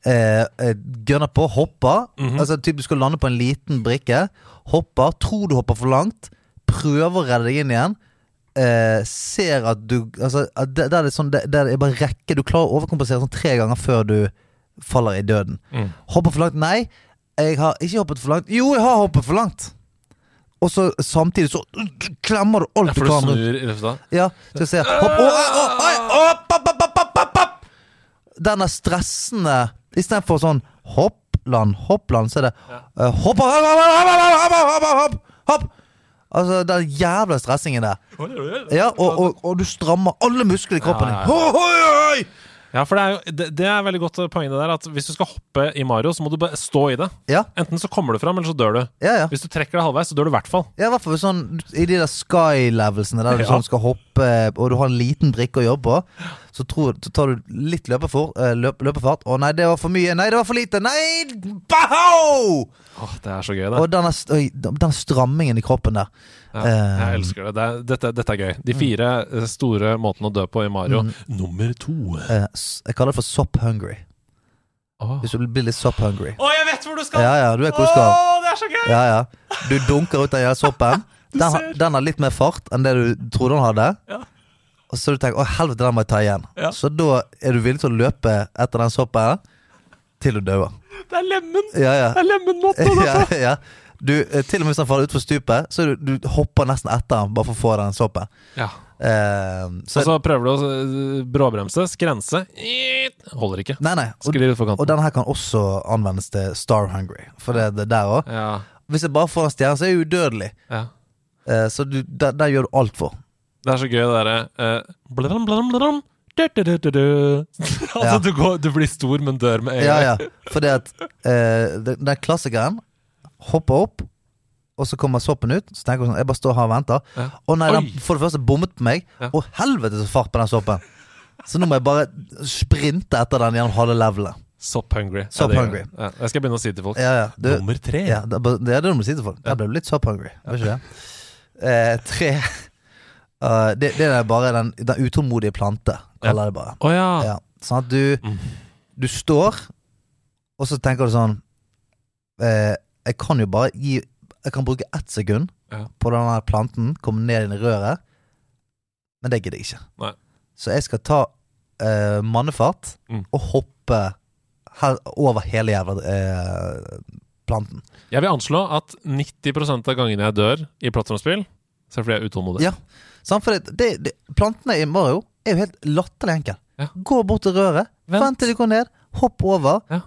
S1: eh, eh, gønner på, hopper.
S6: Mhm.
S1: Altså typ Du skal lande på en liten brikke. Hopper, tror du hopper for langt, prøver å redde deg inn igjen. Eh, ser at du Altså, at det, det er litt sånn det, det er bare rekke. Du klarer å overkompensere sånn tre ganger før du faller i døden.
S6: Mm.
S1: Hopper for langt? Nei. Jeg har ikke hoppet for langt. Jo, jeg har hoppet for langt! Og så samtidig så klemmer du alt du
S6: For du
S1: kan. rundt.
S6: snur i løfta.
S1: Ja, skal vi se. Hopp, å, å, å, oi, opp, opp, opp, opp, opp, opp, opp. Den er stressende. Istedenfor sånn hoppland, hoppland, så er det eh, hopp, hopp, hopp, hopp, hopp, hopp, hopp, hopp, hopp, hopp, hopp. Altså, Den jævla stressingen der. Ja, og, og, og du strammer alle muskler i kroppen.
S6: Ja, ja, ja.
S1: Ho, hoi, hoi!
S6: Ja, for det er jo det, det er veldig godt poeng det der at hvis du skal hoppe i Mario, så må du bare stå i det.
S1: Ja,
S6: Enten så kommer du fram, eller så dør du.
S1: ja, ja.
S6: Hvis du trekker deg halvveis, så dør du i hvert fall.
S1: Ja, i hvert fall sånn, I de der sky-levelsene der du
S6: Ja.
S1: sånn skal hoppe, og du har en liten brikke å jobbe på, så, tror, så tar du litt løpefor, eh, løp, løpefart. Å nei, det var for mye. Nei, det var for lite. Nei! Baho!
S6: Åh, det er så gøy, det.
S1: Og denne, st- oi, den strammingen i kroppen der.
S6: Ja,
S1: eh, mm.
S6: jeg elsker det. det er, dette, dette er gøy. De fire eh, store måtene å dø på i Mario. Nummer to.
S1: eh, s- jeg kaller det for sop hungry.
S6: Åh.
S1: Hvis du blir litt sop hungry.
S2: Å, jeg vet hvor du skal!
S1: Ja, ja, du vet hvor du skal.
S2: Å, det er så gøy!
S1: Ja, ja. Du dunker ut den jævla soppen. Den, har- den har litt mer fart enn det du trodde den hadde.
S6: Ja.
S1: Og så du tenker å helvete, den må jeg ta igjen.
S6: Ja.
S1: Så da er du villig til å løpe etter den soppen til du dauer.
S6: Det er lemen!
S1: Ja, ja.
S6: Det er lemenmåten!
S1: ja, ja. Du, eh, til og med hvis han faller utfor stupet, så er du, du hopper nesten etter han bare for å få den soppen.
S6: Ja. Altså-
S1: Eh, så,
S6: Og så prøver du å eh, bråbremse, skrense. Holder ikke.
S1: nei, nei. Og,
S6: Sklir ut
S1: og
S6: på kanten.
S1: denne her kan også anvendes til Star Hungry. For det, det der også.
S6: Ja,
S1: Hvis jeg bare får en stjerne, så er jeg udødelig.
S6: ja.
S1: Eh, så du, der, der gjør du alt for.
S6: Det er så gøy, det derre eh, bladam, bladam, bladam, du, du, du, du, du. Altså,
S1: Ja.
S6: du, går, du blir stor, men dør med en
S1: Ja,
S6: gang.
S1: ja. Fordi at eh, den- den klassikeren hopper opp, og så kommer soppen ut. Så tenker hun sånn Jeg bare står her og venter.
S6: Ja.
S1: Å nei,
S6: Oi.
S1: den for det første bommet på meg.
S6: Ja.
S1: Å helvete, så fart på den soppen. Så nå må jeg bare sprinte etter den gjennom halve levelet.
S6: Sop hungry.
S1: Sop
S6: Ja, det gjør
S1: hungry.
S6: jeg. Ja, jeg skal begynne å si til folk.
S1: Ja, ja. Du,
S6: Nummer tre.
S1: ja, det er bare- det er det du må si til folk. Jeg ble litt sop hungry. Var ikke det? Eh, tre Eh, det, det er bare den, den utålmodige plante, kaller jeg det bare.
S6: Å ja. Ah. Mm.
S1: Ja, sånn at du, du står, og så tenker du sånn eh, Jeg kan jo bare gi Jeg kan bruke ett sekund
S6: Ja.
S1: på den her planten, komme ned inn i røret, men det gidder jeg ikke.
S6: Nei.
S1: Så jeg skal ta eh, mannefart
S6: Mm.
S1: og hoppe her, over hele jævla eh, planten.
S6: Jeg vil anslå at 90 av gangene jeg dør i plattformspill, så er det fordi jeg er utålmodig.
S1: Ja. Sant? For det, det, det, plantene i Mario er jo helt latterlig enkle.
S6: Ja.
S1: Gå bort til røret,
S6: Vent.
S1: vent. til de går ned, hopp over,
S6: Ja.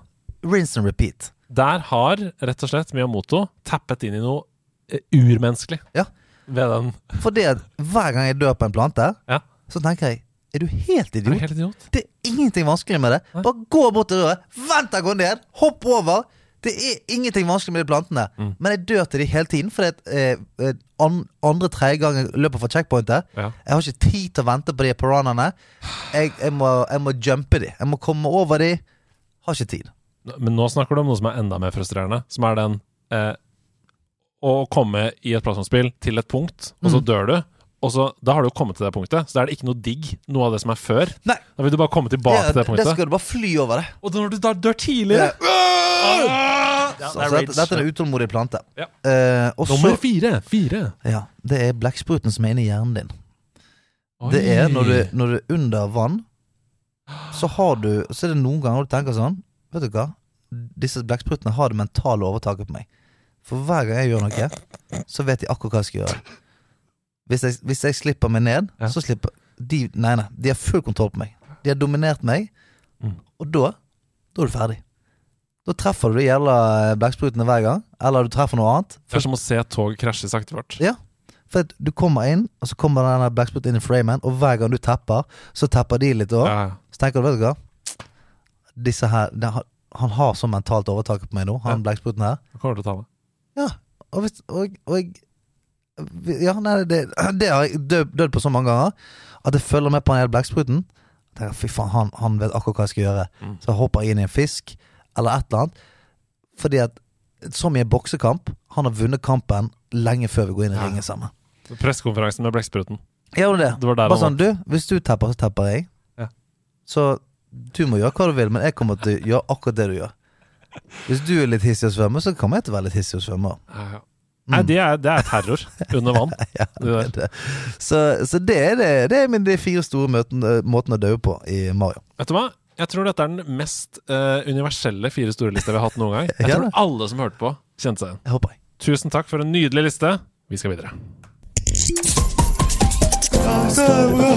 S1: rinse and repeat.
S6: Der har rett og slett Miyamoto tappet inn i noe eh, urmenneskelig
S1: Ja.
S6: ved den.
S1: Fordi at hver gang jeg dør på en plante,
S6: Ja.
S1: så tenker jeg Er du helt
S6: Er du
S1: idiot?
S6: helt idiot?
S1: Det er ingenting vanskelig med det. Bare gå bort til røret, vent deg, gå ned, hopp over. Det er ingenting vanskelig med de plantene.
S6: Mm.
S1: Men jeg dør til de hele tiden, fordi at eh, eh, an, andre, tredje gang jeg løper fra checkpointet
S6: Ja.
S1: Jeg har ikke tid til å vente på de piranhaene. Jeg, jeg, må, jeg må jumpe de. Jeg må komme over de. Har ikke tid.
S6: Men nå snakker du om noe som er enda mer frustrerende, som er den eh, å komme i et plattformspill til et punkt, og
S1: Mm.
S6: så dør du. Og så, Da har du jo kommet til det punktet, så da er det ikke noe digg, noe av det som er før.
S1: Nei.
S6: Da vil du bare komme tilbake
S1: Ja,
S6: til det punktet.
S1: Der skal du bare fly over det.
S6: Og når du da dør tidligere Ah! Ja,
S1: Så,
S6: det er
S1: så
S6: rage.
S1: dette, dette er en utålmodig plante.
S6: Ja.
S1: Eh, og så-
S6: Nummer fire. Fire.
S1: Ja, det er blekkspruten som er inni hjernen din. Det er når du, når du er under vann, så har du Så er det noen ganger du tenker sånn Vet du hva? Disse blekksprutene har det mentale overtaket på meg. For hver gang jeg gjør noe, så vet de akkurat hva jeg skal gjøre. Hvis jeg, hvis jeg slipper meg ned,
S6: Ja.
S1: så slipper de Nei, nei. De har full kontroll på meg. De har dominert meg,
S6: Mm.
S1: og da Da er du ferdig. Da treffer du de jævla blekksprutene hver gang, eller du treffer noe annet.
S6: Det er som å se et tog krasje sakte fart.
S1: Ja, for at du kommer inn, og så kommer den der blackspot inn i framen, og hver gang du tapper, så tapper de litt òg.
S6: Ja,
S1: Så tenker du, vet du hva Disse her den har- Han har så mentalt overtaket på meg nå, han
S6: Ja.
S1: blackspoten her.
S6: jeg kommer til å ta det.
S1: Ja, og hvis Og, og ja, nei, det, det har jeg død, dødd på så mange ganger at jeg følger med på den hele blackspruten. Tenker, Fy faen, han, han vet akkurat hva jeg skal gjøre.
S6: Mm.
S1: Så jeg hopper inn i en fisk eller et eller annet. Fordi at så mye boksekamp. Han har vunnet kampen lenge før vi går inn i
S6: Ja.
S1: ringen sammen.
S6: Pressekonferansen med blekkspruten.
S1: Ja, det var det.
S6: Det var der
S1: Bare
S6: han
S1: sånn, du, hvis du tapper, så tapper jeg.
S6: Ja.
S1: Så du må gjøre hva du vil, men jeg kommer til å gjøre akkurat det du gjør. Hvis du er litt hissig og svømmer, så kommer jeg til å være litt hissig og svømme.
S6: Ja, ja. Nei, det er, det er terror under vann.
S1: Ja,
S6: Det der.
S1: det. Så, så det er det. Det er mine de fire store møten, måtene å dø på i Mario.
S6: Vet du hva? Jeg tror dette er den mest eh, universelle fire store lista vi har hatt noen gang. Jeg
S1: Ja,
S6: tror
S1: da.
S6: alle som hørte på, kjente seg igjen.
S1: Jeg håper jeg.
S6: Tusen takk for en nydelig liste. Vi skal videre.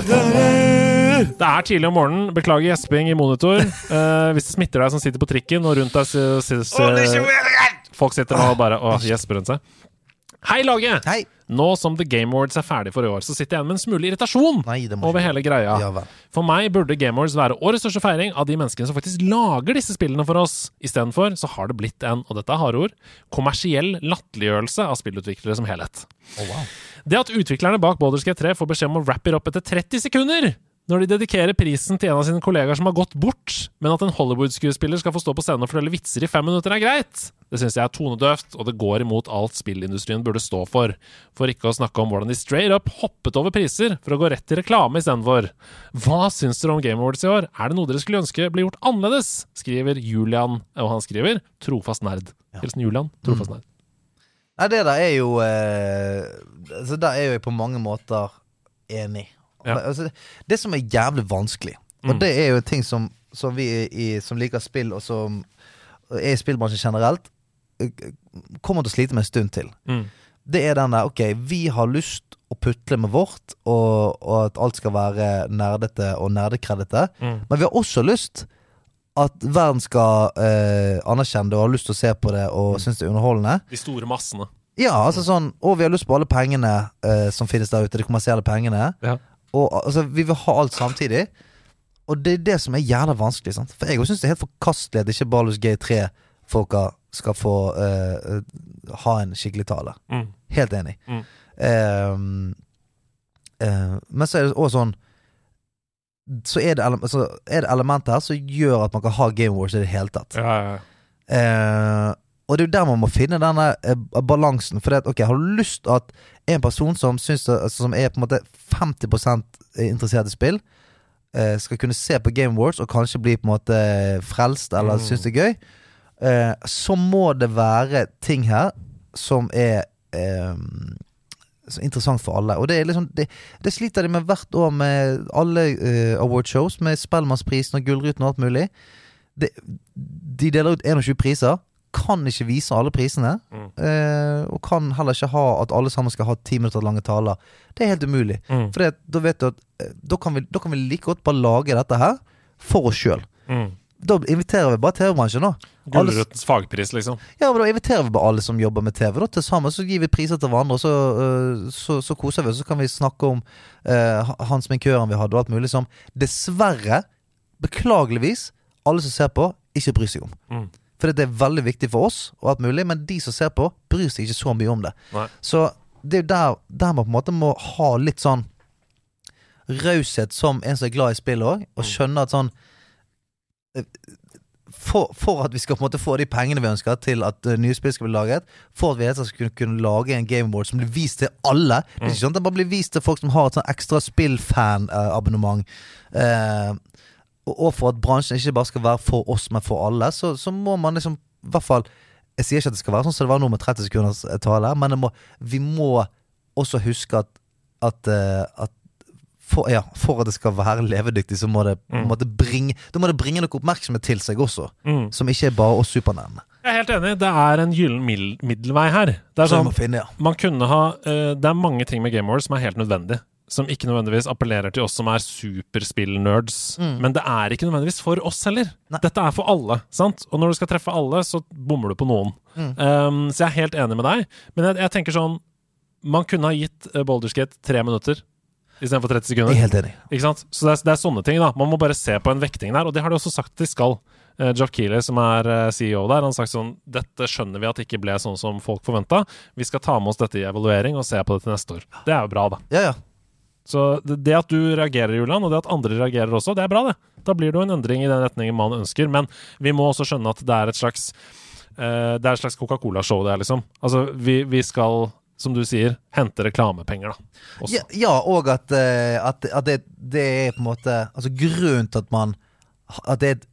S6: Det er tidlig om morgenen. Beklager gjesping i monitor. Eh, hvis det smitter deg som sitter på trikken, og rundt deg s- s- s- Folk sitter og bare og gjesper rundt seg. Hei, laget!
S1: Ah. Hei!
S6: Nå som The Game Awards er ferdig for i år, så sitter jeg igjen med en smule irritasjon
S1: Nei, det må
S6: over
S1: ikke-
S6: hele greia.
S1: Ja vel.
S6: For meg burde Game Awards være årets største feiring av de menneskene som faktisk lager disse spillene for oss. Istedenfor så har det blitt en, og dette er harde ord, kommersiell latterliggjørelse av spillutviklere som helhet. Det at utviklerne bak Baldur's Gate 3 får beskjed om å wrap it up etter 30 sekunder når de dedikerer prisen til en av sine kollegaer som har gått bort, men at en Hollywood-skuespiller skal få stå på scenen og fortelle vitser i fem minutter, er greit. Det syns jeg er tonedøvt, og det går imot alt spillindustrien burde stå for. For ikke å snakke om hvordan de straight up hoppet over priser for å gå rett til reklame istedenfor. Hva syns dere om Game Awards i år? Er det noe dere skulle ønske ble gjort annerledes? Skriver Julian, og han skriver trofast nerd. Hilsen Julian, trofast nerd.
S1: Nei, det der er jo eh, Så der er jo jeg på mange måter enig.
S6: Ja. Mm.
S1: Men, Altså, det, det som er jævlig vanskelig, og det er jo en ting som, som vi i, som liker spill, og som er i spillbransjen generelt, eh, kommer til å slite med en stund til.
S6: Mm.
S1: Det er den der OK, vi har lyst å putle med vårt, og, og at alt skal være nerdete og nerdekredite,
S6: Mm.
S1: men vi har også lyst at verden skal eh, anerkjenne det og har lyst til å se på det
S6: Mm.
S1: og synes synes det er underholdende.
S6: De store massene.
S1: Ja, altså sånn Og vi har lyst på alle pengene eh, som finnes der ute, de kommersielle pengene.
S6: Ja.
S1: Og al- altså, vi vil ha alt samtidig. Og det er det som er jævla vanskelig. Sant? For jeg syns det er helt forkastelig at ikke Balus G3-folka skal få eh, eh, ha en skikkelig tale.
S6: Mm.
S1: Helt enig.
S6: Mm.
S1: Eh, eh, men så er det òg sånn Så er det, ele altså, er det elementer her som gjør at man kan ha Game Wars i det hele tatt.
S6: Ja, ja, ja.
S1: Eh, og det er jo der man må finne denne eh, balansen. For det at, ok, har du lyst til at en person som, syns, altså, som er på en måte 50 interessert i spill, eh, skal kunne se på Game Wars og kanskje bli på en måte eh, frelst eller synes syns det er gøy, eh, så må det være ting her som er eh, så interessant for alle. Og det, er liksom, det, det sliter de med hvert år med alle eh, awardshows, med Spellemannsprisen og Gullruten og alt mulig. Det, de deler ut 21 priser. Kan ikke vise alle prisene.
S6: Mm.
S1: eh, og kan heller ikke ha at alle sammen skal ha ti minutter lange taler. Det er helt umulig.
S6: Mm.
S1: For det, da vet du at eh, da kan, vi, da kan vi like godt bare lage dette her for oss sjøl.
S6: Mm.
S1: Da inviterer vi bare TV-bransjen, da. Alle,
S6: Gulrotens fagpris, liksom.
S1: ja, men da inviterer vi bare alle som jobber med TV, da, til sammen. Så gir vi priser til hverandre, og så, øh, så, så koser vi oss. Så kan vi snakke om øh, han sminkøren vi hadde, og alt mulig som dessverre, beklageligvis, alle som ser på, ikke bryr seg om.
S6: Mm.
S1: For det er veldig viktig for oss, og alt mulig, men de som ser på, bryr seg ikke så mye om det.
S6: Nei.
S1: Så det er jo der, der man på en måte må ha litt sånn raushet som en som er glad i spill òg, og
S6: Mm.
S1: skjønne at sånn eh, for, for at vi skal på en måte få de pengene vi ønsker til at eh, nye spill skal bli laget, for at vi helt skal kunne, kunne lage en game award som blir vist til alle. Det er ikke sånn at den bare blir vist til folk som har et sånn ekstra spillfan-abonnement. Eh, og og for at bransjen ikke bare skal være for oss, men for alle, så, så må man liksom i hvert fall Jeg sier ikke at det skal være sånn som det var nå med 30 sekunders eh, tale, men det må, vi må også huske at, at, eh, at for, ja, for at det skal være levedyktig, så må det, på en måte bringe, da må det bringe noe oppmerksomhet til seg også.
S6: Mm.
S1: Som ikke er bare oss supernærme.
S6: Jeg er helt enig. Det er en gyllen mil- middelvei her. Det er
S1: Så vi
S6: sånn,
S1: må finne, ja.
S6: man kunne ha, eh, det er mange ting med Game Awards som er helt nødvendig. Som ikke nødvendigvis appellerer til oss som er superspill-nerds. Men det er ikke nødvendigvis for oss heller.
S1: Mm. Nei.
S6: Dette er for alle. sant? Og når du skal treffe alle, så bommer du på noen.
S1: Mm.
S6: Um, så jeg er helt enig med deg. Men jeg, jeg tenker sånn Man kunne ha gitt eh, Baldur's Gate tre minutter istedenfor 30 sekunder.
S1: Jeg er helt enig.
S6: Ikke sant? Så det er, det er sånne ting, da. Man må bare se på en vekting der, og det har de også sagt at de skal. Eh, Jock Keeler, som er eh, CEO der, han har sagt sånn Dette skjønner vi at ikke ble sånn som folk forventa. Vi skal ta med oss dette i evaluering og se på det til neste år. Det er jo bra, da.
S1: Ja, ja.
S6: Så det, det at du reagerer, Julian, og det at andre reagerer også, det er bra, det. Da blir det jo en endring i den retningen man ønsker. Men vi må også skjønne at det er et slags eh, Det er et slags Coca-Cola-show, det er liksom. Altså, vi, vi skal, som du sier, hente reklamepenger, da. Også.
S1: Ja, ja og at, eh, at, at det, det er på en måte Altså grunnen til at man At det er et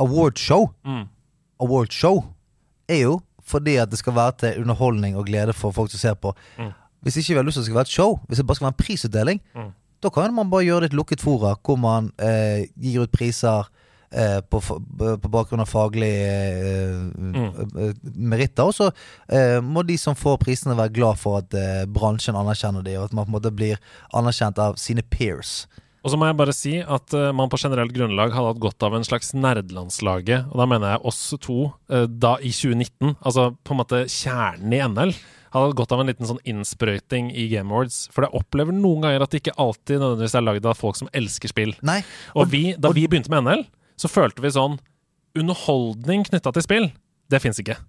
S1: awardshow
S6: Mm.
S1: Awardshow er jo fordi at det skal være til underholdning og glede for folk som ser på.
S6: Mm.
S1: Hvis ikke vi har lyst til at det skal være et show, hvis det bare skal være en prisutdeling, da kan man bare gjøre det i et lukket fora hvor man eh, gir ut priser eh, på, f- på bakgrunn av faglige eh, eh, meritter. Og så eh, må de som får prisene, være glad for at eh, bransjen anerkjenner de, og at man på en måte blir anerkjent av sine peers.
S6: Og så må jeg bare si at eh, man på generelt grunnlag hadde hatt godt av en slags nerdelandslaget, og da mener jeg oss to, eh, da i 2019, altså på en måte kjernen i NL, hadde hatt godt av en liten sånn innsprøyting i Game Awards. For jeg opplever noen ganger at det ikke alltid nødvendigvis er lagd av folk som elsker spill.
S1: Nei.
S6: Og vi, da vi begynte med NL, så følte vi sånn Underholdning knytta til spill, det fins ikke.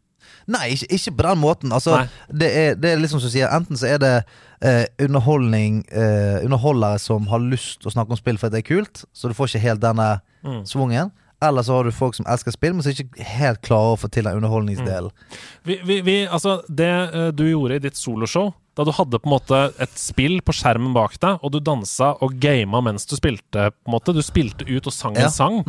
S1: Nei, ikke, ikke på den måten. Altså,
S6: Nei.
S1: det, er, det er liksom som du sier, enten så er det eh, underholdning eh, Underholdere som har lyst å snakke om spill fordi det er kult, så du får ikke helt denne Mm. svungen. Eller så har du folk som elsker spill, men som ikke helt klarer å få til den underholdningsdelen.
S6: Vi, vi, vi, altså, det eh, du gjorde i ditt soloshow, da du hadde på en måte et spill på skjermen bak deg, og du dansa og gama mens du spilte, på en måte. Du spilte ut og sang
S1: Ja.
S6: en sang.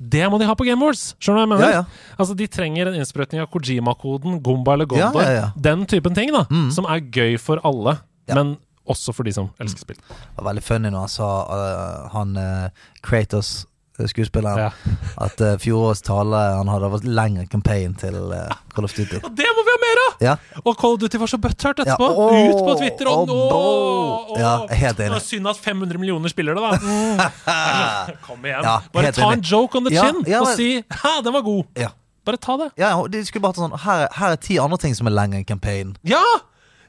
S6: Det må de ha på Game Awards! Skjønner du hva jeg
S1: Mm. Ja,
S6: mener?
S1: ja.
S6: Altså, De trenger en innsprøytning av Kojima-koden, Gomba eller Gondor.
S1: Ja, ja, ja.
S6: Den typen ting, da. Som er gøy for alle,
S1: Ja. Mm.
S6: men også for de som elsker spill.
S1: Det var veldig funny når han sa, eh, han eh, Kratos, eh, skuespilleren,
S6: Ja.
S1: at uh, fjorårets tale han hadde vært lengre campaign til eh, Call of Duty.
S6: Og det må vi ha mer av!
S1: Ja,
S6: Og Call of Duty var så butthurt
S1: Ja,
S6: etterpå.
S1: åh,
S6: Ut på Twitter og
S1: åh,
S6: nå!
S1: bo. Ja, jeg er helt
S6: Det
S1: enig.
S6: er synd at 500 millioner spiller det, da. Mm. Kom igjen.
S1: Ja,
S6: Bare
S1: helt
S6: ta en
S1: enig.
S6: joke on the
S1: Ja,
S6: chin
S1: ja,
S6: og
S1: men-
S6: si 'hæ, den var god'.
S1: ja.
S6: Bare ta det.
S1: ja de skulle bare hatt sånn her, er- her er ti andre ting som er lengre enn campaign.
S6: Ja!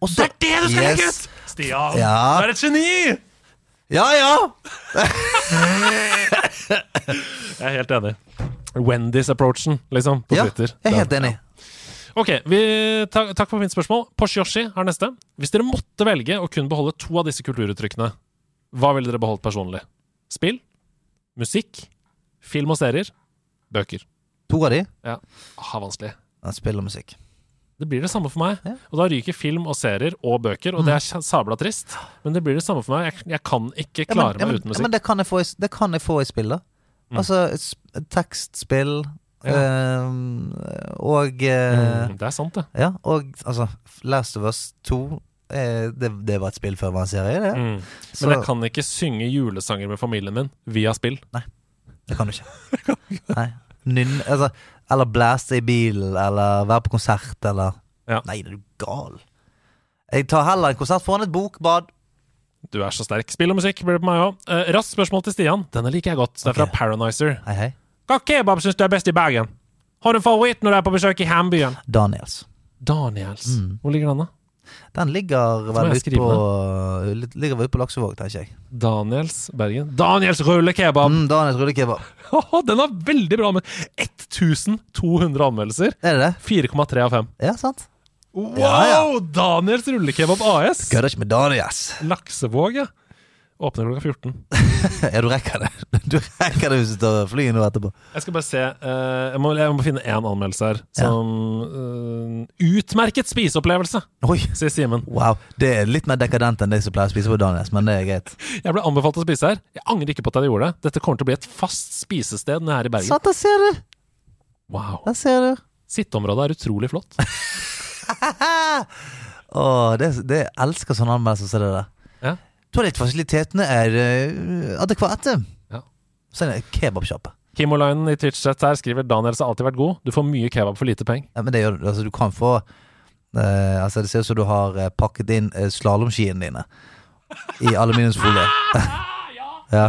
S1: Og
S6: Det
S1: så-
S6: er det du skal legge
S1: Yes.
S6: ut! Stian,
S1: Ja.
S6: du er et geni!
S1: Ja, ja!
S6: Jeg er helt enig. Wendys-approachen, liksom, på
S1: ja
S6: Twitter.
S1: jeg er helt enig.
S6: Ok, vi, takk, takk for fint spørsmål. Porsche Yoshi har neste. Hvis dere måtte velge å kun beholde to av disse kulturuttrykkene, hva ville dere beholdt personlig? Spill, musikk, film og serier, bøker.
S1: To av de
S6: Ja, ah, vanskelig.
S1: ja, spill og musikk.
S6: Det blir det samme for meg.
S1: Ja.
S6: Og da ryker film og serier og bøker, og det er sj- sabla trist. Men det blir det samme for meg. Jeg, jeg kan ikke
S1: Ja, men-
S6: klare
S1: ja, men, Ja,
S6: meg uten
S1: men
S6: musikk. Mm.
S1: det kan jeg få i, det kan jeg få i spill, da. Altså s- tekstspill
S6: Ja.
S1: ehm, og eh,
S6: Mm, det er sant, det.
S1: Ja, og altså Last of Us 2 eh, det, det var et spill før det var en serie, det.
S6: Mm.
S1: Så-
S6: Men jeg kan ikke synge julesanger med familien min via spill.
S1: Det kan du ikke. Nei. Nynn, altså, eller blaste i bilen, eller være på konsert, eller
S6: Ja.
S1: Nei, er du gal? Jeg tar heller en konsert foran et bokbad.
S6: Du er så sterk. Spill og musikk blir det på meg òg. Eh, raskt spørsmål til Stian. Denne liker jeg godt. Det er fra
S1: Ok.
S6: Paranizer.
S1: Hei, hei.
S6: Hva kebab syns du er best i Bergen? Har du en favoritt når du er på besøk i hjembyen?
S1: Daniels.
S6: Daniels.
S1: Mm.
S6: Hvor ligger den, da?
S1: Den ligger
S6: må
S1: vel
S6: jeg
S1: ute
S6: skrive
S1: på, eh, litt- ligger vel ut på Laksevåg, tenker jeg.
S6: Daniels Bergen. Daniels rullekebab!
S1: Mm, Daniels rullekebab.
S6: den har veldig bra med 1200 anmeldelser.
S1: Er det det?
S6: 4,3 av 5.
S1: Ja, sant?
S6: Wow!
S1: Ja,
S6: Daniels rullekebab AS!
S1: Kødder ikke med Daniels.
S6: Laksevåg, ja. Åpner klokka 14.
S1: Ja, du rekker det. Du rekker det hvis du tar flyet nå etterpå.
S6: Jeg skal bare se eh, jeg, må, jeg må finne én anmeldelse her. Som eh, Utmerket spiseopplevelse,
S1: Oi.
S6: sier Simen.
S1: Wow. Det er litt mer dekadent enn det som pleier å spise på Daniels, men det er greit.
S6: Jeg ble anbefalt å spise her. Jeg angrer ikke på at jeg gjorde det. Dette kommer til å bli et fast spisested når jeg er i Bergen.
S1: Sant, der ser du!
S6: Wow.
S1: Der ser du.
S6: Sitteområdet er utrolig flott.
S1: Åh, det, det jeg elsker sånne anmeldelser som det der.
S6: Ja.
S1: Toalettfasilitetene er eh, adekvate.
S6: Ja.
S1: Så er det kebabsjappe.
S6: Kimolainen i Twitch-chat her skriver Daniels har alltid vært god. Du får mye kebab for lite penger.
S1: Ja, men det gjør du. Altså, du kan få eh, Altså, det ser ut som du har eh, pakket inn uh, slalåmskiene dine i aluminiumsfolie. ja.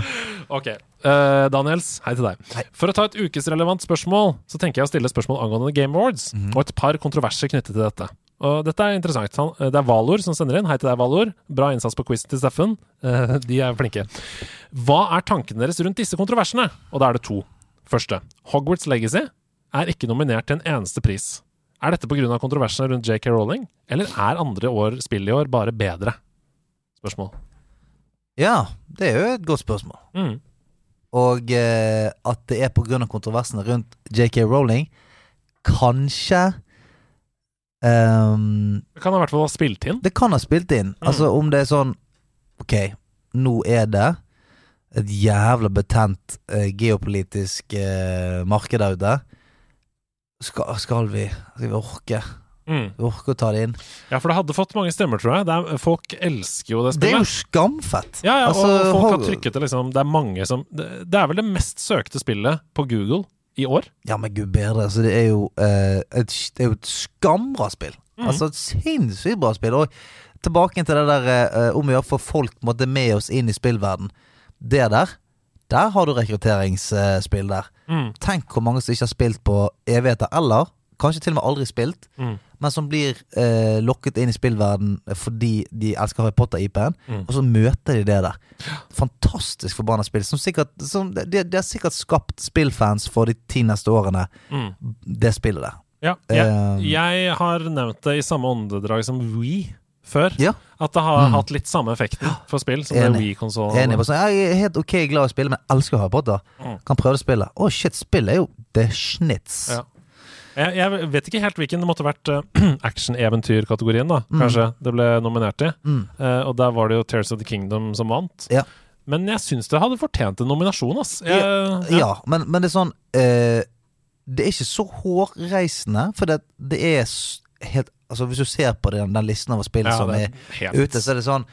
S6: Ok. Eh, Daniels, hei til deg.
S1: Hei.
S6: For å ta et ukesrelevant spørsmål, så tenker jeg å stille spørsmål angående Game Awards, og et par kontroverser knyttet til dette. Og dette er interessant. Han, eh, det er Valor som sender inn. Hei til deg, Valor. Bra innsats på quizen til Steffen. Eh, de er flinke. Hva er tankene deres rundt disse kontroversene? Og da er det to. Første. Hogwarts Legacy er ikke nominert til en eneste pris. Er dette pga. kontroversene rundt JK Rowling, eller er andre år spill i år bare bedre? Spørsmål.
S1: ja, det er jo et godt spørsmål.
S6: Mm.
S1: Og eh, at det er pga. kontroversene rundt JK Rowling, kanskje ehm,
S6: Det kan i hvert fall ha spilt inn.
S1: Det kan ha spilt inn. Altså om det er sånn Ok, nå er det et jævla betent eh, geopolitisk eh, marked der ute. Skal, skal vi Skal vi orke
S6: Mm.
S1: Orke å ta det inn?
S6: Ja, for det hadde fått mange stemmer, tror jeg. Det er, folk elsker jo det
S1: Det er jo
S6: spillet.
S1: skamfett!
S6: ja, ja,
S1: altså,
S6: og folk har
S1: hold-
S6: trykket det, liksom. Det er mange som Det, det er vel det mest søkte spillet på Google i år.
S1: Ja, men gud bedre. Altså, det er jo eh, et, det er jo et skambra spill.
S6: Mm.
S1: Altså et sinnssykt bra spill. Og tilbake til det der eh, om å gjøre å få folk på en måte, med oss inn i spillverden. Det der, der har du rekrutteringsspill der.
S6: Mm.
S1: Tenk hvor mange som ikke har spilt på evigheter, eller kanskje til og med aldri spilt,
S6: Mm.
S1: men som blir eh, lokket inn i spillverden eh, fordi de elsker Harry Potter-IP-en,
S6: Mm.
S1: og så møter de det der. Fantastisk forbanna spill. Som sikkert, som, det, det har sikkert skapt spillfans for de ti neste årene,
S6: Mm.
S1: det spillet der.
S6: Ja, jeg,
S1: Um,
S6: jeg har nevnt det i samme åndedrag som We før.
S1: Ja. Mm.
S6: At det har hatt litt samme effekten for spill som det
S1: Enig. Jeg er enig
S6: We-konsollen.
S1: på sånn, jeg er helt ok glad i å spille, men jeg elsker Harry Potter.
S6: Mm.
S1: Kan prøve det spillet. Å, shit, spillet er jo the schnitz.
S6: Ja. Jeg, jeg vet ikke helt hvilken det måtte vært eh, action-eventyr-kategorien, da. Kanskje det ble nominert i.
S1: Mm.
S6: Eh, og der var det jo Tears of the Kingdom som vant.
S1: Ja.
S6: Men jeg syns det hadde fortjent en nominasjon, ass. Jeg,
S1: Ja, men, men det er sånn eh, Det er ikke så hårreisende, for det, det er s- helt Altså, hvis du ser på den, den listen over spill
S6: Ja,
S1: som
S6: det
S1: er
S6: er helt
S1: ute, så er det sånn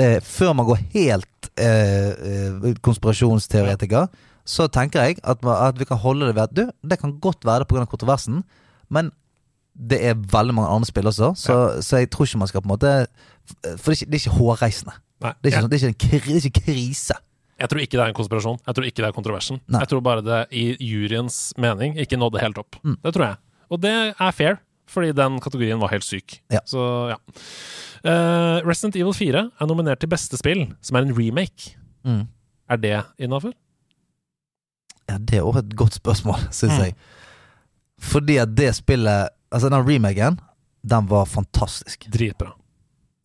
S1: eh, Før man går helt eh, eh, konspirasjonsteoretiker, så tenker jeg at, ma- at vi kan holde det ved at du, det kan godt være det pga. kontroversen, men det er veldig mange andre spill også, så, så jeg tror ikke man skal på en måte For det er ikke, det er ikke hårreisende.
S6: Nei,
S1: Det er ikke,
S6: jeg,
S1: sånn, det er ikke, en kri, det er ikke krise.
S6: jeg tror ikke det er en konspirasjon. Jeg tror ikke det er kontroversen.
S1: Nei.
S6: Jeg tror bare det i juryens mening ikke nådde helt opp.
S1: Mm.
S6: Det tror jeg. Og det er fair, fordi den kategorien var helt syk.
S1: Ja.
S6: Så ja. Eh, Resident Evil 4 er nominert til beste spill, som er en remake.
S1: Mm.
S6: Er det innafor?
S1: Ja, det er også et godt spørsmål, syns
S6: Mm.
S1: jeg. Fordi at det spillet Altså, den remaken, den var fantastisk.
S6: Dritbra.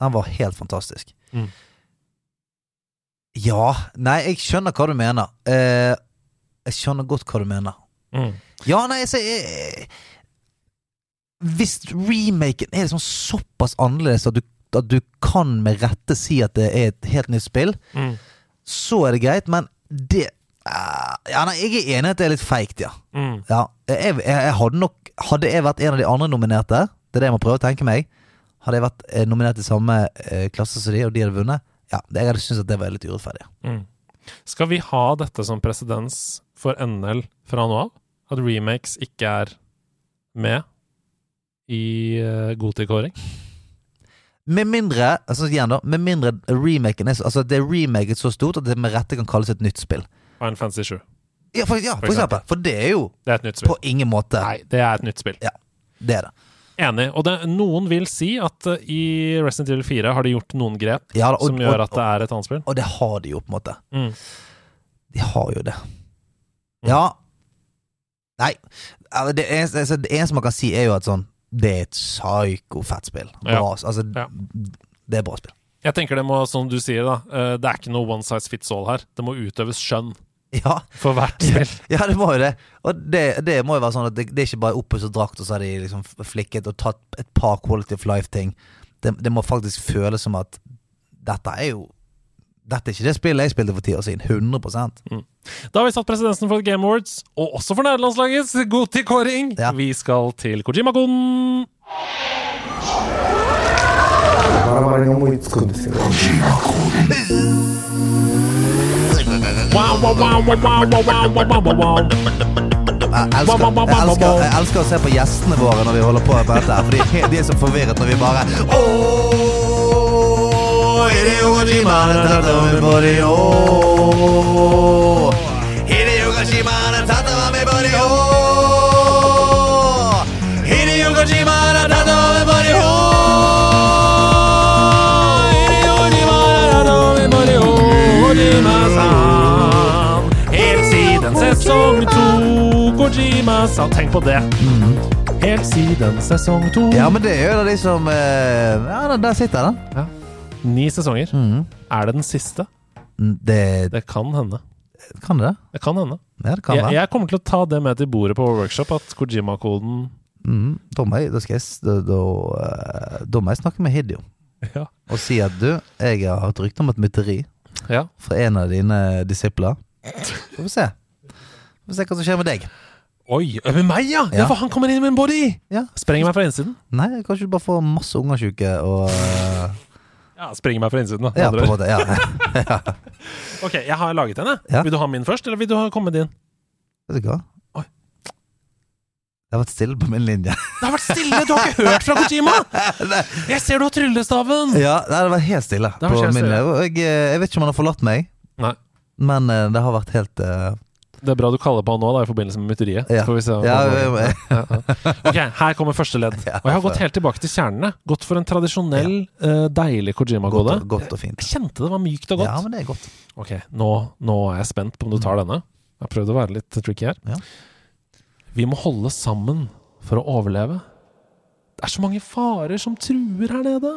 S1: Den var helt fantastisk.
S6: Mm.
S1: Ja Nei, jeg skjønner hva du mener. Eh, jeg skjønner godt hva du mener.
S6: Mm.
S1: Ja, nei, så eh, Hvis remaken er liksom såpass annerledes at du, at du kan med rette si at det er et helt nytt spill,
S6: Mm.
S1: så er det greit, men det eh, Ja, nei, jeg er enig i at det er litt feigt, ja.
S6: Mm.
S1: Ja, jeg, jeg, jeg hadde nok Hadde jeg vært en av de andre nominerte Det er det jeg må prøve å tenke meg Hadde jeg vært eh, nominert i samme eh, klasse som de Og de hadde vunnet Ja, det, jeg hadde syntes at det var litt urettferdig
S6: Mm. Skal vi ha dette som presedens for NL fra nå av? At remakes ikke er med i uh, godtilkåring?
S1: Med mindre Altså igjen da Med mindre remaken er så- Altså det er remaket så stort At det med rette kan kalles et nytt spill
S6: Final Fantasy 7.
S1: Ja, for, ja,
S6: For
S1: for eksempel For det er jo
S6: Det er et nytt spill.
S1: På ingen måte
S6: Nei, det er et nytt spill.
S1: Det er det
S6: Enig. Og det, noen vil si at eh, i Resident Evil 4 har de gjort noen grep
S1: ja, da, og,
S6: som gjør at
S1: og,
S6: det er et annet spill.
S1: og, og det har de jo på en måte
S6: Mm.
S1: De har jo det Ja Nei altså, det eneste, altså, det eneste man kan si er jo at sånn Det er et psyko-fett spill Bra,
S6: Ja.
S1: altså,
S6: Ja.
S1: Det er bra spill
S6: Jeg tenker det må, som du sier, da, eh, det er ikke noe one size fits all her. Det må utøves skjønn
S1: ja,
S6: for hvert spill.
S1: ja, det må jo det Og det, det må jo være sånn at det, det er ikke bare oppus og drakt Og så har de liksom flikket og tatt et par quality of life ting Det, det må faktisk føles som at Dette er jo Dette er ikke det spillet jeg spilte for 10 år siden 100%
S6: Da har vi satt presedensen for Game Awards, og også for nederlandslagets godtilkåring.
S1: Ja.
S6: Vi skal til Kojima-konen.
S8: Trabalham muito escudo, senhor.
S6: Wow, wow, wow, wow, wow, wow, wow, wow, wow, wow.
S1: jeg elsker, jeg, elsker, jeg elsker å se på gjestene våre når vi holder på med dette her, For de er, helt- de er så forvirret når vi bare Åh, Hideo Kojima han har tatt over min body, åh. Hideo Kojima han har tatt over min body, åh. Hideo Kojima han har tatt over min body, åh. Hideo Kojima han har tatt over min body, åh.
S6: Kojima-san. Helt siden sesong to, Kojima-san. Tenk på det. Helt siden sesong to.
S1: Mm. Ja, men det er jo en av de som eh, Ja, den- der sitter den.
S6: Ni sesonger. Er det den siste?
S1: Mm. Det,
S6: Det kan hende.
S1: kan det det?
S6: Det kan hende.
S1: Ja, det kan
S6: jeg,
S1: være.
S6: jeg kommer til å ta det med til bordet på workshop, at Kojima-koden
S1: Mm, da, må jeg, da, skal jeg, s- da, da, eh, da må jeg snakke med Hideo
S6: Ja.
S1: og si at du, jeg har hørt rykte om et mytteri
S6: ja.
S1: fra en av dine disipler. Får vi se. Får vi se hva som skjer med deg.
S6: Oi, med meg, ja!
S1: Ja.
S6: ja. for han kommer inn i min body!
S1: Ja.
S6: Sprenger meg fra innsiden.
S1: Nei, kanskje du bare får masse ungersjuke og eh,
S6: Ja, sprenger meg fra innsiden, da.
S1: Ja, på
S6: Andre
S1: en
S6: ord.
S1: måte. Ja.
S6: Ok, jeg har laget en, jeg.
S1: Ja.
S6: Vil du ha min først, eller vil du ha komme din?
S1: Vet du hva?
S6: Oi.
S1: Det har vært stille på min linje.
S6: Det har vært stille! Du har ikke hørt fra Kojima! Jeg ser du har tryllestaven!
S1: Ja, det har vært helt stille
S6: har
S1: på
S6: vært helt
S1: min
S6: stille.
S1: linje. Og Jeg, eh, jeg vet ikke om han har forlatt meg,
S6: Nei.
S1: men eh, det har vært helt eh,
S6: Det er bra du kaller på han nå, da, i forbindelse med mytteriet. Så
S1: Ja.
S6: Får vi se.
S1: Ja,
S6: hva-
S1: eh,
S6: Ok, her kommer første ledd. Og jeg har gått helt tilbake til kjernene. Gått for en tradisjonell, eh, deilig
S1: godt,
S6: Kojima-kode.
S1: og, godt og fint.
S6: Jeg kjente det var mykt og godt.
S1: Ja, men det er godt.
S6: Ok, nå, nå er jeg spent på om du tar denne. Jeg har prøvd å være litt tricky her.
S1: Mm. Ja.
S6: Vi må holde sammen for å overleve. Det er så mange farer som truer her nede.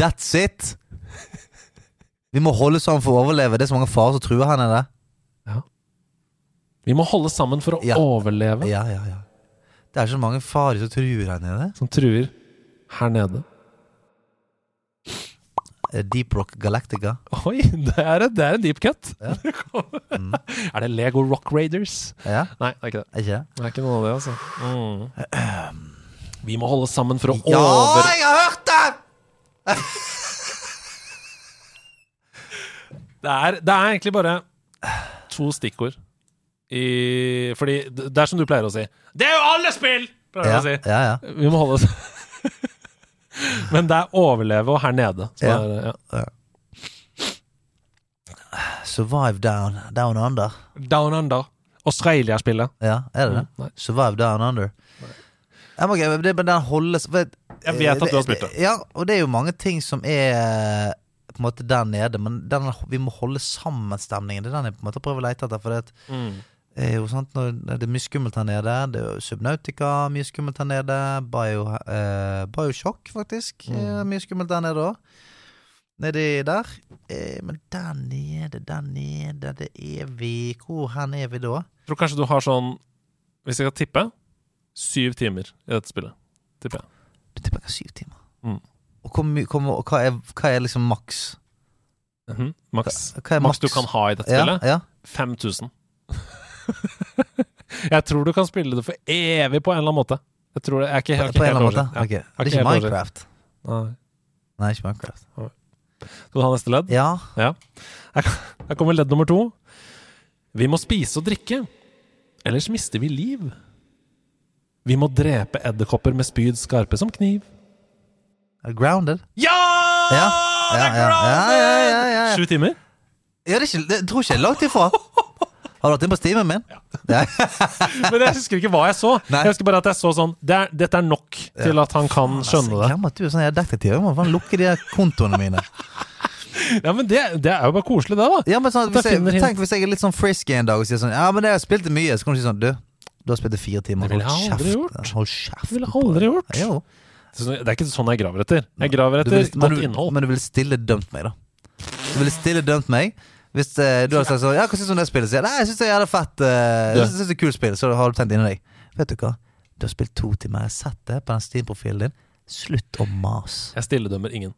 S1: That's it! Vi må holde sammen for å overleve. Det er så mange farer som truer her nede.
S6: Vi må holde sammen for å
S1: Ja.
S6: overleve.
S1: Ja, ja, ja. Det er så mange farer som truer her nede.
S6: Som truer her nede.
S1: Eh, Deep Rock Galactica.
S6: Oi, det er, det er en deep cut.
S1: Ja. Mm.
S6: Er det Lego Rock Raiders?
S1: Ja,
S6: Nei, det er ikke det.
S1: er ikke det?
S6: Det er ikke noe av det, altså. Mm. Vi må holde sammen for å
S1: Ja,
S6: over...
S1: jeg har hørt det!
S6: Det er, det er egentlig bare to stikkord. I, fordi det det er som du pleier å si. Det er jo alle spill! Pleier
S1: Ja,
S6: jeg å si.
S1: ja, ja.
S6: Vi må holde oss Men det er overleve og her nede. som
S1: Ja.
S6: Er, ja.
S1: Survive down, down under.
S6: Down under. Australia-spillet.
S1: Ja, er det det?
S6: Mm, nei.
S1: Survive down under. Ja, men, ok, men det, men den holdes for,
S6: Jeg vet at du har spilt det.
S1: Ja, og Eh, det er jo mange ting som er eh, på en måte der nede, men den, vi må holde sammen stemningen. Det er den jeg på en måte prøver å lete etter. For det at-
S6: Mm.
S1: det er jo sant, når det er mye skummelt her nede. Det er jo Subnautica, mye skummelt her nede. Bio, eh, Bioshock, faktisk.
S6: Mm.
S1: eh, mye skummelt der nede òg. Nedi der. Eh, men der nede, der nede, det er vi. Hvor hen er vi da?
S6: Jeg tror kanskje du har sånn Hvis jeg skal tippe syv timer i dette spillet. Tipper jeg.
S1: Du tipper jeg syv timer.
S6: Mm.
S1: Og, hvor mye- hvor mye- og hva, er, hva er liksom maks?
S6: Mhm. Maks.
S1: Hva er
S6: Maks du kan ha i dette spillet.
S1: Ja, ja.
S6: 5000. jeg tror du kan spille det for evig på en eller annen måte. Jeg tror det, jeg er ikke, jeg er ikke
S1: på en
S6: helt
S1: eller annen måte?
S6: oversikt. Ja.
S1: Ok. Det
S6: har
S1: er
S6: ikke
S1: ikke
S6: helt
S1: Minecraft?
S6: Nei.
S1: Nei, ikke Minecraft.
S6: Skal du ha neste ledd?
S1: Ja.
S6: Her kommer ledd nummer to. Vi må spise og drikke, ellers mister vi liv. Vi må drepe edderkopper med spyd skarpe som kniv.
S1: Grounded?
S6: Ja!
S1: Ja,
S6: Det
S1: ja,
S6: er
S1: ja, ja,
S6: grounded!
S1: ja, ja, ja, ja.
S6: Sju timer?
S1: ja det, er ikke, det tror ikke jeg er langt ifra. Har du vært inne på steamen min? Ja.
S6: Men jeg husker ikke hva jeg så.
S1: Nei.
S6: Jeg husker bare at jeg så sånn det er, Dette er nok til at han kan skjønne det.
S1: Jeg glemmer at du er sånn jeg er detektiv. Jeg må faen lukke de der kontoene mine.
S6: Ja, men det, det er jo bare koselig, det, da.
S1: Ja, men sånn,
S6: Da
S1: hvis jeg,
S6: finner jeg-
S1: tenk hvis jeg er litt sånn frisky en dag og sier sånn Ja, men jeg har spilt det mye. Så kan du si sånn Du, du har spilt det fire timer.
S6: Det ville
S1: Hold
S6: jeg aldri
S1: kjeft. Hold kjeft.
S6: Det ville jeg aldri gjort.
S1: Jo.
S6: Så Det er ikke sånn jeg graver etter. Jeg graver
S1: Du
S6: etter
S1: ville- men,
S6: godt
S1: du-
S6: innhold.
S1: men du ville stille dømt meg, da. Du ville stille dømt meg. Hvis eh, du hadde sagt sånn Ja, hva syns du om det spillet? Så jeg, Nei, jeg syns det er jævla fett. eh,
S6: Ja.
S1: jeg syns det er kult spill. Så har du tenkt inni deg. Vet du hva? Du har spilt to timer. Jeg har sett det på den Steam-profilen din. Slutt å mase.
S6: Jeg stilledømmer ingen.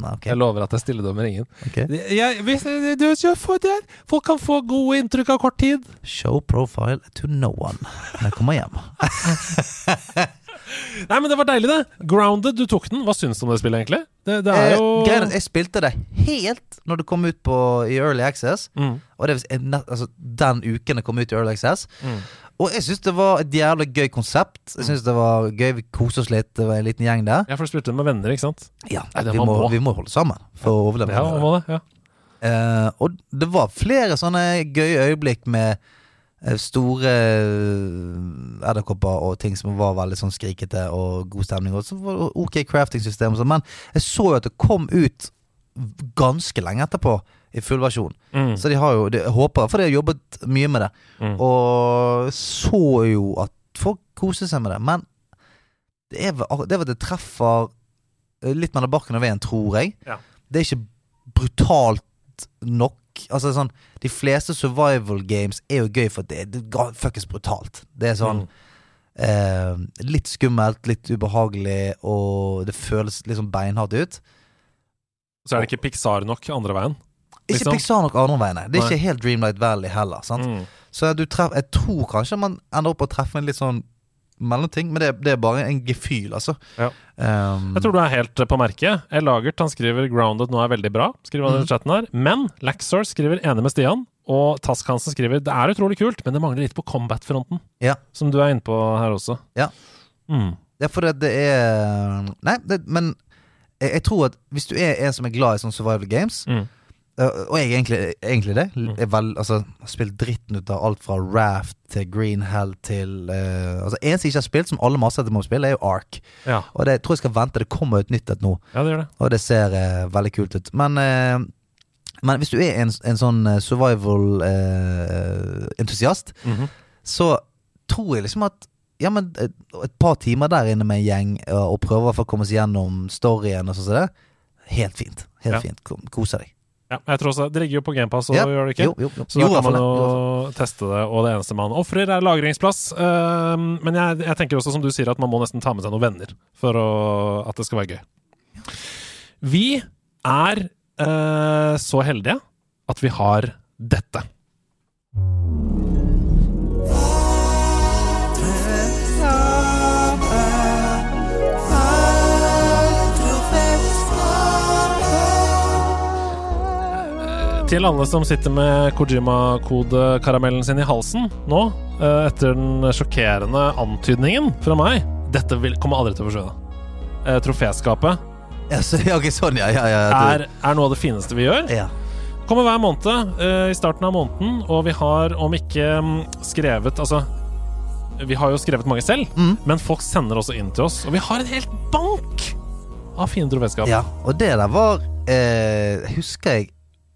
S1: Nei, ok.
S6: Jeg lover at jeg stilledømmer ingen.
S1: ok.
S6: Jeg, hvis, du, du får det. Folk kan få gode inntrykk av kort tid.
S1: Show profile to no one når jeg kommer hjem.
S6: Nei, men Det var deilig, det. Grounded, du tok den. Hva syns du om det spillet, egentlig? Det, det er
S1: Eh,
S6: jo
S1: greien er at jeg spilte det helt når det kom ut på, i Early Access.
S6: mm.
S1: Og det vil si, eh, nett- altså, den uken det kom ut i Early Access.
S6: Mm.
S1: Og jeg syns det var et jævlig gøy konsept. Jeg synes det var gøy, Vi koste oss litt, det var en liten gjeng der.
S6: Ja, for du spilte den med venner, ikke sant?
S1: Ja,
S6: Nei, det
S1: vi,
S6: var
S1: må,
S6: bra.
S1: vi må holde sammen for å overleve.
S6: Ja, hva var det? Ja.
S1: Eh, og det var flere sånne gøye øyeblikk med eh, store eh, edderkopper og ting som var veldig sånn skrikete og god stemning. Og så var det ok crafting-system og sånn, men jeg så jo at det kom ut ganske lenge etterpå i full versjon.
S6: Mm.
S1: Så de har jo, de jeg håper, for de har jobbet mye med det.
S6: Mm.
S1: Og så jo at folk koser seg med det. Men det er vel ak- det, er vel at det treffer eh, litt mellom barken og veien, tror jeg.
S6: Ja.
S1: Det er ikke brutalt nok. Altså sånn, De fleste survival games er jo gøy, for det er ga- fuckings brutalt. Det er
S6: Mm.
S1: sånn eh, Litt skummelt, litt ubehagelig, og det føles litt sånn beinhardt ut.
S6: Så er det ikke Pixar nok andre veien.
S1: Ikke
S6: Liksom.
S1: Pixar nok andre veiene. Det er
S6: Nei.
S1: ikke helt Dreamlight Valley heller. sant?
S6: Mm.
S1: Så du treff, jeg tror kanskje man ender opp å treffe en litt sånn mellomting, men det, det er bare en gefühl, altså.
S6: Ja.
S1: Ehm,
S6: Jeg tror du er helt eh, på merket. El Lagert han skriver 'Grounded nå er veldig bra', skriver
S1: Mm.
S6: han i chatten her. Men Laxor skriver 'enig med Stian', og Task Hansen skriver 'det er utrolig kult, men det mangler litt på combat-fronten'.
S1: Ja.
S6: Som du er inne på her også.
S1: Ja.
S6: Mm.
S1: det er fordi at det er Nei, det, men jeg, jeg tror at hvis du er en som er glad i sånne sånn survival games,
S6: Mm.
S1: Eh, Og jeg er egentlig, egentlig det. Jeg er vel, altså, har spilt dritten ut av alt fra Raft til Green Hell til eh, Altså, En som ikke har spilt, som alle maser etter må spille, er jo Ark.
S6: Ja.
S1: Og det jeg tror jeg skal vente. Det kommer et nytt et nå,
S6: ja, det gjør det.
S1: og det ser eh, veldig kult ut. Men, eh, men hvis du er en, en sånn survival-entusiast,
S6: Mhm.
S1: så tror jeg liksom at ja, men et, et par timer der inne med en gjeng eh, og prøver i hvert fall å komme seg gjennom storyen og sånn som det, helt fint. Helt
S6: Ja.
S1: fint. Kom- Kose deg.
S6: Ja, jeg tror også, Det ligger jo på GamePass, og
S1: Ja,
S6: gjør det ikke?
S1: Jo, jo, jo.
S6: Så da
S1: Jo, i
S6: kan
S1: hvert
S6: man
S1: fall det. Jo, i hvert fall.
S6: jo teste det, og det eneste man ofrer, er lagringsplass. Ehm, men jeg, jeg tenker også, som du sier, at man må nesten ta med seg noen venner for å, at det skal være gøy. Vi er eh, så heldige at vi har dette. Til alle som sitter med Kojima-kodekaramellen sin i halsen nå, eh, etter den sjokkerende antydningen fra meg Dette vil, kommer aldri til å forsvinne. Eh, Troféskapet
S1: Ja, så, ja, ok, sånn, ja. ja, ja du-
S6: er, er noe av det fineste vi gjør.
S1: ja.
S6: Kommer hver måned eh, i starten av måneden, og vi har om ikke mm, skrevet Altså, vi har jo skrevet mange selv,
S1: Mm.
S6: men folk sender også inn til oss. Og vi har en helt bank av fine troféskap.
S1: ja. Og det der var eh, Husker jeg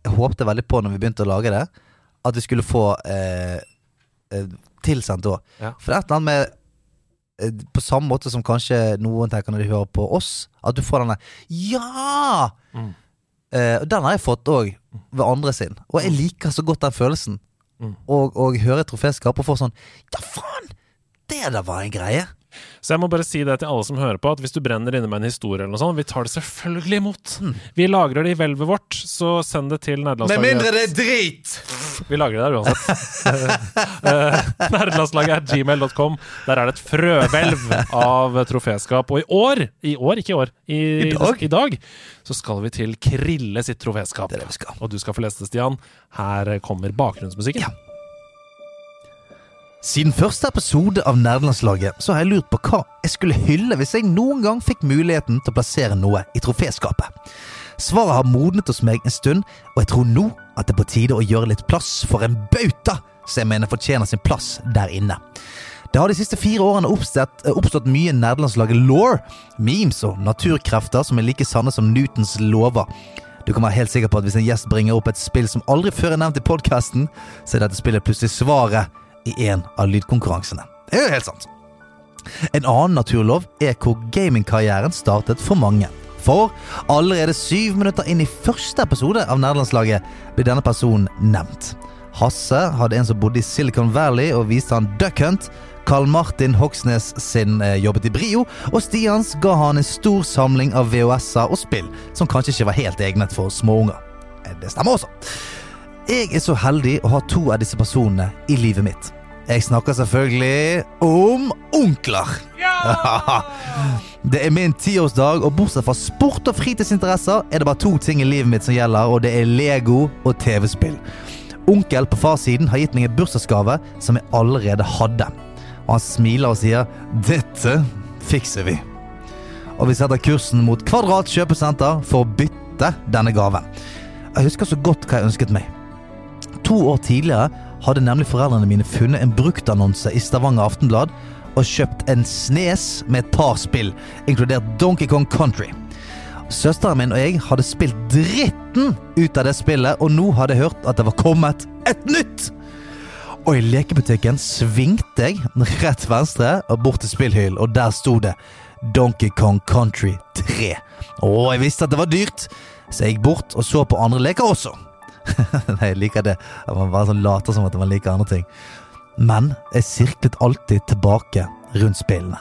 S1: Jeg håpte veldig på når vi begynte å lage det, at vi skulle få eh, eh, tilsendt òg.
S6: Ja.
S1: For det er et eller annet med eh, på samme måte som kanskje noen tenker når de hører på oss, at du får denne 'ja!'
S6: Mm.
S1: Eh, og den har jeg fått òg, ved andre sin. Og jeg liker så godt den følelsen.
S6: Mm.
S1: Og, og høre et troféskap og få sånn 'ja, faen! Det der var en greie'.
S6: Så jeg må bare si det til alle som hører på, at hvis du brenner inne med en historie eller noe sånt, vi tar det selvfølgelig imot.
S1: Mm.
S6: Vi lagrer det i hvelvet vårt, så send det til nederlandslaget.
S1: det er drit!
S6: Vi lagrer det der uansett. Eh, Nerdelandslaget er gmail.com. Der er det et frøhvelv av troféskap. Og i år, i år, ikke i år, i,
S1: I dag?
S6: i dag så skal vi til Krille sitt troféskap.
S1: Det er det vi skal.
S6: Og du skal få lese det, Stian. Her kommer bakgrunnsmusikken.
S1: Ja. Siden første episode av Nerdelandslaget så har jeg lurt på hva jeg skulle hylle hvis jeg noen gang fikk muligheten til å plassere noe i troféskapet. Svaret har modnet hos meg en stund, og jeg tror nå at det er på tide å gjøre litt plass for en bauta som jeg mener fortjener sin plass der inne. Det har de siste fire årene oppstått, eh, oppstått mye nerdelandslaget-law, memes og naturkrefter som er like sanne som Newtons lover. Du kan være helt sikker på at hvis en gjest bringer opp et spill som aldri før er nevnt i podkasten, så er dette spillet plutselig svaret i en av lydkonkurransene. Det er jo helt sant. En annen naturlov er hvor gamingkarrieren startet for mange. For allerede syv minutter inn i første episode av Nerdelandslaget blir denne personen nevnt. Hasse hadde en som bodde i Silicon Valley og viste han Duck Hunt. Carl Martin Hoksnes sin eh, jobbet i Brio, og Stians ga han en stor samling av VHS-er og spill, som kanskje ikke var helt egnet for småunger. Eh, Det stemmer også. Jeg er så heldig å ha to av disse personene i livet mitt. Jeg snakker selvfølgelig om onkler. det er min tiårsdag, og bortsett fra sport og fritidsinteresser er det bare to ting i livet mitt som gjelder, og det er Lego og TV-spill. Onkel på farssiden har gitt meg en bursdagsgave som jeg allerede hadde. Og han smiler og sier 'Dette fikser vi'. Og vi setter kursen mot Kvadrat kjøpesenter for å bytte denne gaven. Jeg husker så godt hva jeg ønsket meg. To år tidligere hadde nemlig foreldrene mine funnet en bruktannonse i Stavanger Aftenblad og kjøpt en snes med et par spill, inkludert Donkey Kong Country. Søsteren min og jeg hadde spilt dritten ut av det spillet, og nå hadde jeg hørt at det var kommet et nytt! Og i lekebutikken svingte jeg rett venstre og bort til spillhyllen, og der sto det Donkey Kong Country 3. Og jeg visste at det var dyrt, så jeg gikk bort og så på andre leker også. Nei, jeg liker det. At man bare sånn later som at man liker andre ting. Men jeg sirklet alltid tilbake rundt spillene.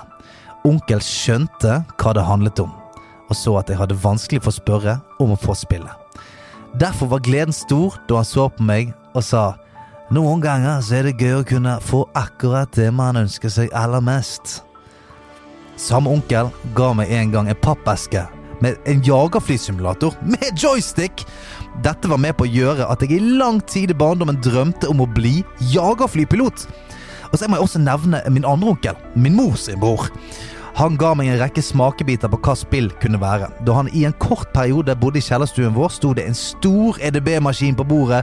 S1: Onkel skjønte hva det handlet om, og så at jeg hadde vanskelig for å spørre om å få spillet. Derfor var gleden stor da han så på meg og sa noen ganger så er det gøy å kunne få akkurat det man ønsker seg aller mest. Samme onkel ga meg en gang en pappeske med en jagerflysimulator med joystick. Dette var med på å gjøre at jeg i lang tid i barndommen drømte om å bli jagerflypilot. Og så må jeg også nevne min andre onkel, min mors bror. Han ga meg en rekke smakebiter på hva spill kunne være. Da han i en kort periode bodde i kjellerstuen vår, sto det en stor EDB-maskin på bordet,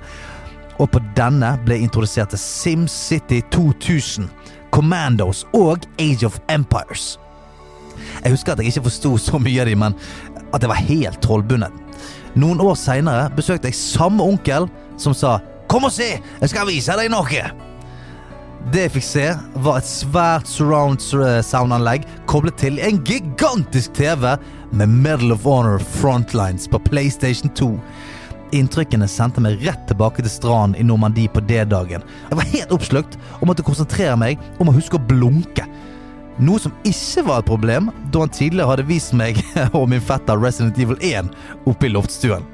S1: og på denne ble introdusert til SimCity 2000, Commandos og Age of Empires. Jeg husker at jeg ikke forsto så mye av de, men at jeg var helt trollbundet. Noen år seinere besøkte jeg samme onkel som sa 'Kom og se, jeg skal vise deg noe'. Det jeg fikk se, var et svært surround sur- sound-anlegg koblet til en gigantisk TV med Medal of Honor Frontlines på PlayStation 2. Inntrykkene sendte meg rett tilbake til stranden i Normandie på D-dagen. Jeg var helt oppslukt og måtte konsentrere meg om å huske å blunke. Noe som ikke var et problem, da han tidligere hadde vist meg og min fetter Resident Evil 1 oppe i loftstuen.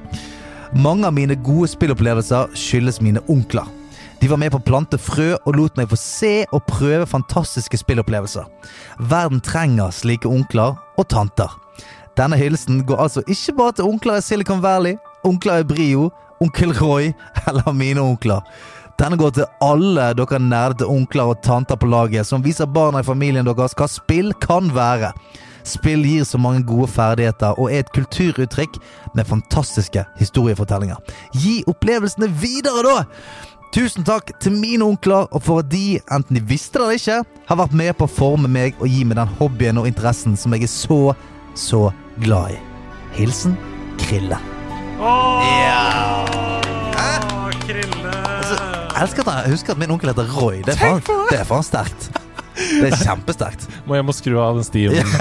S1: Mange av mine gode spillopplevelser skyldes mine onkler. De var med på å plante frø og lot meg få se og prøve fantastiske spillopplevelser. Verden trenger slike onkler og tanter. Denne hylsen går altså ikke bare til onkler i Silicon Valley, onkler i Brio, onkel Roy eller mine onkler. Denne går til alle dere nerdete onkler og tanter på laget som viser barna i familien deres hva spill kan være. Spill gir så mange gode ferdigheter og er et kulturuttrykk med fantastiske historiefortellinger. Gi opplevelsene videre, da! Tusen takk til mine onkler, og for at de, enten de visste det eller ikke, har vært med på å forme meg og gi meg den hobbyen og interessen som jeg er så, så glad i. Hilsen Krille. Ja. Jeg elsker at jeg husker at min onkel heter Roy. Det er faen, det er faen sterkt. Det er kjempesterkt.
S6: Må jeg må skru av den stien.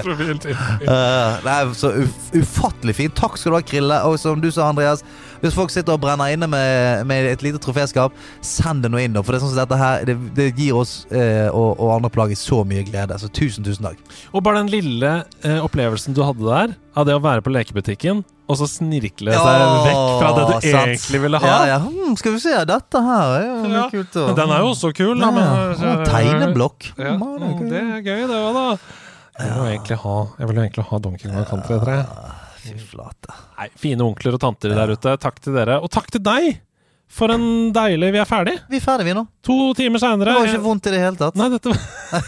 S6: Profil til.
S1: Eh, nei, så uf ufattelig fint. Takk skal du ha, Krille. Og som du sa, Andreas, hvis folk sitter og brenner inne med, med et lite troféskap, send det nå inn. da, For det, er sånn som dette her, det, det gir oss eh, og, og andre plaget så mye glede. Så tusen, tusen takk.
S6: Og bare den lille eh, opplevelsen du hadde der, av det å være på lekebutikken, og så snirkle seg vekk fra det du
S1: sant.
S6: egentlig ville ha.
S1: Ja, ja. Hmm, skal vi se, dette her er jo mye
S6: Ja,
S1: kult. å-
S6: Den er jo også kul,
S1: Ja,
S6: da. men-
S1: ja. Å, Tegneblokk.
S6: Ja, Mm,
S1: Hmm, det er kult.
S6: det er gøy, det òg, da. Jeg vil jo egentlig ha, jeg vil jo egentlig ha Donkey Kong Country 3.
S1: Fy flate.
S6: Nei, fine onkler og tanter der ute. Takk til dere. Og takk til deg! For en deilig Vi er ferdig.
S1: Vi er ferdige, vi nå.
S6: To timer
S1: Det
S6: seinere.
S1: var ikke vondt i det hele tatt.
S6: Nei, dette var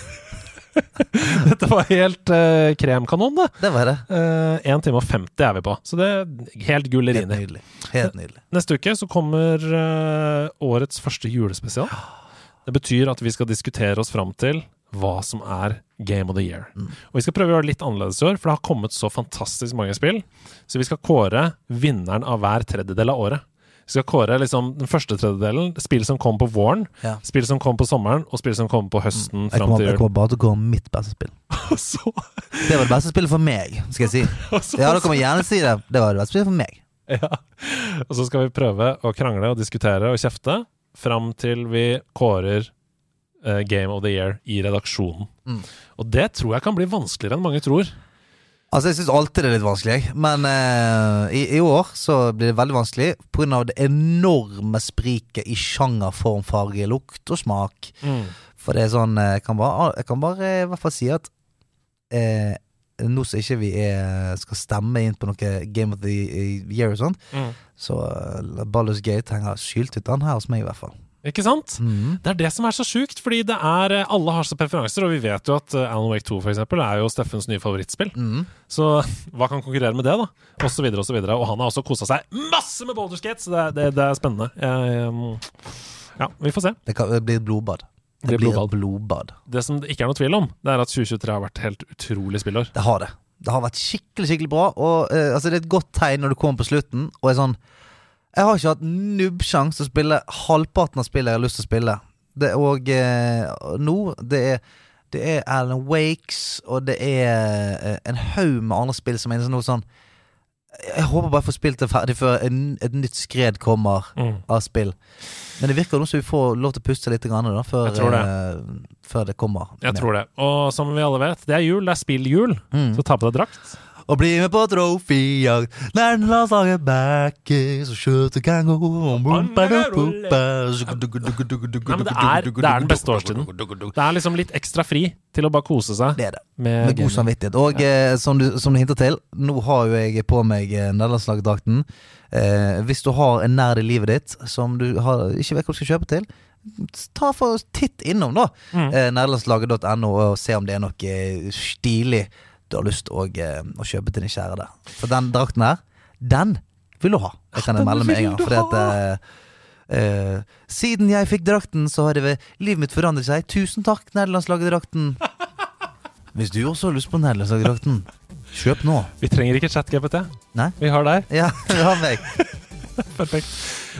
S6: Dette var helt eh, kremkanon, det.
S1: Det var det.
S6: Eh, 1 time og 50 er vi på, så det er helt
S1: Helt
S6: gullerine.
S1: nydelig. Helt nydelig.
S6: Neste uke så kommer eh, årets første julespesial. Det betyr at vi skal diskutere oss fram til hva som er Game of the Year.
S1: Mm.
S6: Og vi skal prøve å gjøre det litt annerledes i år, for det har kommet så fantastisk mange spill. Så vi skal kåre vinneren av hver tredjedel av året. Vi skal kåre liksom den første tredjedelen, spill som kom på våren,
S1: Ja.
S6: spill som kom på sommeren, og spill som kom på høsten
S1: Mm. Jeg
S6: fram
S1: kommer,
S6: til
S1: jeg
S6: jul.
S1: kommer bare til å gå om mitt beste spill.
S6: Og så,
S1: Det var det beste spillet for meg, skal jeg si.
S6: og så,
S1: Ja, dere må gjerne si det. Det var det beste spillet for meg.
S6: Ja. Og så skal vi prøve å krangle og diskutere og kjefte fram til vi kårer eh, Game of the Year i redaksjonen.
S1: Mm.
S6: Og det tror jeg kan bli vanskeligere enn mange tror.
S1: Altså, Jeg syns alltid det er litt vanskelig, jeg. men eh, i, i år så blir det veldig vanskelig pga. det enorme spriket i sjanger, form, farge, lukt og smak. For det er sånn eh, Jeg kan bare, jeg kan bare eh, i hvert fall si at eh, nå som ikke vi er, skal stemme inn på noe Game of the eh, Year og sånt,
S6: Mm.
S1: så eh, Baldur's Gate henger skylt ut an her hos meg, i hvert fall.
S6: Ikke sant?
S1: Mhm.
S6: Det er det som er så sjukt, fordi det er, eh, alle har så preferanser, og vi vet jo at eh, Alan Wake 2 for eksempel, er jo Steffens nye favorittspill.
S1: Mhm.
S6: Så hva kan konkurrere med det, da? Og så videre og så videre. Og han har også kosa seg masse med Boulder Skate, så det, er- det, det er spennende. Jeg, eh, ja, vi får se.
S1: Det, kan, det blir et blodbad. Det,
S6: Det blir
S1: blir et blodbad.
S6: Det som det ikke er noe tvil om, det er at 2023 har vært helt utrolig spillår.
S1: Det har det. Det har vært skikkelig, skikkelig bra. Og eh, altså, Det er et godt tegn når du kommer på slutten og er sånn Jeg har ikke hatt nubbsjanse til å spille halvparten av spillet jeg har lyst til å spille. Det, og eh, nå det er, det er Alan Wakes, og det er eh, en haug med andre spill som er inne, så noe sånn Jeg håper bare jeg får spilt det ferdig før en, et nytt skred kommer av spill. Men det virker nå som vi får lov til å puste litt grann, da, før,
S6: Jeg tror
S1: eh, før det kommer.
S6: Jeg tror det. Og som vi alle vet, det er jul, det er spilljul.
S1: Mm.
S6: Så ta på deg drakt.
S1: Og bli med på troféjakt når landslaget backer, så skjøtet kan gå om bumpa-dumpa.
S6: Nei, men det er, det er den beste årstiden. Det er liksom litt ekstra fri til å bare kose seg.
S1: Det er det.
S6: Med,
S1: Med god
S6: gaming.
S1: samvittighet. Og eh, som, du, som du hinter til, nå har jo jeg på meg eh, nederlandslagdrakten. Eh, hvis du har en nerd i livet ditt som du har, ikke vet hva du skal kjøpe til, ta for titt innom, da.
S9: Mm.
S1: eh, Nederlandslaget.no, og se om det er noe eh, stilig du har lyst å, eh, å kjøpe til din kjære der. For den drakten her, den vil du ha. Det kan jeg
S9: den
S1: melde med en
S9: vil
S1: gang.
S9: du
S1: Fordi at, eh, eh, siden jeg fikk drakten, så har det- livet mitt forandret seg. Tusen takk, Nederlandslaget-drakten. Hvis du også har lyst på Nederlandslaget-drakten, kjøp nå.
S6: Vi trenger ikke ChatGPT.
S1: Nei.
S6: Vi har deg.
S1: Ja, ha meg.
S6: Perfekt.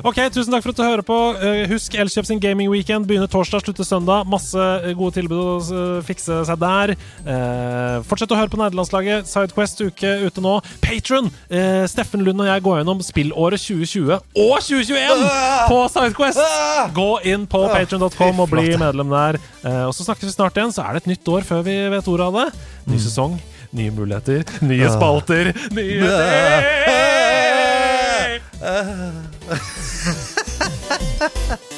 S6: Ok, Tusen takk for at du hører på. Eh, Husk Elkjøp sin gaming weekend. Begynner torsdag, slutter søndag. Masse eh, gode tilbud å eh, fikse seg der. Eh, Fortsett å høre på Nerdelandslaget. Sidequest uke ute nå. Patron! Steffen Lund og jeg går gjennom spillåret 2020 og 2021
S1: Ah!
S6: på Sidequest! Gå inn på patron.com og bli medlem der. Eh, Og så snakkes vi snart igjen, så er det et nytt år før vi vet ordet av det. Ny sesong, nye muligheter, nye spalter, nye ting!